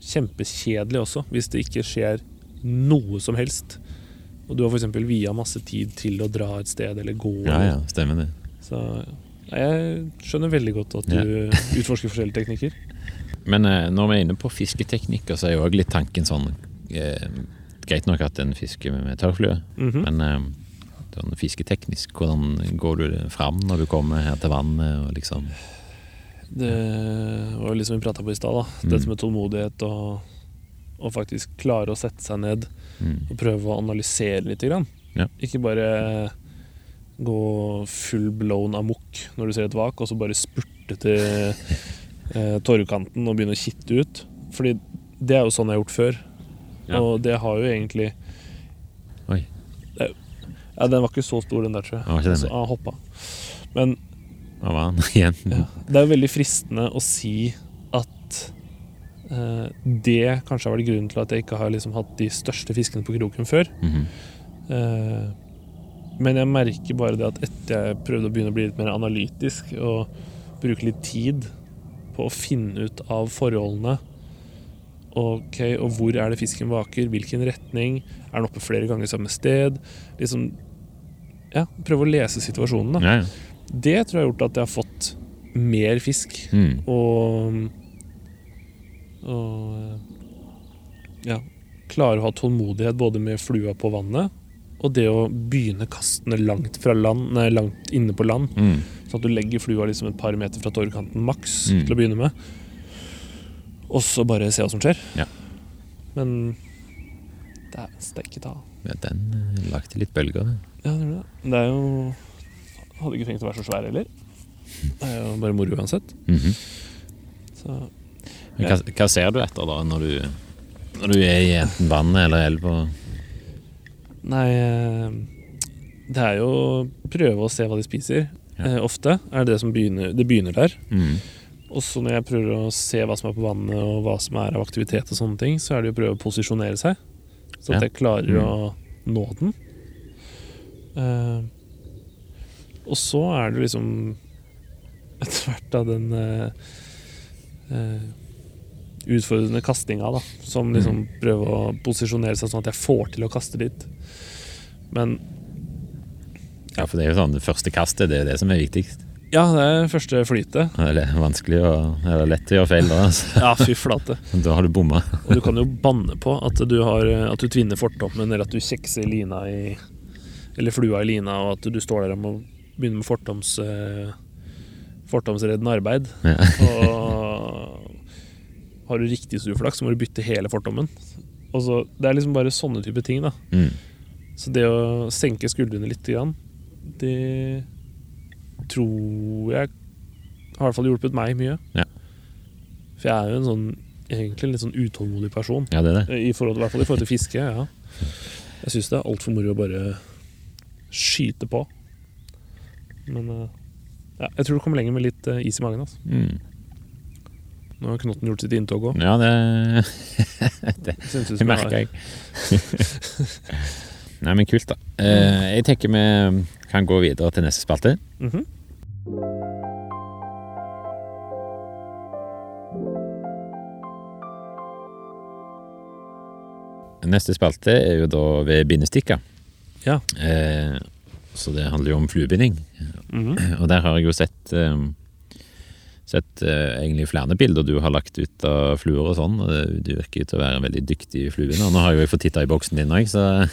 Speaker 3: kjempekjedelig også hvis det ikke skjer noe som helst. Og du har f.eks. via masse tid til å dra et sted eller gå.
Speaker 2: ja, ja, stemmer det.
Speaker 3: Så ja, jeg skjønner veldig godt at du utforsker forskjellige teknikker.
Speaker 2: Men eh, når vi er inne på fisketeknikker, så er jo òg litt tanken sånn eh, Greit nok at en fisker med med tørrflue,
Speaker 3: Mhm.
Speaker 2: Men eh, sånn fisketeknisk, hvordan går du fram når du kommer her til vannet? Og liksom,
Speaker 3: Det var jo liksom vi prata på i stad, da.
Speaker 2: Mm.
Speaker 3: Dette med tålmodighet og, og faktisk klare å sette seg ned
Speaker 2: Mm.
Speaker 3: og prøve å analysere litt. Grann.
Speaker 2: Ja.
Speaker 3: Ikke bare gå full blown amok når du ser et vak, og så bare spurte til eh, torvkanten og begynne å kitte ut. Fordi det er jo sånn jeg har gjort før,
Speaker 2: Ja.
Speaker 3: og det har jo egentlig
Speaker 2: Oi.
Speaker 3: Det er- Ja, den var ikke så stor, den der, tror jeg.
Speaker 2: Det var ikke den,
Speaker 3: så
Speaker 2: nei.
Speaker 3: han hoppa. Men
Speaker 2: Hva var han igjen?
Speaker 3: ja. Det er jo veldig fristende å si at eh, det kanskje har vært grunnen til at jeg ikke har liksom hatt de største fiskene på kroken før.
Speaker 2: Mhm.
Speaker 3: Eh, men jeg merker bare det at etter jeg prøvde å begynne å bli litt mer analytisk og bruke litt tid på å finne ut av forholdene Ok, og hvor er det fisken vaker? Hvilken retning? Er den oppe flere ganger samme sted? Liksom Ja, prøve å lese situasjonen, da.
Speaker 2: Ja, ja.
Speaker 3: Det tror jeg har gjort at jeg har fått mer fisk.
Speaker 2: Mm.
Speaker 3: Og, og eh, ja, klarer å ha tålmodighet både med flua på vannet og det å begynne kastene langt, fra land, nei, langt inne på land.
Speaker 2: Mm.
Speaker 3: Sånn at du legger flua liksom et par meter fra torvkanten maks
Speaker 2: Mm.
Speaker 3: til å begynne med. Og så bare se hva som skjer.
Speaker 2: Ja.
Speaker 3: Men det er steike ta.
Speaker 2: Ja, Den eh, lagde litt bølger.
Speaker 3: Ja, det gjør det. Men Det er jo Hadde ikke trengt å være så svær heller. Det er jo bare moro uansett.
Speaker 2: Mhm.
Speaker 3: Så
Speaker 2: Men Hva, hva ser du etter da, når du, når du er i enten vannet eller elva?
Speaker 3: Nei, eh, det er jo å prøve å se hva de spiser.
Speaker 2: Ja.
Speaker 3: Eh, ofte er det det som begynner, det begynner der.
Speaker 2: Mm.
Speaker 3: Og så når jeg prøver å se hva som er på vannet og hva som er av aktivitet og sånne ting, så er det jo å prøve å posisjonere seg. Så
Speaker 2: Ja.
Speaker 3: at jeg klarer
Speaker 2: Mm.
Speaker 3: å nå den. Eh, og så er det liksom etter hvert da den eh, eh, utfordrende kastinga, da. Som liksom prøver å posisjonere seg sånn at jeg får til å kaste dit. Men
Speaker 2: Ja, for det er jo sånn, det første kastet, det er det som er viktigst.
Speaker 3: ja, det er første flytet.
Speaker 2: Det er le- vanskelig å, eller lett å gjøre feil da, altså.
Speaker 3: Ja, fy flate.
Speaker 2: Da har du bomma.
Speaker 3: Og du kan jo banne på at du, har, at du tvinner fortommen, eller at du kjekser lina i Eller flua i lina, og at du står der og må begynne med fortoms, eh, fortomsreddende arbeid.
Speaker 2: Ja.
Speaker 3: Og har du riktig stor flaks, så må du bytte hele fortommen. Og så, det er liksom bare sånne type ting, da.
Speaker 2: Mm.
Speaker 3: Så det å senke skuldrene litt, grann, det tror jeg har i hvert fall hjulpet meg mye.
Speaker 2: Ja.
Speaker 3: For jeg er jo en sånn egentlig en litt sånn utålmodig person.
Speaker 2: Ja, det er det.
Speaker 3: I, forhold, I hvert fall i forhold til fiske, ja. Jeg syns det er altfor moro å bare skyte på. Men eh, ja, jeg tror du kommer lenger med litt eh, is i magen. Altså.
Speaker 2: Mm.
Speaker 3: Nå har knotten gjort sitt inntog òg.
Speaker 2: Ja, det, Mm. det merker
Speaker 3: Jeg
Speaker 2: jeg. Nei, men kult da. Eh, jeg tenker vi kan gå videre til neste spalte.
Speaker 3: Mhm.
Speaker 2: Neste spalte er jo da ved bindestikka.
Speaker 3: Ja.
Speaker 2: Eh, så det handler jo om fluebinding.
Speaker 3: Mhm.
Speaker 2: Og der har jeg jo sett eh, Sett eh, egentlig flere bilder du har lagt ut av fluer og sånn. Og det- du virker jo til å være en veldig dyktig fluebinder. Nå har jo jeg fått titta i boksen din òg, så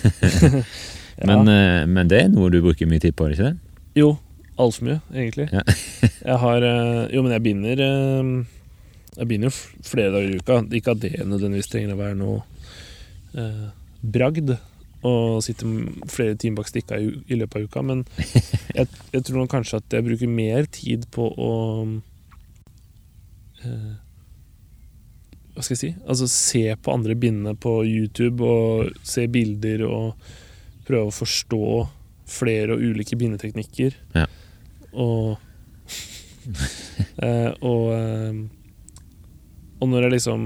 Speaker 2: men, eh, men det er noe du bruker mye tid på, er det ikke det?
Speaker 3: Jo, altfor mye, egentlig.
Speaker 2: Ja.
Speaker 3: jeg har eh, Jo, men jeg binder eh, Jeg binder jo f- flere dager i uka. Ikke at det nødvendigvis trenger å være noe eh, bragd å sitte m- flere timer bak stikka i, u- i løpet av uka, men jeg, jeg tror nok kanskje at jeg bruker mer tid på å eh, Hva skal jeg si? Altså se på andre bindene på YouTube og se bilder og prøve å forstå flere og ulike bindeteknikker.
Speaker 2: Ja.
Speaker 3: Og eh, og, eh, og når jeg liksom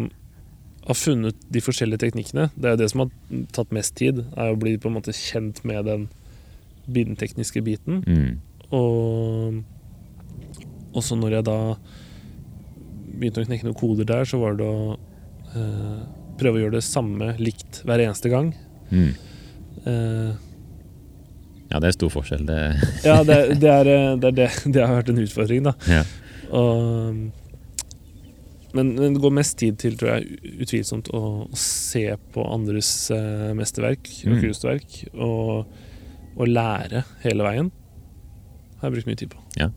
Speaker 3: har funnet de forskjellige teknikkene Det er jo det som har tatt mest tid, er å bli på en måte kjent med den bindetekniske biten.
Speaker 2: Mm.
Speaker 3: Og og så når jeg da begynte å knekke noen koder der, så var det å eh, prøve å gjøre det samme likt hver eneste gang.
Speaker 2: Mm.
Speaker 3: Eh,
Speaker 2: Ja, det er stor forskjell. Det,
Speaker 3: Ja, det, det, er, eh, det, er det, det har vært en utfordring, da.
Speaker 2: ja.
Speaker 3: Og, men, men det går mest tid til, tror jeg, utvilsomt å, å se på andres eh, mesterverk og
Speaker 2: Mm.
Speaker 3: kunstverk. Og, og lære hele veien. Har jeg brukt mye tid på.
Speaker 2: Ja.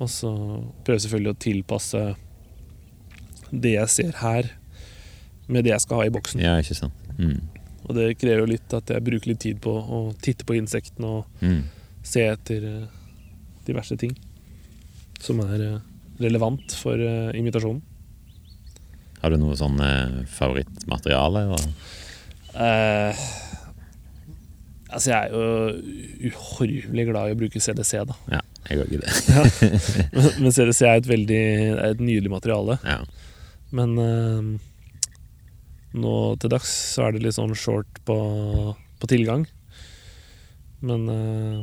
Speaker 3: Og så prøver jeg selvfølgelig å tilpasse det jeg ser her, med det jeg skal ha i boksen.
Speaker 2: ja, ikke sant. Mm.
Speaker 3: Og det krever jo litt at jeg bruker litt tid på å titte på insektene og
Speaker 2: Mm.
Speaker 3: se etter eh, diverse ting som er eh, relevant for eh, invitasjonen.
Speaker 2: Har du noe sånn eh, favorittmateriale? Eller?
Speaker 3: Eh, altså, jeg er jo uhorvelig glad i å bruke CDC, da.
Speaker 2: Ja, jeg går ikke det.
Speaker 3: Men CDC er et veldig er et nydelig materiale.
Speaker 2: Ja.
Speaker 3: Men eh, nå til dags så er det litt sånn short på, på tilgang. Men eh,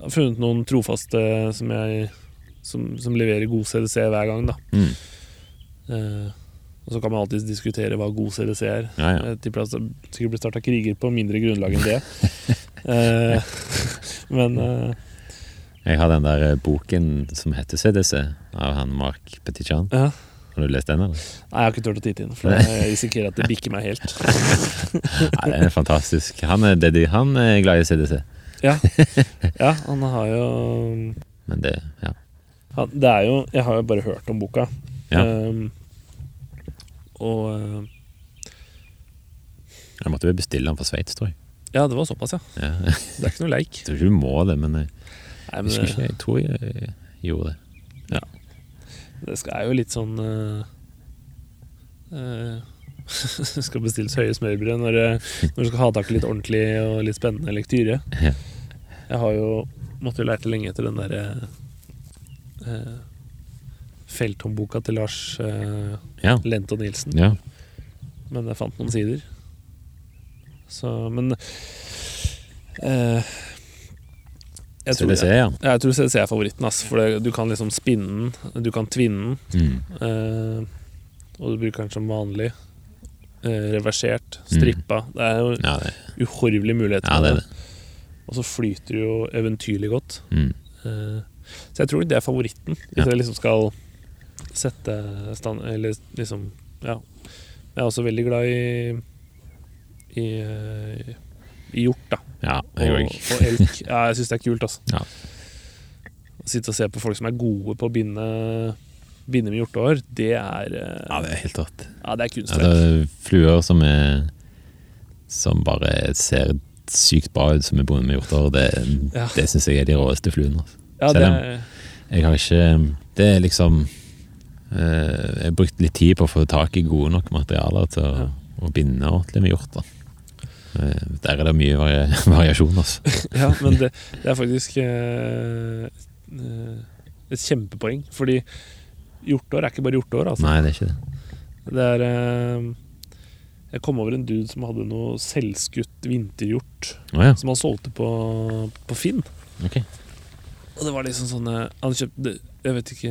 Speaker 3: jeg har funnet noen trofaste som, jeg, som, som leverer god CDC hver gang, da.
Speaker 2: Mm.
Speaker 3: Eh, og så kan man alltids diskutere hva god CDC er.
Speaker 2: ja, ja.
Speaker 3: Jeg tipper at det sikkert blir starta kriger på mindre grunnlag enn det. Eh, men eh,
Speaker 2: Jeg har den der eh, boken som heter CDC, av han Mark Petitjean.
Speaker 3: ja.
Speaker 2: Har du lest den, eller?
Speaker 3: Nei, jeg har ikke turt å titte inn, for jeg risikerer at det bikker meg helt.
Speaker 2: Nei, den er fantastisk. Han er, dedi han er glad i CDC.
Speaker 3: Ja, ja han har jo
Speaker 2: Men det Ja.
Speaker 3: han, Det er jo Jeg har jo bare hørt om boka.
Speaker 2: Ja.
Speaker 3: Ehm, og eh,
Speaker 2: Jeg måtte vel bestille den fra Sveits, tror jeg.
Speaker 3: Ja, det var såpass, ja.
Speaker 2: Ja. Jeg
Speaker 3: Det er ikke noe leik.
Speaker 2: tror ikke du må det, men jeg
Speaker 3: Nei, men
Speaker 2: husker ikke.
Speaker 3: det,
Speaker 2: Jeg tror jeg gjorde det.
Speaker 3: det skal, er jo litt sånn eh, eh, Skal bestilles høye smørbrød når, det- når du skal ha tak i litt ordentlig og litt spennende lektyre.
Speaker 2: Ja.
Speaker 3: Jeg har jo måtte jo lete lenge etter den derre uh, felthåndboka til Lars eh,
Speaker 2: Ja.
Speaker 3: Lento Nilsen.
Speaker 2: ja.
Speaker 3: Men jeg fant noen sider. Så, men eh, jeg, tror,
Speaker 2: CDC,
Speaker 3: jeg,
Speaker 2: ja.
Speaker 3: jeg tror CDC er favoritten, ass. For det, du kan liksom spinne den, du kan tvinne den.
Speaker 2: Mm.
Speaker 3: eh, og du bruker den som vanlig. Eh, reversert, strippa. Det er jo
Speaker 2: Mm. Ja, det,
Speaker 3: uhorvelige muligheter.
Speaker 2: ja, det
Speaker 3: med
Speaker 2: er
Speaker 3: det.
Speaker 2: det.
Speaker 3: Og så flyter det jo eventyrlig godt.
Speaker 2: Mm.
Speaker 3: Eh, så jeg tror det er favoritten, hvis
Speaker 2: Ja.
Speaker 3: jeg liksom skal sette stand... Eller liksom Ja. Jeg er også veldig glad i i, eh, i hjort, da.
Speaker 2: Ja, jeg
Speaker 3: Og,
Speaker 2: òg.
Speaker 3: og elk. Ja, jeg syns det er kult, altså.
Speaker 2: Ja.
Speaker 3: Å sitte og se på folk som er gode på å binde Binde med hjortehår, det er eh,
Speaker 2: Ja, det er helt rått.
Speaker 3: ja, det
Speaker 2: Ja,
Speaker 3: er
Speaker 2: det
Speaker 3: kunstverk.
Speaker 2: er fluer som er Som bare ser sykt bra ut, som er bundet med hjorter. Det,
Speaker 3: Ja.
Speaker 2: det syns jeg er de råeste fluene. altså.
Speaker 3: Ja, det
Speaker 2: selv om-
Speaker 3: er,
Speaker 2: Jeg har ikke Det er liksom eh, Jeg har brukt litt tid på å få tak i gode nok materialer til å,
Speaker 3: Ja.
Speaker 2: å binde ordentlig med hjort. Da. Eh, Der er det mye varia variasjon, altså.
Speaker 3: Ja, men det, det er faktisk eh, eh, et kjempepoeng. Fordi hjorteår er ikke bare hjorteår. Altså.
Speaker 2: Nei, det er ikke det.
Speaker 3: Det er eh, Jeg kom over en dude som hadde noe selvskutt vinterhjort
Speaker 2: Å ja.
Speaker 3: som han solgte på, på Finn.
Speaker 2: Ok.
Speaker 3: Og det var liksom sånne Han kjøpte Jeg vet ikke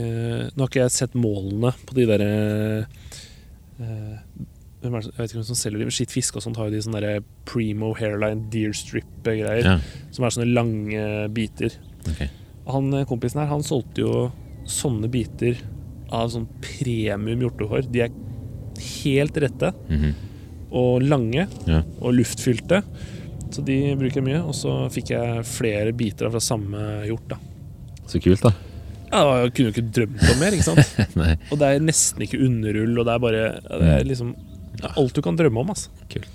Speaker 3: Nå har ikke jeg sett målene på de derre eh, hvem er det, som- jeg vet ikke hvem som selger de, men Skitt fiske og sånt har jo de sånne der primo hairline deer strip-greier.
Speaker 2: Ja.
Speaker 3: Som er sånne lange biter.
Speaker 2: ok.
Speaker 3: Han eh, kompisen her, han solgte jo sånne biter av sånn premium hjortehår. De er helt rette
Speaker 2: Mhm.
Speaker 3: og lange
Speaker 2: Ja.
Speaker 3: og luftfylte. Så de bruker jeg mye. Og så fikk jeg flere biter fra samme hjort, da.
Speaker 2: Så kult, da.
Speaker 3: Ja, jeg kunne jo ikke drømt om mer, ikke sant?
Speaker 2: Nei,
Speaker 3: Og det er nesten ikke underull, og det er bare ja, Det er liksom det er alt du kan drømme om, altså.
Speaker 2: kult.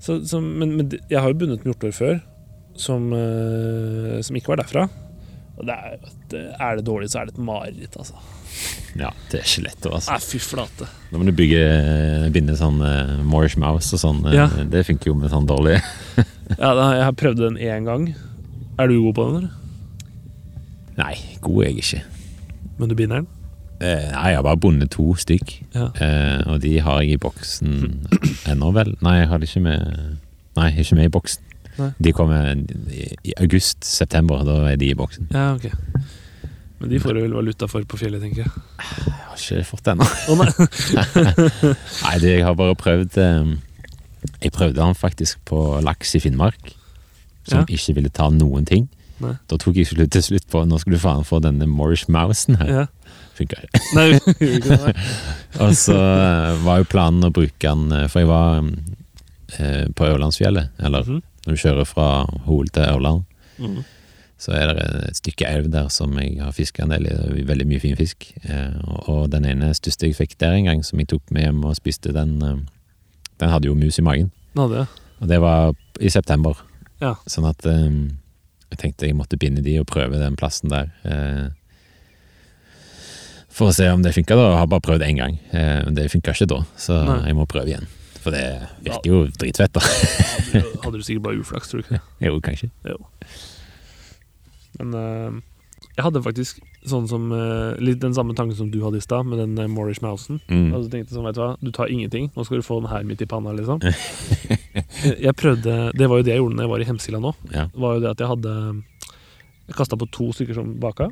Speaker 3: Så, så, men, men det- jeg har jo bundet med hjortehår før, som, eh, som ikke var derfra. Og det er, jo et- er det dårlig, så er det et mareritt, altså.
Speaker 2: Ja, det er ikke lett, altså.
Speaker 3: Nei, fy flate.
Speaker 2: Nå må du bygge, binde sånn eh, Moorish Mouse og sånn. eh,
Speaker 3: Ja.
Speaker 2: Det funker jo med sånn dårlig
Speaker 3: Ja, da, jeg har prøvd den én gang. Er du god på den, eller?
Speaker 2: Nei, god er jeg ikke.
Speaker 3: Men du binder den?
Speaker 2: Eh, Nei, jeg har bare bundet to stykk.
Speaker 3: Ja.
Speaker 2: Eh, og de har jeg i boksen ennå, vel? Nei, jeg har det ikke med Nei, jeg er ikke med i boksen.
Speaker 3: Nei.
Speaker 2: De kommer i i august-september, da er de i boksen.
Speaker 3: Ja, ok. Men de får du vel valuta for på fjellet, tenker jeg.
Speaker 2: Jeg har ikke fått det ennå.
Speaker 3: Å nei.
Speaker 2: Nei, det, jeg har bare prøvd eh, Jeg prøvde han faktisk på laks i Finnmark, som
Speaker 3: Ja.
Speaker 2: ikke ville ta noen ting.
Speaker 3: Nei.
Speaker 2: Da tok jeg slutt til slutt på Nå skal du faen få denne Moorish Mousen her.
Speaker 3: Ja.
Speaker 2: Funka ikke.
Speaker 3: Nei, gjorde ikke det, nei.
Speaker 2: Og så eh, var jo planen å bruke den eh, For jeg var eh, på Ørlandsfjellet Eller
Speaker 3: Mhm.
Speaker 2: når du kjører fra Hol til Ørland
Speaker 3: Mhm.
Speaker 2: Så er det et stykke elv der som jeg har fisket en del i det er Veldig mye fin fisk eh, og, og den ene største jeg fikk der en gang Som jeg tok med hjem og spiste den eh, Den hadde jo mus i magen
Speaker 3: Den hadde jeg.
Speaker 2: Og det var i september.
Speaker 3: Ja.
Speaker 2: Sånn at eh, jeg tenkte jeg måtte binde de og prøve den plassen der. eh, for å se om det funka, da. Jeg har bare prøvd én gang. eh, Men det funka ikke da, så
Speaker 3: Nei.
Speaker 2: jeg må prøve igjen. For det virker jo dritfett, da.
Speaker 3: Hadde- Hadde du sikkert bare uflaks, tror du ikke det?
Speaker 2: jo, kanskje.
Speaker 3: Men eh, jeg hadde faktisk sånn som eh, litt den samme tanken som du hadde i stad, med den eh, Moorish Mousen.
Speaker 2: Mm.
Speaker 3: Og så tenkte jeg sånn, vet du hva, du tar ingenting, nå skal du få den her midt i panna, liksom. Jeg prøvde Det var jo det jeg gjorde når jeg var i Hemsila nå.
Speaker 2: Ja.
Speaker 3: Det var jo det at jeg hadde Jeg kasta på to stykker som baka.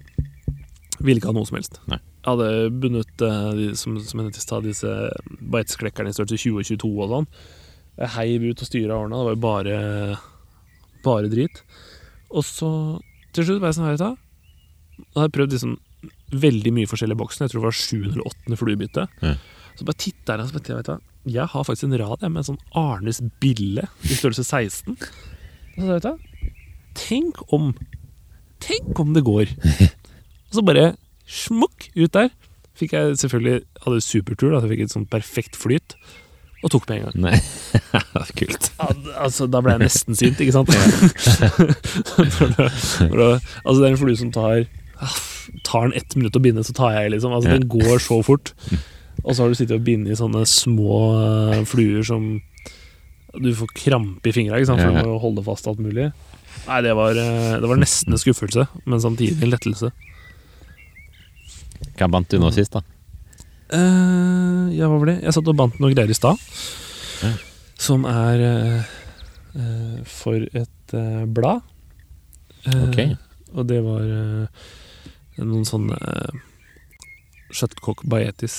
Speaker 3: Ville ikke ha noe som helst.
Speaker 2: Nei.
Speaker 3: Jeg hadde bundet eh, de, som, som jeg nevnte i stad, disse beitesklekkerne i størrelse 20 og 22 og sånn. Jeg heiv ut og styra årene. Det var jo bare Bare drit. Og så til slutt var jeg sånn her Da Da hadde jeg prøvd liksom veldig mye forskjellig i boksen. Jeg tror det var sjuende eller åttende fluebytte.
Speaker 2: Ja.
Speaker 3: Så bare titta jeg og så bare, vet du hva, jeg har faktisk en rad jeg, med en sånn Arnes bille i størrelse 16. Og så vet du, hva, tenk om Tenk om det går! Og så bare smukk ut der. Fikk jeg selvfølgelig hadde supertur, da, så jeg fikk et sånn perfekt flyt. Og tok med en gang.
Speaker 2: Nei. Kult.
Speaker 3: Ja, d- altså, da ble jeg nesten sint, ikke sant? For da- for da- altså, det er en flue som tar ah, Tar den ett minutt å binde, så tar jeg, liksom. Altså,
Speaker 2: Ja. Mm.
Speaker 3: Den går så fort. Og så har du sittet og bindet i sånne små eh, fluer som Du får krampe i fingra, ikke sant? for
Speaker 2: Ja.
Speaker 3: du må holde fast alt mulig. Nei, det var, eh, det var nesten en skuffelse, men samtidig en lettelse.
Speaker 2: Hva bandt du nå sist, da?
Speaker 3: Eh, ja, hva var det? Jeg satt og bandt noe greier i stad.
Speaker 2: Ja.
Speaker 3: Som er eh, eh, for et eh, blad. Eh,
Speaker 2: Ok.
Speaker 3: Og det var eh, noen sånne uh, Shuttcock Baetis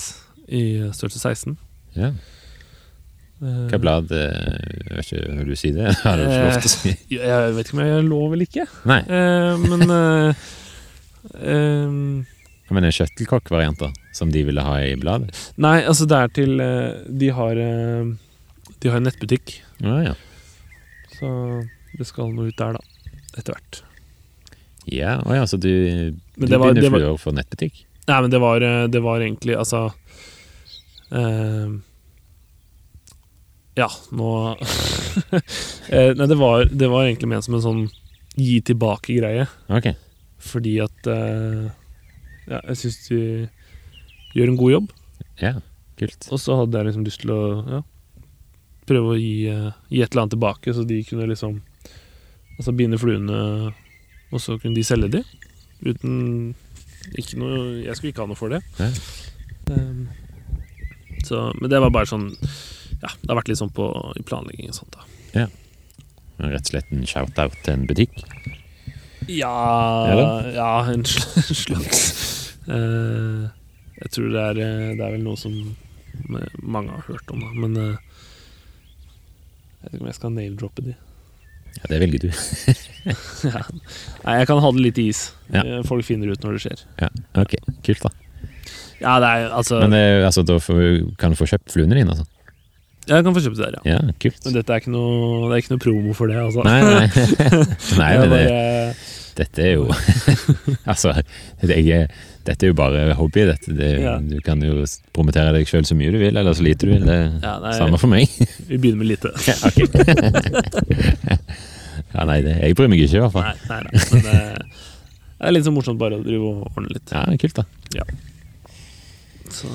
Speaker 3: i størrelse 16.
Speaker 2: Ja.
Speaker 3: Eh,
Speaker 2: Hva blad eh, Jeg vet ikke, vil du si det? Det har du ikke lov til å si.
Speaker 3: Jeg, Eh, jeg vet ikke om jeg lov eller ikke,
Speaker 2: Nei,
Speaker 3: eh, men eh, eh,
Speaker 2: men en kjøttelkokk-variant, da? Som de ville ha i bladet?
Speaker 3: Nei, altså det er til eh, De har eh, De har en nettbutikk.
Speaker 2: Ja, ja.
Speaker 3: Så det skal noe ut der, da. Etter hvert.
Speaker 2: Ja, å ja, så du, du
Speaker 3: Men det var-
Speaker 2: binder
Speaker 3: det var-
Speaker 2: fluer for nettbutikk?
Speaker 3: Nei, men det var, eh, det var egentlig Altså eh, Ja, nå eh, Nei, det var, det var egentlig ment som en sånn gi tilbake-greie.
Speaker 2: Ok.
Speaker 3: Fordi at eh, Ja, jeg syns de gjør en god jobb.
Speaker 2: Ja, kult.
Speaker 3: Og så hadde jeg liksom lyst til å ja, prøve å gi, eh, gi et eller annet tilbake, så de kunne liksom Altså binde fluene, og så kunne de selge de. Uten ikke noe, Jeg skulle ikke ha noe for det.
Speaker 2: Nei.
Speaker 3: Ehm, så, men det var bare sånn Ja, det har vært litt sånn på, i planlegging og sånt, da.
Speaker 2: Rett og slett en shout-out til en butikk?
Speaker 3: Ja, ja en sl- slags eh, Jeg tror det er, eh, det er vel noe som eh, mange har hørt om, da. Men eh, jeg vet ikke om jeg skal name-droppe de.
Speaker 2: Ja, Det velger du.
Speaker 3: ja. Nei, jeg kan ha det litt i is.
Speaker 2: Ja.
Speaker 3: Eh, Folk finner ut når det skjer.
Speaker 2: Ja, ok, Kult, da.
Speaker 3: Ja, det er altså
Speaker 2: Men eh, altså, da får, kan du få kjøpt fluene dine? Altså.
Speaker 3: Jeg kan få kjøpt det der, ja.
Speaker 2: Ja, kult.
Speaker 3: Men dette er ikke noe, det er ikke noe promo for det, altså.
Speaker 2: Nei, nei. nei
Speaker 3: Det
Speaker 2: men
Speaker 3: er
Speaker 2: det,
Speaker 3: bare- eh,
Speaker 2: dette er jo Altså, jeg, er- dette er jo bare hobby. Dette. Det,
Speaker 3: Ja.
Speaker 2: Du kan jo promotere deg sjøl så mye du vil, eller så lite du vil. Det er
Speaker 3: Ja, nei,
Speaker 2: samme for meg.
Speaker 3: Vi begynner med lite.
Speaker 2: Ja, ok. ja, nei, det, jeg bryr meg ikke, i hvert fall.
Speaker 3: Nei, nei, nei. Men eh, det er litt så morsomt bare å drive og ordne litt.
Speaker 2: Ja, Kult, da.
Speaker 3: Så,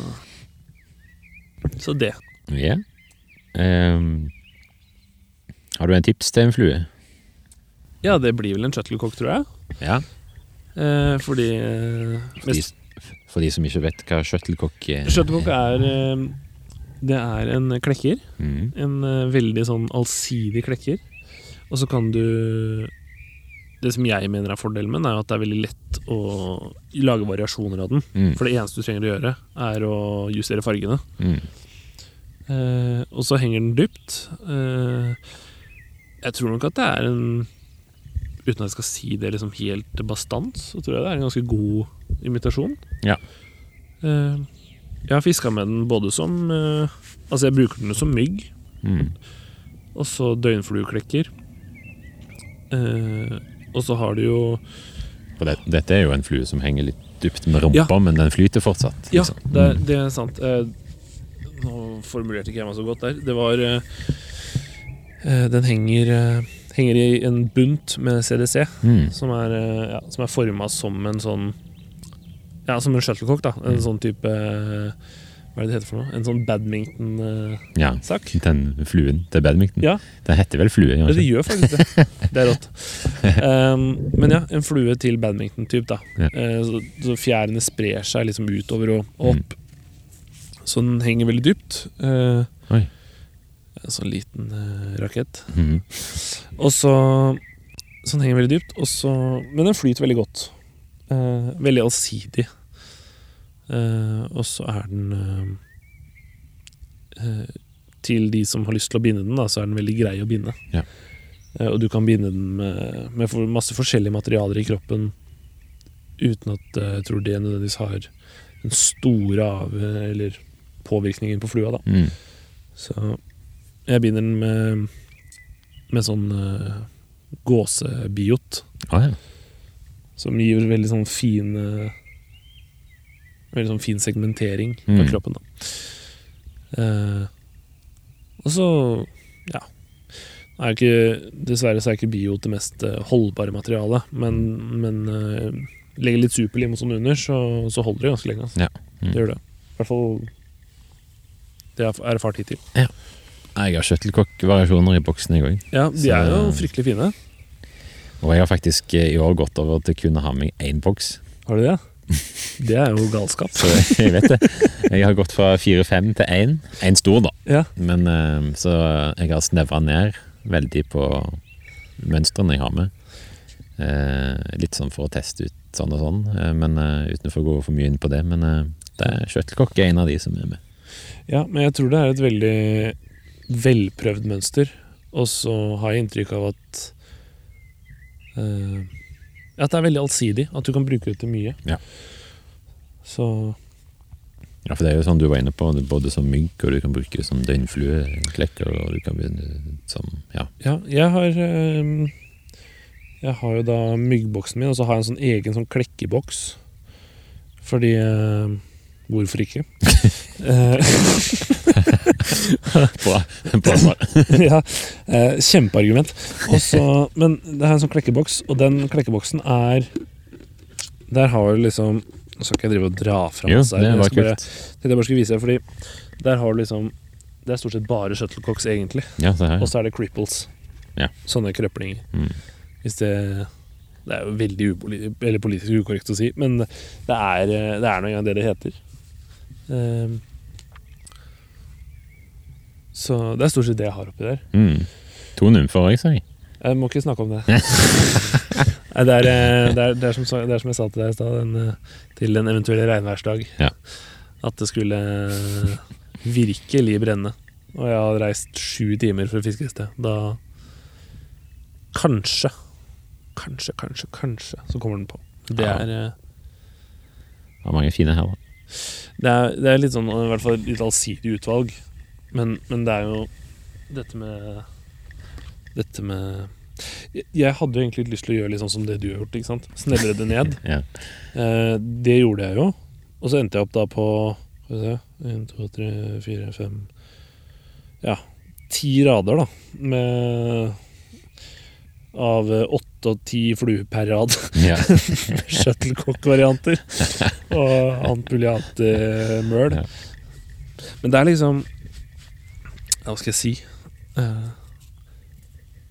Speaker 3: så det.
Speaker 2: Ja. Ehm, har du en tips til en flue?
Speaker 3: Ja, det blir vel en shuttlecock, tror jeg.
Speaker 2: Ja.
Speaker 3: Eh, fordi eh,
Speaker 2: For de,
Speaker 3: mest,
Speaker 2: for de som ikke vet hva shuttlecock er.
Speaker 3: Shuttlecock er eh, Det er en klekker.
Speaker 2: Mm.
Speaker 3: En eh, veldig sånn allsidig klekker. Og så kan du Det som jeg mener er fordelen med den, er jo at det er veldig lett å lage variasjoner av den.
Speaker 2: Mm.
Speaker 3: For det eneste du trenger å gjøre, er å justere fargene.
Speaker 2: Mm.
Speaker 3: Eh, og så henger den dypt. Eh, jeg tror nok at det er en Uten at jeg skal si det liksom helt bastant, så tror jeg det er en ganske god imitasjon.
Speaker 2: Ja.
Speaker 3: Eh, jeg har fiska med den både som eh, Altså, jeg bruker den jo som mygg,
Speaker 2: Mm.
Speaker 3: og så døgnflueklekker. Eh, og så har du jo
Speaker 2: For det, dette er jo en flue som henger litt dypt med rumpa,
Speaker 3: Ja.
Speaker 2: men den flyter fortsatt.
Speaker 3: Ja,
Speaker 2: liksom.
Speaker 3: det, er- det er sant. Eh, nå formulerte ikke jeg meg så godt der. Det var eh, Eh, Den henger, eh, henger i en bunt med CDC,
Speaker 2: Mm.
Speaker 3: som er, eh, ja, som er forma som en sånn Ja, som en shuttlecock, da. En
Speaker 2: Mm.
Speaker 3: sånn type eh, Hva er det det heter for noe? En sånn badminton-sak.
Speaker 2: Ja. Den fluen til badminton.
Speaker 3: Ja.
Speaker 2: Den heter vel flue? gjør
Speaker 3: Ja,
Speaker 2: den
Speaker 3: det
Speaker 2: ikke?
Speaker 3: gjør faktisk det. Det er rått. Ehm, men ja, en flue til badminton-type, da.
Speaker 2: Ja. Mm.
Speaker 3: Eh, så, så fjærene sprer seg liksom utover og og opp. Så den henger veldig dypt. Eh,
Speaker 2: Oi.
Speaker 3: en sånn liten eh, rakett.
Speaker 2: Mhm.
Speaker 3: Og så Så den henger veldig dypt, og så Men den flyter veldig godt. Eh, veldig allsidig. Eh, og så er den eh, eh, Til de som har lyst til å binde den, da, så er den veldig grei å binde.
Speaker 2: Ja.
Speaker 3: Eh, og du kan binde den med, med for- masse forskjellige materialer i kroppen uten at eh, jeg tror det nødvendigvis har den store av eh, eller påvirkningen på flua. da
Speaker 2: Mm.
Speaker 3: så jeg binder den med, med sånn uh, gåsebiot,
Speaker 2: Ah, ja.
Speaker 3: som gir veldig sånn fin eh, Veldig sånn fin segmentering av
Speaker 2: Mm.
Speaker 3: kroppen, da. Eh, og så ja. Er ikke, dessverre så er ikke bio det mest eh, holdbare materialet, men, men eh, legger litt superlim og sånn under, så, så holder det ganske lenge. Altså.
Speaker 2: Ja. Mm.
Speaker 3: Det gjør det. I hvert fall det jeg har erfart hittil.
Speaker 2: Nei, Jeg har shuttlecock-variasjoner i boksen, jeg òg.
Speaker 3: Ja, de er jo
Speaker 2: Så-
Speaker 3: fryktelig fine.
Speaker 2: Og jeg har faktisk eh, i år gått over til kun å ha med én boks.
Speaker 3: Har de det? Det er jo galskap.
Speaker 2: Så jeg vet det. Jeg har gått fra fire-fem til én. Én stor, da.
Speaker 3: Ja,
Speaker 2: Men eh, så jeg har snevra ned veldig på mønstrene jeg har med. Eh, litt sånn for å teste ut sånn og sånn, eh, men eh, uten å få gå for mye inn på det. Men eh, det er shuttlecock er en av de som er med.
Speaker 3: ja men jeg tror det er et veldig velprøvd mønster. Og så har jeg inntrykk av at eh, At det er veldig allsidig. At du kan bruke det til mye.
Speaker 2: Ja.
Speaker 3: Så
Speaker 2: Ja, for det er jo sånn du var inne på, det er både som mygg, og du kan bruke det som døgnflue, eh, klekker, og du kan begynne som Ja.
Speaker 3: ja, jeg har eh, Jeg har jo da myggboksen min, og så har jeg en sånn egen sånn klekkeboks. Fordi eh, Hvorfor ikke? Eh,
Speaker 2: Bra. Bra svar.
Speaker 3: ja, eh, kjempeargument. Og så- men det er en sånn klekkeboks, og den klekkeboksen er Der har du liksom Nå skal ikke jeg drive og dra fram
Speaker 2: Jo,
Speaker 3: masse her,
Speaker 2: det
Speaker 3: men jeg
Speaker 2: var
Speaker 3: skal bare-
Speaker 2: kult.
Speaker 3: tenkte jeg bare skulle vise deg, fordi der har du liksom Det er stort sett bare shuttlecocks, egentlig.
Speaker 2: Ja, se her.
Speaker 3: Og så er det cripples.
Speaker 2: Ja.
Speaker 3: Sånne krøplinger.
Speaker 2: Mm.
Speaker 3: Hvis det Det er jo veldig upoli eller politisk ukorrekt å si, men det er, eh, det er nå engang det det heter. Ehm. så det er stort sett det jeg har oppi der.
Speaker 2: Mm. To nymfer òg, sa jeg.
Speaker 3: Jeg må ikke snakke om det. Nei, det, er, eh, det, er, det, er som, sa- det er som jeg sa til deg i stad, den, eh, til en eventuell regnværsdag.
Speaker 2: Ja.
Speaker 3: At det skulle eh, virkelig brenne. Og jeg har reist sju timer for å fiske et sted. Da kanskje, kanskje, kanskje, kanskje så kommer den på. Det
Speaker 2: Ja.
Speaker 3: er, eh,
Speaker 2: Det er mange fine her, da.
Speaker 3: det er, det er litt sånn, i hvert fall et litt allsidig utvalg. Men, men det er jo dette med Dette med Jeg- Jeg hadde jo egentlig litt lyst til å gjøre litt sånn som det du har gjort. ikke sant? Snevre det ned.
Speaker 2: Ja.
Speaker 3: Eh, det gjorde jeg jo. Og så endte jeg opp da på Skal vi se 1, 2, 3, 4, 5 Ja, ti rader, da. Med Av eh, åtte og ti fluer per rad.
Speaker 2: Ja.
Speaker 3: Shuttlecock-varianter. Og ampuliate-møl.
Speaker 2: Ja.
Speaker 3: eh, Men det er liksom Ja, hva skal jeg si? Eh,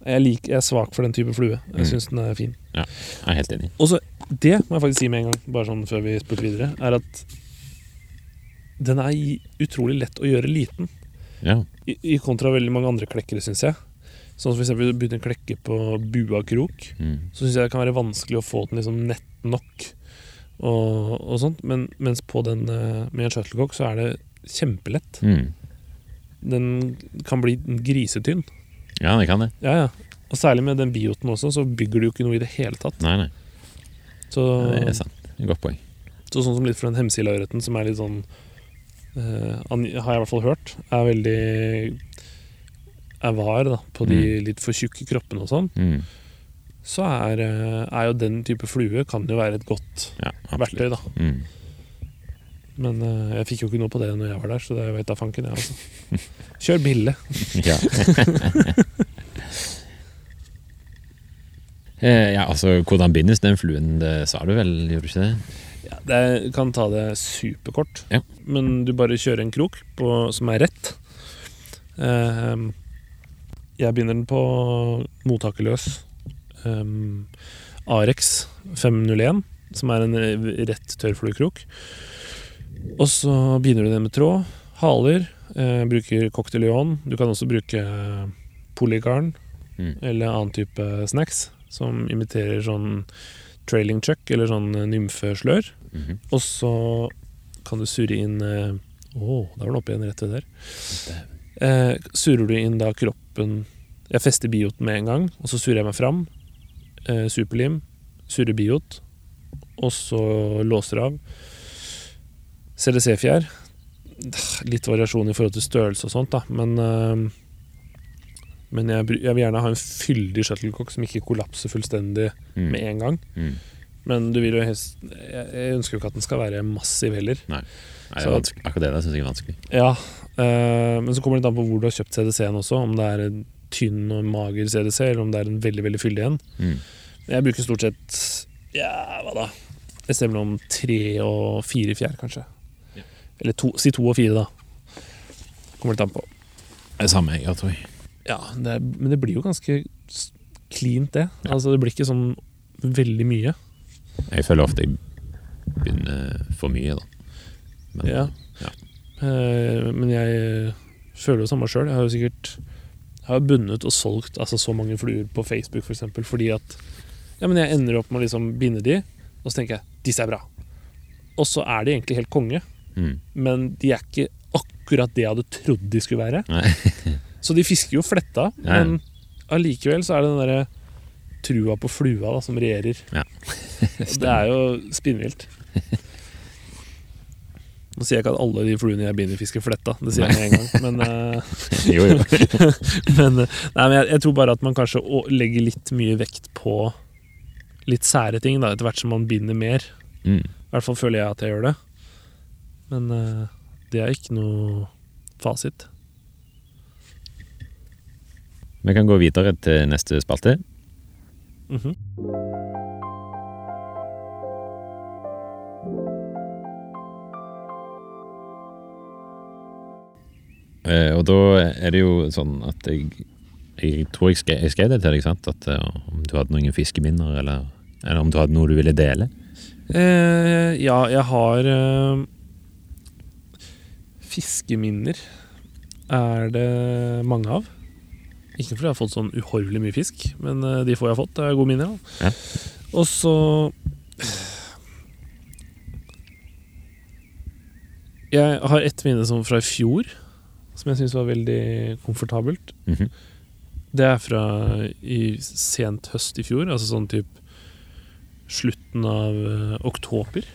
Speaker 3: jeg, liker, jeg er svak for den type flue.
Speaker 2: Mm.
Speaker 3: Jeg syns den er fin.
Speaker 2: Jeg er helt enig.
Speaker 3: Og så, det må jeg faktisk si med en gang, bare sånn før vi spurte videre, er at den er i- utrolig lett å gjøre liten,
Speaker 2: Ja.
Speaker 3: i, i kontra veldig mange andre klekkere, syns jeg. Sånn som for eksempel begynner å klekke på bua krok,
Speaker 2: Mm.
Speaker 3: så syns jeg det kan være vanskelig å få den liksom nett nok. Og, og sånt, men, Mens på den eh, med en shuttlecock så er det kjempelett.
Speaker 2: Mm.
Speaker 3: Den kan bli grisetynn.
Speaker 2: Ja, det kan det.
Speaker 3: Ja, ja. Og særlig med den bioten også, så bygger du jo ikke noe i det hele tatt.
Speaker 2: Nei, nei.
Speaker 3: Så,
Speaker 2: Det er sant. Det er et Godt poeng.
Speaker 3: Så sånn som litt for den hemsila-ørreten, som er litt sånn eh, an- Har jeg i hvert fall hørt, er veldig er var da, på de litt for tjukke kroppene og sånn,
Speaker 2: Mm.
Speaker 3: så er, eh, er jo den type flue kan jo være et godt
Speaker 2: Ja, absolutt.
Speaker 3: verktøy, da.
Speaker 2: Mm.
Speaker 3: Men eh, jeg fikk jo ikke noe på det når jeg var der, så det vet da fanken, jeg, altså. Kjør bille.
Speaker 2: Ja. Eh, ja, altså, hvordan bindes den fluen? Det sa du vel, gjorde du ikke det?
Speaker 3: Ja, det kan ta det superkort,
Speaker 2: Ja.
Speaker 3: men du bare kjører en krok på, som er rett. Ehm, jeg begynner den på mottakerløs ehm, Arex 501, som er en eh, rett tørrfluekrok. Og så begynner du den med tråd, haler, eh, bruker cocktailion. Du kan også bruke eh, polygarn
Speaker 2: Mm.
Speaker 3: eller annen type snacks som imiterer sånn trailing chuck eller sånn nymfeslør.
Speaker 2: Mhm.
Speaker 3: Og så kan du surre inn eh, Å, der var det oppe igjen rett ved der. Eh, surrer du inn da kroppen Jeg fester biot med en gang, og så surrer jeg meg fram. Eh, superlim. Surrer biot. Og så låser av. CDC-fjær. Litt variasjon i forhold til størrelse og sånt, da, men eh, men jeg, bru- jeg vil gjerne ha en fyldig shuttlecock som ikke kollapser fullstendig
Speaker 2: Mm.
Speaker 3: med en gang.
Speaker 2: Mm.
Speaker 3: Men du vil jo helst Jeg jeg ønsker jo ikke at den skal være massiv heller.
Speaker 2: Nei, det er
Speaker 3: Så-
Speaker 2: vanskelig. akkurat det der syns jeg er vanskelig.
Speaker 3: Ja, eh, Men så kommer det litt an på hvor du har kjøpt CDC-en også. Om det er en tynn og mager CDC, eller om det er en veldig veldig fyldig en.
Speaker 2: Mm.
Speaker 3: Jeg bruker stort sett ja, hva da? Et sted mellom tre og fire fjær, kanskje.
Speaker 2: Ja.
Speaker 3: Eller to, si to og fire, da. Kommer litt an på.
Speaker 2: Det er samme jeg har, tror jeg.
Speaker 3: Ja, det er, Men det blir jo ganske s- cleant, det. Altså Det blir ikke sånn veldig mye.
Speaker 2: Jeg føler ofte jeg begynner for mye, da. Men
Speaker 3: Ja.
Speaker 2: ja.
Speaker 3: Eh, Men jeg føler jo samme sjøl. Jeg har jo sikkert jeg har bundet og solgt altså, så mange fluer på Facebook for eksempel, fordi at ja, men jeg ender opp med å liksom binde de, og så tenker jeg disse er bra. Og så er de egentlig helt konge,
Speaker 2: Mm.
Speaker 3: men de er ikke akkurat det jeg hadde trodd de skulle være.
Speaker 2: Nei.
Speaker 3: Så de fisker jo fletta,
Speaker 2: Ja, ja.
Speaker 3: men allikevel så er det den derre trua på flua da, som regjerer.
Speaker 2: Ja.
Speaker 3: Og det er jo spinnvilt. Nå sier jeg ikke at alle de fluene jeg binder, fisker fletta. Det sier jeg med en gang. Men, eh,
Speaker 2: jo, jo.
Speaker 3: men, eh, nei, men jeg, jeg tror bare at man kanskje å- legger litt mye vekt på litt sære ting da, etter hvert som man binder mer.
Speaker 2: Mm.
Speaker 3: I hvert fall føler jeg at jeg gjør det. Men eh, det er ikke noe fasit.
Speaker 2: Vi kan gå videre til neste spalte.
Speaker 3: Mhm.
Speaker 2: Eh, og da er det jo sånn at jeg Jeg tror jeg skrev, jeg skrev det til deg, sant? At eh, om du hadde noen fiskeminner, eller, eller om du hadde noe du ville dele.
Speaker 3: Eh, ja, jeg har eh, Fiskeminner er det mange av. Ikke fordi jeg har fått sånn uhorvelig mye fisk, men eh, de få jeg har fått, er gode minner. Da.
Speaker 2: Ja.
Speaker 3: Og så Jeg har ett minne som fra i fjor, som jeg syns var veldig komfortabelt.
Speaker 2: Mhm.
Speaker 3: Det er fra i sent høst i fjor, altså sånn typ slutten av eh, oktober.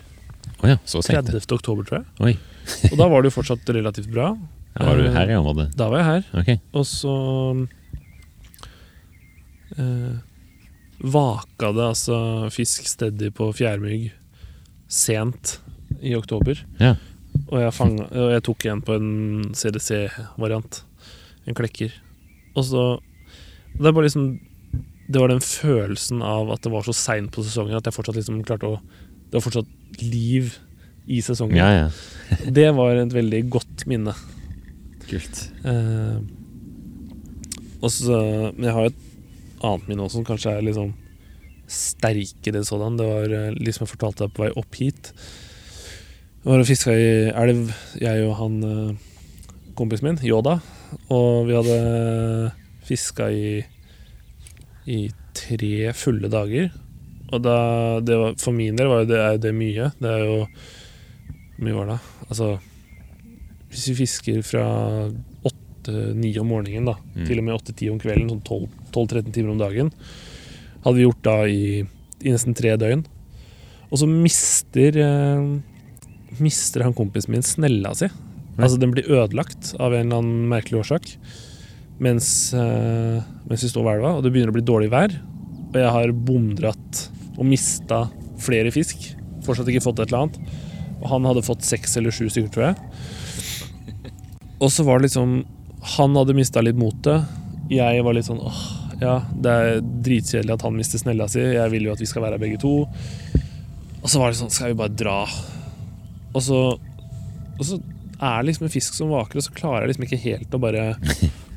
Speaker 2: Å ja, så sent.
Speaker 3: 30. oktober, tror jeg.
Speaker 2: Oi.
Speaker 3: Og da var det jo fortsatt relativt bra.
Speaker 2: Ja, var du her i området?
Speaker 3: Da var jeg her.
Speaker 2: Ok.
Speaker 3: Og så eh, vaka det altså fisk steady på fjærmygg sent i oktober.
Speaker 2: Ja.
Speaker 3: Og jeg, fanga, og jeg tok en på en CDC-variant. En klekker. Og så Det er bare liksom Det var den følelsen av at det var så seint på sesongen at jeg fortsatt liksom klarte å Det var fortsatt liv i sesongen.
Speaker 2: Ja, ja.
Speaker 3: Det var et veldig godt minne.
Speaker 2: Kult.
Speaker 3: Eh, og så, men jeg har jo et annet minne også som kanskje er liksom sterkere sådan. Det var eh, litt som jeg fortalte deg på vei opp hit. Jeg var og fiska i elv, jeg og han eh, kompisen min, Yoda. Og vi hadde fiska i, i tre fulle dager. Og da, det var, for min del var jo det, er jo det mye. Det er jo Hvor mye var det? Altså Hvis vi fisker fra åtte-ni eh, om morgenen, da,
Speaker 2: Mm.
Speaker 3: til og med åtte-ti om kvelden, sånn 12 12-13 timer om dagen, hadde vi gjort da i, i nesten tre døgn. Og så mister eh, Mister han kompisen min snella si. Altså Den blir ødelagt av en eller annen merkelig årsak mens, eh, mens vi står ved elva, og det begynner å bli dårlig vær. Og jeg har bomdratt og mista flere fisk. Fortsatt ikke fått et eller annet. Og han hadde fått seks eller sju stykker, tror jeg. Og så var det liksom Han hadde mista litt motet. Jeg var litt sånn åh, Ja, det er dritkjedelig at han mister snella si. Jeg vil jo at vi skal være her begge to. Og så var det sånn Skal vi bare dra? Og så, og så er det liksom en fisk som vaker, og så klarer jeg liksom ikke helt å bare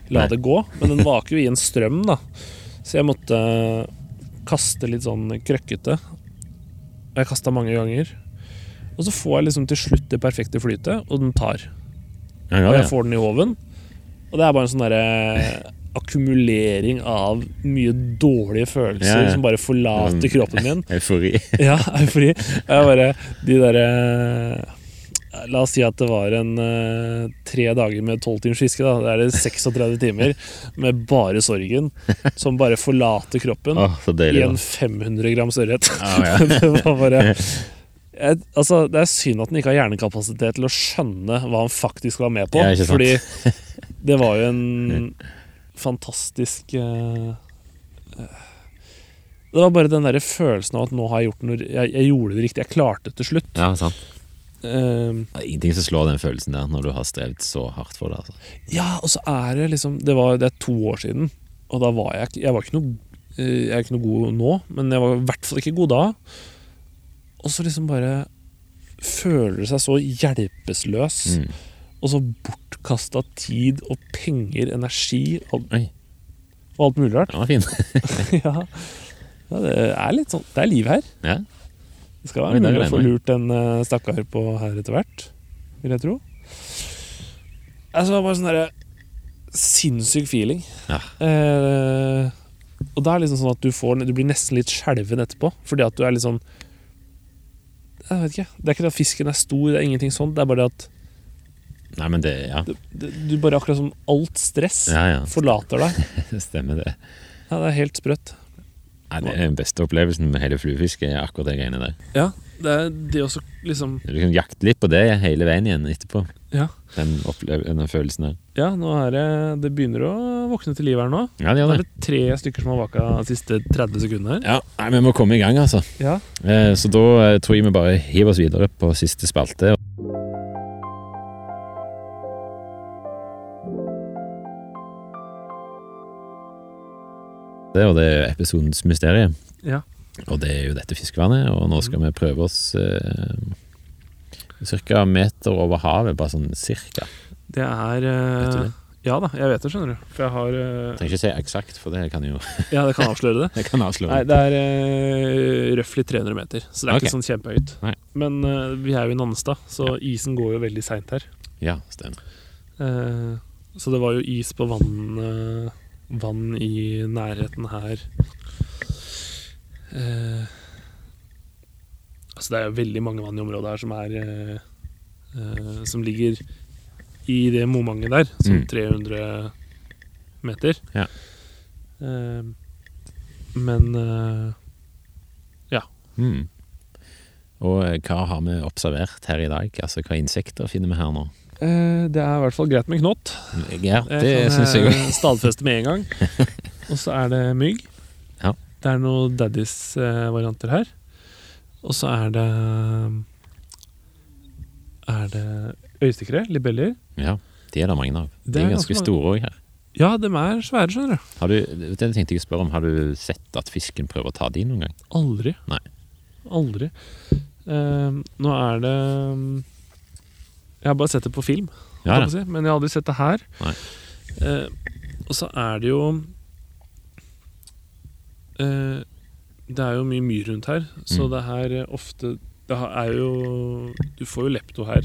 Speaker 3: la
Speaker 2: Nei.
Speaker 3: det gå. Men den vaker jo i en strøm, da. Så jeg måtte kaste litt sånn krøkkete. Og jeg kasta mange ganger. Og så får jeg liksom til slutt det perfekte flytet, og den tar.
Speaker 2: Ja,
Speaker 3: Og
Speaker 2: ja,
Speaker 3: jeg får den i hoven. Og det er bare en sånn derre akkumulering av mye dårlige følelser
Speaker 2: Ja, ja.
Speaker 3: som bare forlater
Speaker 2: Mm.
Speaker 3: kroppen min.
Speaker 2: ja. Eufori.
Speaker 3: Ja, eufori. Jeg bare De derre La oss si at det var en eh, tre dager med tolv timers fiske. da Da er det 36 timer med bare sorgen som bare forlater kroppen
Speaker 2: Åh, så
Speaker 3: i
Speaker 2: deilig.
Speaker 3: en
Speaker 2: da.
Speaker 3: 500 grams ørret.
Speaker 2: Ah, Ja, ja.
Speaker 3: det var bare jeg, altså, Det er synd at han ikke har hjernekapasitet til å skjønne hva han faktisk var med på.
Speaker 2: Ja, ikke sant.
Speaker 3: fordi det var jo en fantastisk eh, eh, Det var bare den der følelsen av at nå har jeg gjort noe Jeg, jeg gjorde det riktig. Jeg klarte det til slutt.
Speaker 2: Ja, sant.
Speaker 3: Eh,
Speaker 2: Det er Ingenting som slår den følelsen der når du har strevd så hardt for det. altså.
Speaker 3: Ja, og så er det liksom Det, var, det er to år siden, og da var jeg ikke Jeg var ikke noe eh, jeg er ikke noe god nå, men jeg var i hvert fall ikke god da. Og så liksom bare føler du seg så hjelpeløs,
Speaker 2: Mm.
Speaker 3: og så bortkasta tid og penger, energi og,
Speaker 2: Oi,
Speaker 3: og alt mulig rart.
Speaker 2: den var fin.
Speaker 3: ja. ja, det er litt sånn Det er liv her.
Speaker 2: Ja.
Speaker 3: Det
Speaker 2: Oi,
Speaker 3: skal være
Speaker 2: der
Speaker 3: mulig
Speaker 2: er
Speaker 3: å få
Speaker 2: den,
Speaker 3: lurt en eh, stakkar på her etter hvert, vil jeg tro. Altså, det var bare sånn derre sinnssyk feeling.
Speaker 2: Ja.
Speaker 3: Eh, og det er liksom sånn at du, får, du blir nesten litt skjelven etterpå, fordi at du er litt sånn Jeg vet ikke. Det er ikke det at fisken er stor, det er ingenting sånt. Det er bare det at
Speaker 2: Nei, men det Ja,
Speaker 3: det, det, du bare akkurat som alt stress
Speaker 2: ja. ja.
Speaker 3: forlater deg.
Speaker 2: Stemmer det.
Speaker 3: Ja, det er helt sprøtt.
Speaker 2: Nei, det er den beste opplevelsen med hele fluefisket. er Akkurat det greiene der.
Speaker 3: Ja, det er det også liksom
Speaker 2: Du kan jakte litt på det hele veien igjen etterpå.
Speaker 3: Ja.
Speaker 2: Den, opplev- den følelsen der.
Speaker 3: Ja, nå er det Det begynner å våkne til liv her nå.
Speaker 2: Ja, det
Speaker 3: Nå
Speaker 2: gjør
Speaker 3: er
Speaker 2: det.
Speaker 3: det tre stykker som har vaka de siste 30 sekundene her.
Speaker 2: Ja, nei, Vi må komme i gang, altså.
Speaker 3: Ja.
Speaker 2: Eh, Så da eh, tror jeg vi bare hiver oss videre på siste spalte. Det, og det er episodens mysterium.
Speaker 3: Ja.
Speaker 2: Og det er jo dette fiskevannet, og nå skal vi prøve oss eh, ca. meter over havet, bare sånn cirka.
Speaker 3: Det er eh,
Speaker 2: Vet du det?
Speaker 3: Ja da, jeg vet det, skjønner du. For jeg har eh,
Speaker 2: Trenger ikke si eksakt, for det kan jo
Speaker 3: Ja, det kan avsløre det.
Speaker 2: det kan avsløre.
Speaker 3: Nei, det er uh, røftlig 300 meter, så det er
Speaker 2: Ok.
Speaker 3: ikke sånn kjempehøyt.
Speaker 2: Nei.
Speaker 3: Men eh, vi er jo i Nannestad, så isen går jo veldig seint her.
Speaker 2: Ja, stemmer.
Speaker 3: Eh, så det var jo is på vann, eh, vann i nærheten her. Eh, altså det er jo veldig mange vann i området her som er eh, eh, Som ligger i det momanget der, som
Speaker 2: Mm.
Speaker 3: 300 meter.
Speaker 2: Ja.
Speaker 3: Eh, men eh,
Speaker 2: Mm. Og eh, hva har vi observert her i dag? Altså, Hva insekter finner vi her nå?
Speaker 3: eh, det er i hvert fall greit med knott.
Speaker 2: Ja,
Speaker 3: kan, eh,
Speaker 2: det syns jeg òg.
Speaker 3: Stadfeste med en gang. Og så er det mygg.
Speaker 2: Ja.
Speaker 3: Det er noen daddies-varianter her. Og så er det Er det øyestikkere, libeller.
Speaker 2: Ja, de er det mange av.
Speaker 3: Det
Speaker 2: De
Speaker 3: er
Speaker 2: er ganske
Speaker 3: ganske mange.
Speaker 2: store òg her.
Speaker 3: Ja, dem er svære, skjønner du.
Speaker 2: Har du, det tenkte jeg å spørre om, har du sett at fisken prøver å ta de noen gang?
Speaker 3: Aldri.
Speaker 2: Nei.
Speaker 3: Aldri. Eh, nå er det eh, Jeg har bare sett det på film.
Speaker 2: Ja,
Speaker 3: kan
Speaker 2: da.
Speaker 3: man si. Men jeg har aldri sett det her.
Speaker 2: Nei.
Speaker 3: Eh, og så er det jo eh, Det er jo mye myr rundt her, så
Speaker 2: Mm.
Speaker 3: det her eh, ofte Det ha- er jo Du får jo lepto her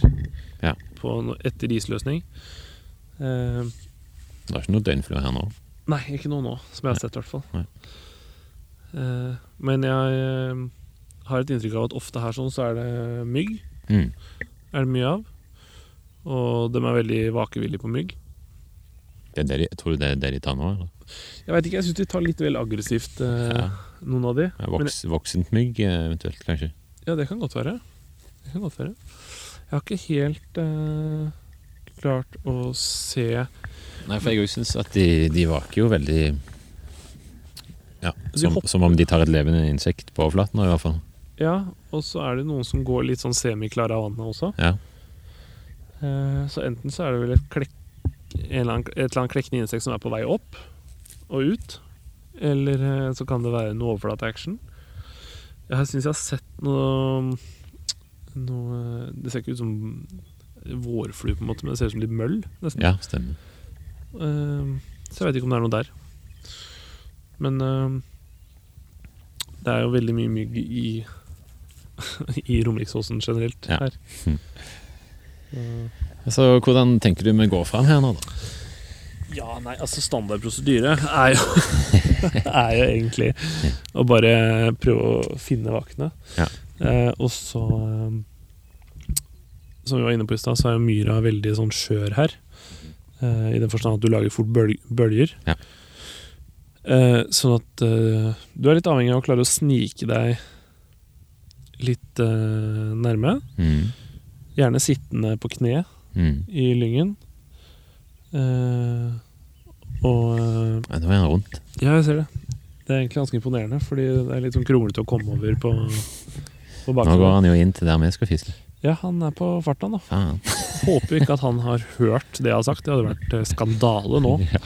Speaker 2: Ja.
Speaker 3: på, no- etter isløsning. Eh,
Speaker 2: Det er ikke noe døgnflue her nå.
Speaker 3: nei, ikke noe nå, som jeg har sett, i hvert
Speaker 2: Nei.
Speaker 3: fall. Eh, men jeg eh, har et inntrykk av at ofte her sånn så er det mygg.
Speaker 2: Mm.
Speaker 3: Er det mye av. Og de er veldig vakevillige på mygg.
Speaker 2: Det er det de, tror du det er det de tar nå? eller?
Speaker 3: Jeg vet ikke, jeg syns de tar litt vel aggressivt, eh,
Speaker 2: Ja.
Speaker 3: noen av de.
Speaker 2: Ja, Voks, voksent mygg eh, eventuelt, kanskje?
Speaker 3: Ja, det kan godt være. Det kan godt være. Jeg har ikke helt eh, klart å se
Speaker 2: Nei, for jeg òg syns at de, de vaker jo veldig ja,
Speaker 3: De
Speaker 2: som,
Speaker 3: hopper.
Speaker 2: som om de tar et levende insekt på overflaten, i hvert fall.
Speaker 3: Ja, og så er det noen som går litt sånn semiklare av vannet også.
Speaker 2: Ja.
Speaker 3: Eh, så enten så er det vel et, klekk, en eller annen, et eller annet klekkende insekt som er på vei opp og ut. Eller eh, så kan det være noe overflateaction. Jeg syns jeg har sett noe, noe Det ser ikke ut som vårflue, på en måte, men det ser ut som litt møll, nesten.
Speaker 2: Ja, stemmer.
Speaker 3: Eh, Så jeg vet ikke om det er noe der. Men eh, det er jo veldig mye mygg i, i Romeriksåsen generelt
Speaker 2: Ja.
Speaker 3: her.
Speaker 2: Mm.
Speaker 3: Eh,
Speaker 2: Så hvordan tenker du vi går fram her nå, da?
Speaker 3: Ja, nei, altså standardprosedyre er jo, er jo egentlig å bare prøve å finne vakene.
Speaker 2: Ja.
Speaker 3: Eh, og så eh, Som vi var inne på i stad, så er jo myra veldig sånn skjør her. Eh, I den forstand at du lager fort bøl bølger.
Speaker 2: Ja.
Speaker 3: Eh, sånn at eh, du er litt avhengig av å klare å snike deg litt eh, nærme.
Speaker 2: Mm.
Speaker 3: Gjerne sittende på kne
Speaker 2: Mm.
Speaker 3: i Lyngen. Eh, og eh,
Speaker 2: Ja, nå er han rundt.
Speaker 3: Ja, jeg ser det. Det er egentlig ganske imponerende, fordi det er litt sånn kronglete å komme over på, på
Speaker 2: Nå går
Speaker 3: baksiden.
Speaker 2: han jo inn til der vi skal fiske.
Speaker 3: Ja, han er på farta, da.
Speaker 2: Faen.
Speaker 3: Håper ikke at han har hørt det jeg har sagt. Det hadde vært eh, skandale nå.
Speaker 2: Ja.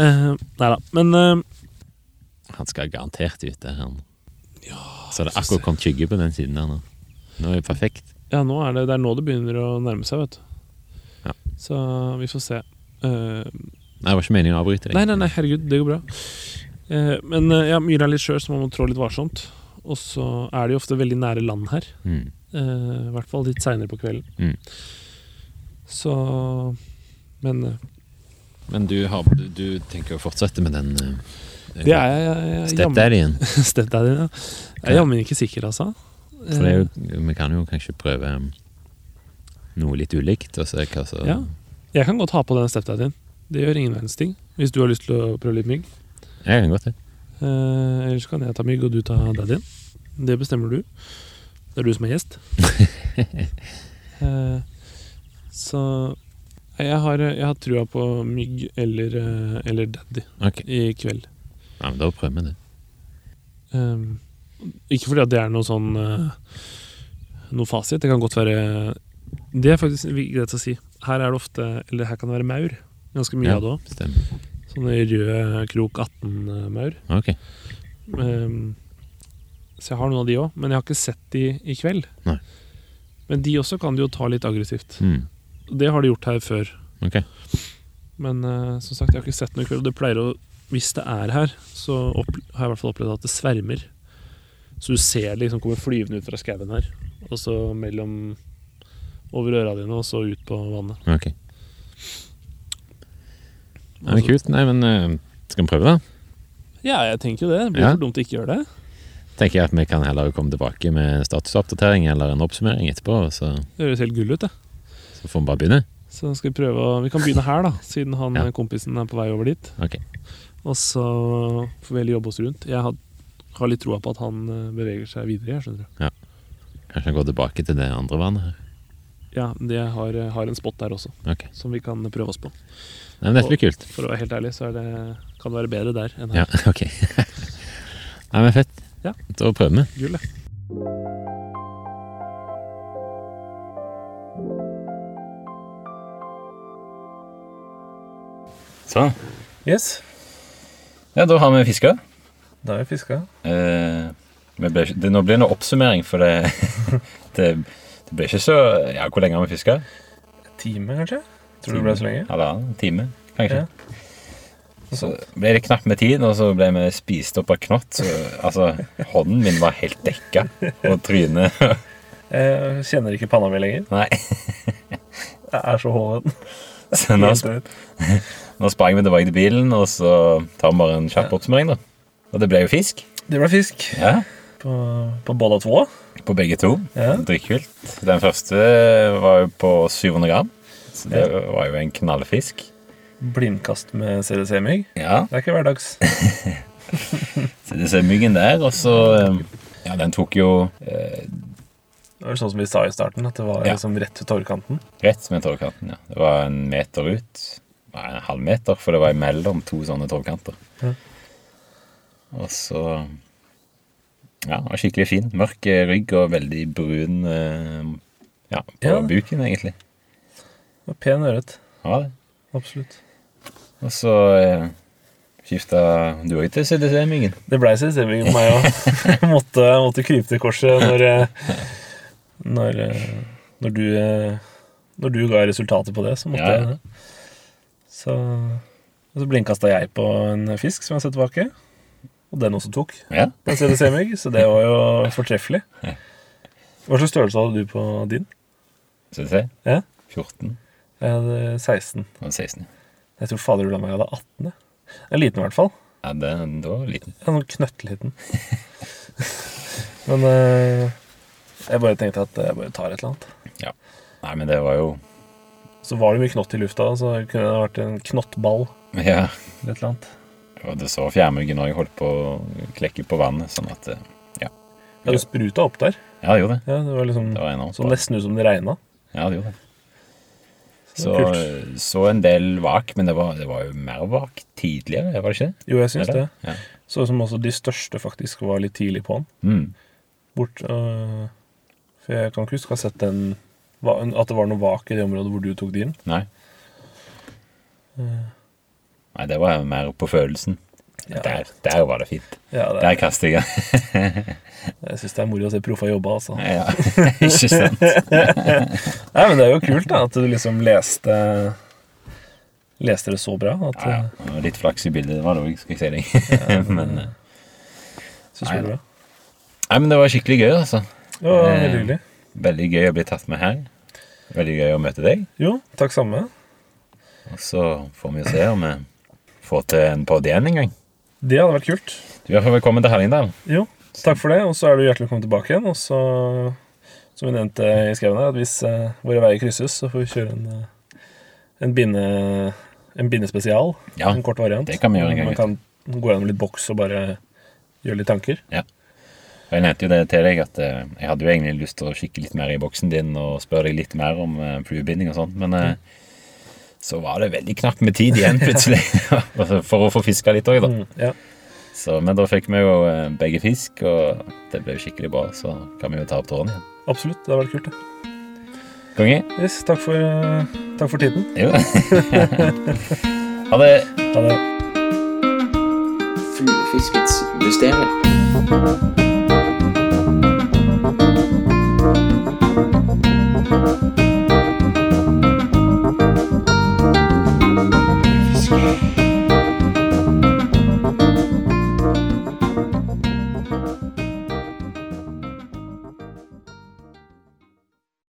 Speaker 3: Eh, nei da. Men eh,
Speaker 2: Han skal garantert ut der, han. så det er akkurat kommet skygge på den siden der nå. Nå er det perfekt.
Speaker 3: ja, nå er det, det er nå det begynner å nærme seg, vet du.
Speaker 2: Ja.
Speaker 3: Så vi får se. Eh,
Speaker 2: Nei, det var ikke meningen å avbryte deg.
Speaker 3: Nei, nei, nei, herregud, det går bra. Eh, men eh, ja, myra er litt skjør, så man må trå litt varsomt. Og så er det jo ofte veldig nære land her.
Speaker 2: Mm.
Speaker 3: Eh, I hvert fall litt seinere på kvelden.
Speaker 2: Mm.
Speaker 3: Så Men eh,
Speaker 2: Men du, har, du, du tenker å fortsette med den uh,
Speaker 3: det er jeg- jeg- jeg
Speaker 2: Step
Speaker 3: jammen-
Speaker 2: der igjen.
Speaker 3: Stepdaddy, ja. Jeg er jammen ikke sikker, altså.
Speaker 2: For det er jo, vi kan jo kanskje prøve um, noe litt ulikt, og se hva som
Speaker 3: Ja. Jeg kan godt ha på den stepdaddyen. Det gjør ingen verdens ting. Hvis du har lyst til å prøve litt mygg.
Speaker 2: Jeg kan godt det.
Speaker 3: Eh, ellers kan jeg ta mygg, og du ta daddyen. Det bestemmer du. Det er du som er gjest. eh, så Nei, jeg har, jeg har trua på mygg eller, eh, eller daddy
Speaker 2: Ok,
Speaker 3: i kveld.
Speaker 2: ja, men Da prøver vi det.
Speaker 3: Eh, ikke fordi at det er noe sånn eh, Noe fasit. Det kan godt være Det er faktisk greit å si. Her er det ofte Eller her kan det være maur. Ganske mye
Speaker 2: Ja.
Speaker 3: av det òg.
Speaker 2: Stemmer.
Speaker 3: Sånne røde krok 18-maur.
Speaker 2: Ok.
Speaker 3: Ehm, så jeg har noen av de òg, men jeg har ikke sett de i kveld.
Speaker 2: Nei.
Speaker 3: Men de også kan du jo ta litt aggressivt.
Speaker 2: Mm.
Speaker 3: Det har de gjort her før.
Speaker 2: Ok.
Speaker 3: Men eh, som sagt, jeg har ikke sett noe i kveld. Og det pleier å Hvis det er her, så opp, har jeg i hvert fall opplevd at det svermer. Så du ser det liksom kommer flyvende ut fra skauen her. Og så mellom Over øra dine, og så ut på vannet.
Speaker 2: ok. Ja, men Kult. Nei, men uh, skal vi prøve, da?
Speaker 3: Altså, Ja, jeg tenker jo det. Det blir
Speaker 2: Ja.
Speaker 3: for dumt å ikke gjøre det.
Speaker 2: Tenker jeg at vi kan heller komme tilbake med statusoppdatering eller en oppsummering etterpå, og så,
Speaker 3: Det høres helt gull ut, det.
Speaker 2: så får vi bare begynne.
Speaker 3: Så skal vi prøve å Vi kan begynne her, da. Siden han
Speaker 2: Ja.
Speaker 3: kompisen er på vei over dit.
Speaker 2: Ok.
Speaker 3: Og så får vi heller jobbe oss rundt. Jeg har, har litt troa på at han eh, beveger seg videre. Jeg skjønner du.
Speaker 2: Kanskje han går tilbake til det andre vannet her.
Speaker 3: Ja, men jeg har, eh, har en spot der også,
Speaker 2: Ok.
Speaker 3: som vi kan prøve oss på.
Speaker 2: Nei, men dette blir kult.
Speaker 3: For å være helt ærlig, så er det, kan det være bedre der enn
Speaker 2: Ja,
Speaker 3: her.
Speaker 2: ok. Nei, men fett.
Speaker 3: Ja.
Speaker 2: Da prøver vi.
Speaker 3: Gull, det.
Speaker 2: Sånn.
Speaker 4: Yes,
Speaker 2: Ja, da har vi fiska.
Speaker 4: da har jeg fiska.
Speaker 2: Eh, vi ble, ikke- det, nå blir det en oppsummering, for det, det, det ble ikke så Ja, hvor lenge har vi fiska?
Speaker 4: Time, kanskje? Tror du det ble så lenge? Sånn.
Speaker 2: Halvannen time, kanskje.
Speaker 4: Ja.
Speaker 2: Så ble det knapt med tid, og så ble vi spist opp av knott. Så, altså, hånden min var helt dekka, og trynet
Speaker 4: Jeg kjenner ikke panna mi lenger.
Speaker 2: Nei.
Speaker 4: Jeg er så hoven.
Speaker 2: Så nå,
Speaker 4: Helt drøyt.
Speaker 2: nå sprang vi tilbake til bilen, og så tar vi bare en kjapp oppsummering, da. Og det ble jo fisk.
Speaker 4: Det ble fisk
Speaker 2: Ja,
Speaker 4: på, på båda to.
Speaker 2: På begge to.
Speaker 4: Ja.
Speaker 2: Dritkult. Den første var jo på 700 gram, så det var jo en knallfisk.
Speaker 4: Blindkast med CDC-mygg.
Speaker 2: Ja,
Speaker 4: Det er ikke hverdags.
Speaker 2: så du ser myggen der, og så eh, Ja, den tok jo eh,
Speaker 4: Det var sånn som vi sa i starten, at det var
Speaker 2: Ja.
Speaker 4: liksom rett ved tårkanten.
Speaker 2: rett med tårkanten, ja. Det var en meter ut. Nei, en halv meter, for det var imellom to sånne tårkanter.
Speaker 4: Ja.
Speaker 2: Og så Ja, den var skikkelig fin. Mørk eh, rygg og veldig brun eh, Ja,
Speaker 4: Ja.
Speaker 2: på buken, egentlig.
Speaker 4: Det var pen ørret.
Speaker 2: Ja, det.
Speaker 4: Absolutt.
Speaker 2: Og så eh, Skifta du òg til CDC-myggen?
Speaker 3: Det blei CDC-mygg på meg òg. måtte, måtte krype til korset når eh, når, eh, når du eh, Når du ga resultatet på det, så måtte
Speaker 2: Ja, ja.
Speaker 3: jeg det. Så, og så blinkasta jeg på en fisk som jeg har sett tilbake, og den også tok.
Speaker 2: Ja.
Speaker 3: En CDC-mygg, så det var jo fortreffelig. Hva slags størrelse hadde du på din?
Speaker 2: CDC?
Speaker 3: Ja.
Speaker 2: 14
Speaker 3: Jeg hadde 16.
Speaker 2: og 16.
Speaker 3: Jeg tror fader du la meg jeg hadde 18. jeg. En liten, i hvert fall.
Speaker 2: Ja, den, da var det liten.
Speaker 3: Ja, noen knøttliten. Men eh, jeg bare tenkte at jeg bare tar et eller annet.
Speaker 2: Nei, men det var jo
Speaker 3: Så var det mye knott i lufta, så det kunne det vært en knottball.
Speaker 2: Ja.
Speaker 3: eller Et eller annet.
Speaker 2: Og det så fjærmyggen òg holdt på å klekke på vannet, sånn at eh,
Speaker 3: Ja, det spruta opp der.
Speaker 2: Ja, det gjorde det.
Speaker 3: Ja, det var liksom
Speaker 2: Det var enormt.
Speaker 3: så
Speaker 2: bra.
Speaker 3: nesten ut som det regna.
Speaker 2: Ja, det gjorde det. Så,
Speaker 3: Så kult.
Speaker 2: så en del vak, men det var, det var jo mer vak tidligere, var det ikke det?
Speaker 3: Jo, jeg syns det.
Speaker 2: Eller? Ja.
Speaker 3: Så ut som også de største faktisk var litt tidlig på den.
Speaker 2: Mm.
Speaker 3: Bort, øh, for jeg kan ikke huske å ha sett den hva- At det var noe vak i det området hvor du tok din.
Speaker 2: Nei. Nei, det var mer på følelsen.
Speaker 3: Eh. Ja.
Speaker 2: Der, der var det fint.
Speaker 3: Ja, det,
Speaker 2: Der kastet jeg.
Speaker 3: jeg syns det er moro å se proffa jobbe, altså.
Speaker 2: Ja, ikke sant?
Speaker 3: Nei, men det er jo kult da, at du liksom leste Leste det så bra. At
Speaker 2: Ja, ja. Det var Litt flaks i bildet, det var det òg, skal jeg si deg. men, eh,
Speaker 3: du synes det var bra.
Speaker 2: Nei, men det var skikkelig gøy, altså.
Speaker 3: Det var
Speaker 2: Eh.
Speaker 3: veldig hyggelig.
Speaker 2: Veldig gøy å bli tatt med her. Veldig gøy å møte deg.
Speaker 3: Jo, takk samme.
Speaker 2: Og så får vi jo se om vi får til en podd igjen en gang.
Speaker 3: Det hadde vært kult.
Speaker 2: Du er i hvert fall velkommen til Hallingdal.
Speaker 3: Jo, takk for det, og så er du hjertelig velkommen tilbake igjen. Og så, som vi nevnte i skauen her, at hvis eh, våre veier krysses, så får vi kjøre en, eh, en binde... En bindespesial.
Speaker 2: Ja,
Speaker 3: en kort variant.
Speaker 2: det kan vi gjøre en gang,
Speaker 3: Man kan gå gjennom litt boks og bare gjøre litt tanker.
Speaker 2: Og Jeg nevnte jo det til deg at eh, jeg hadde jo egentlig lyst til å kikke litt mer i boksen din og spørre deg litt mer om eh, fluebinding og sånt, men eh, så var det veldig knapt med tid igjen plutselig Altså, for å få fiska litt òg, da.
Speaker 3: Mm, ja.
Speaker 2: Så, men da fikk vi jo eh, begge fisk, og det ble jo skikkelig bra. Så kan vi jo ta opp tråden igjen.
Speaker 3: Absolutt. Det hadde vært kult, det.
Speaker 2: Konge?
Speaker 3: Yes, takk for, eh, takk for tiden.
Speaker 2: Jo. ha det.
Speaker 3: Ha det.
Speaker 5: Fuglefiskets mysterium.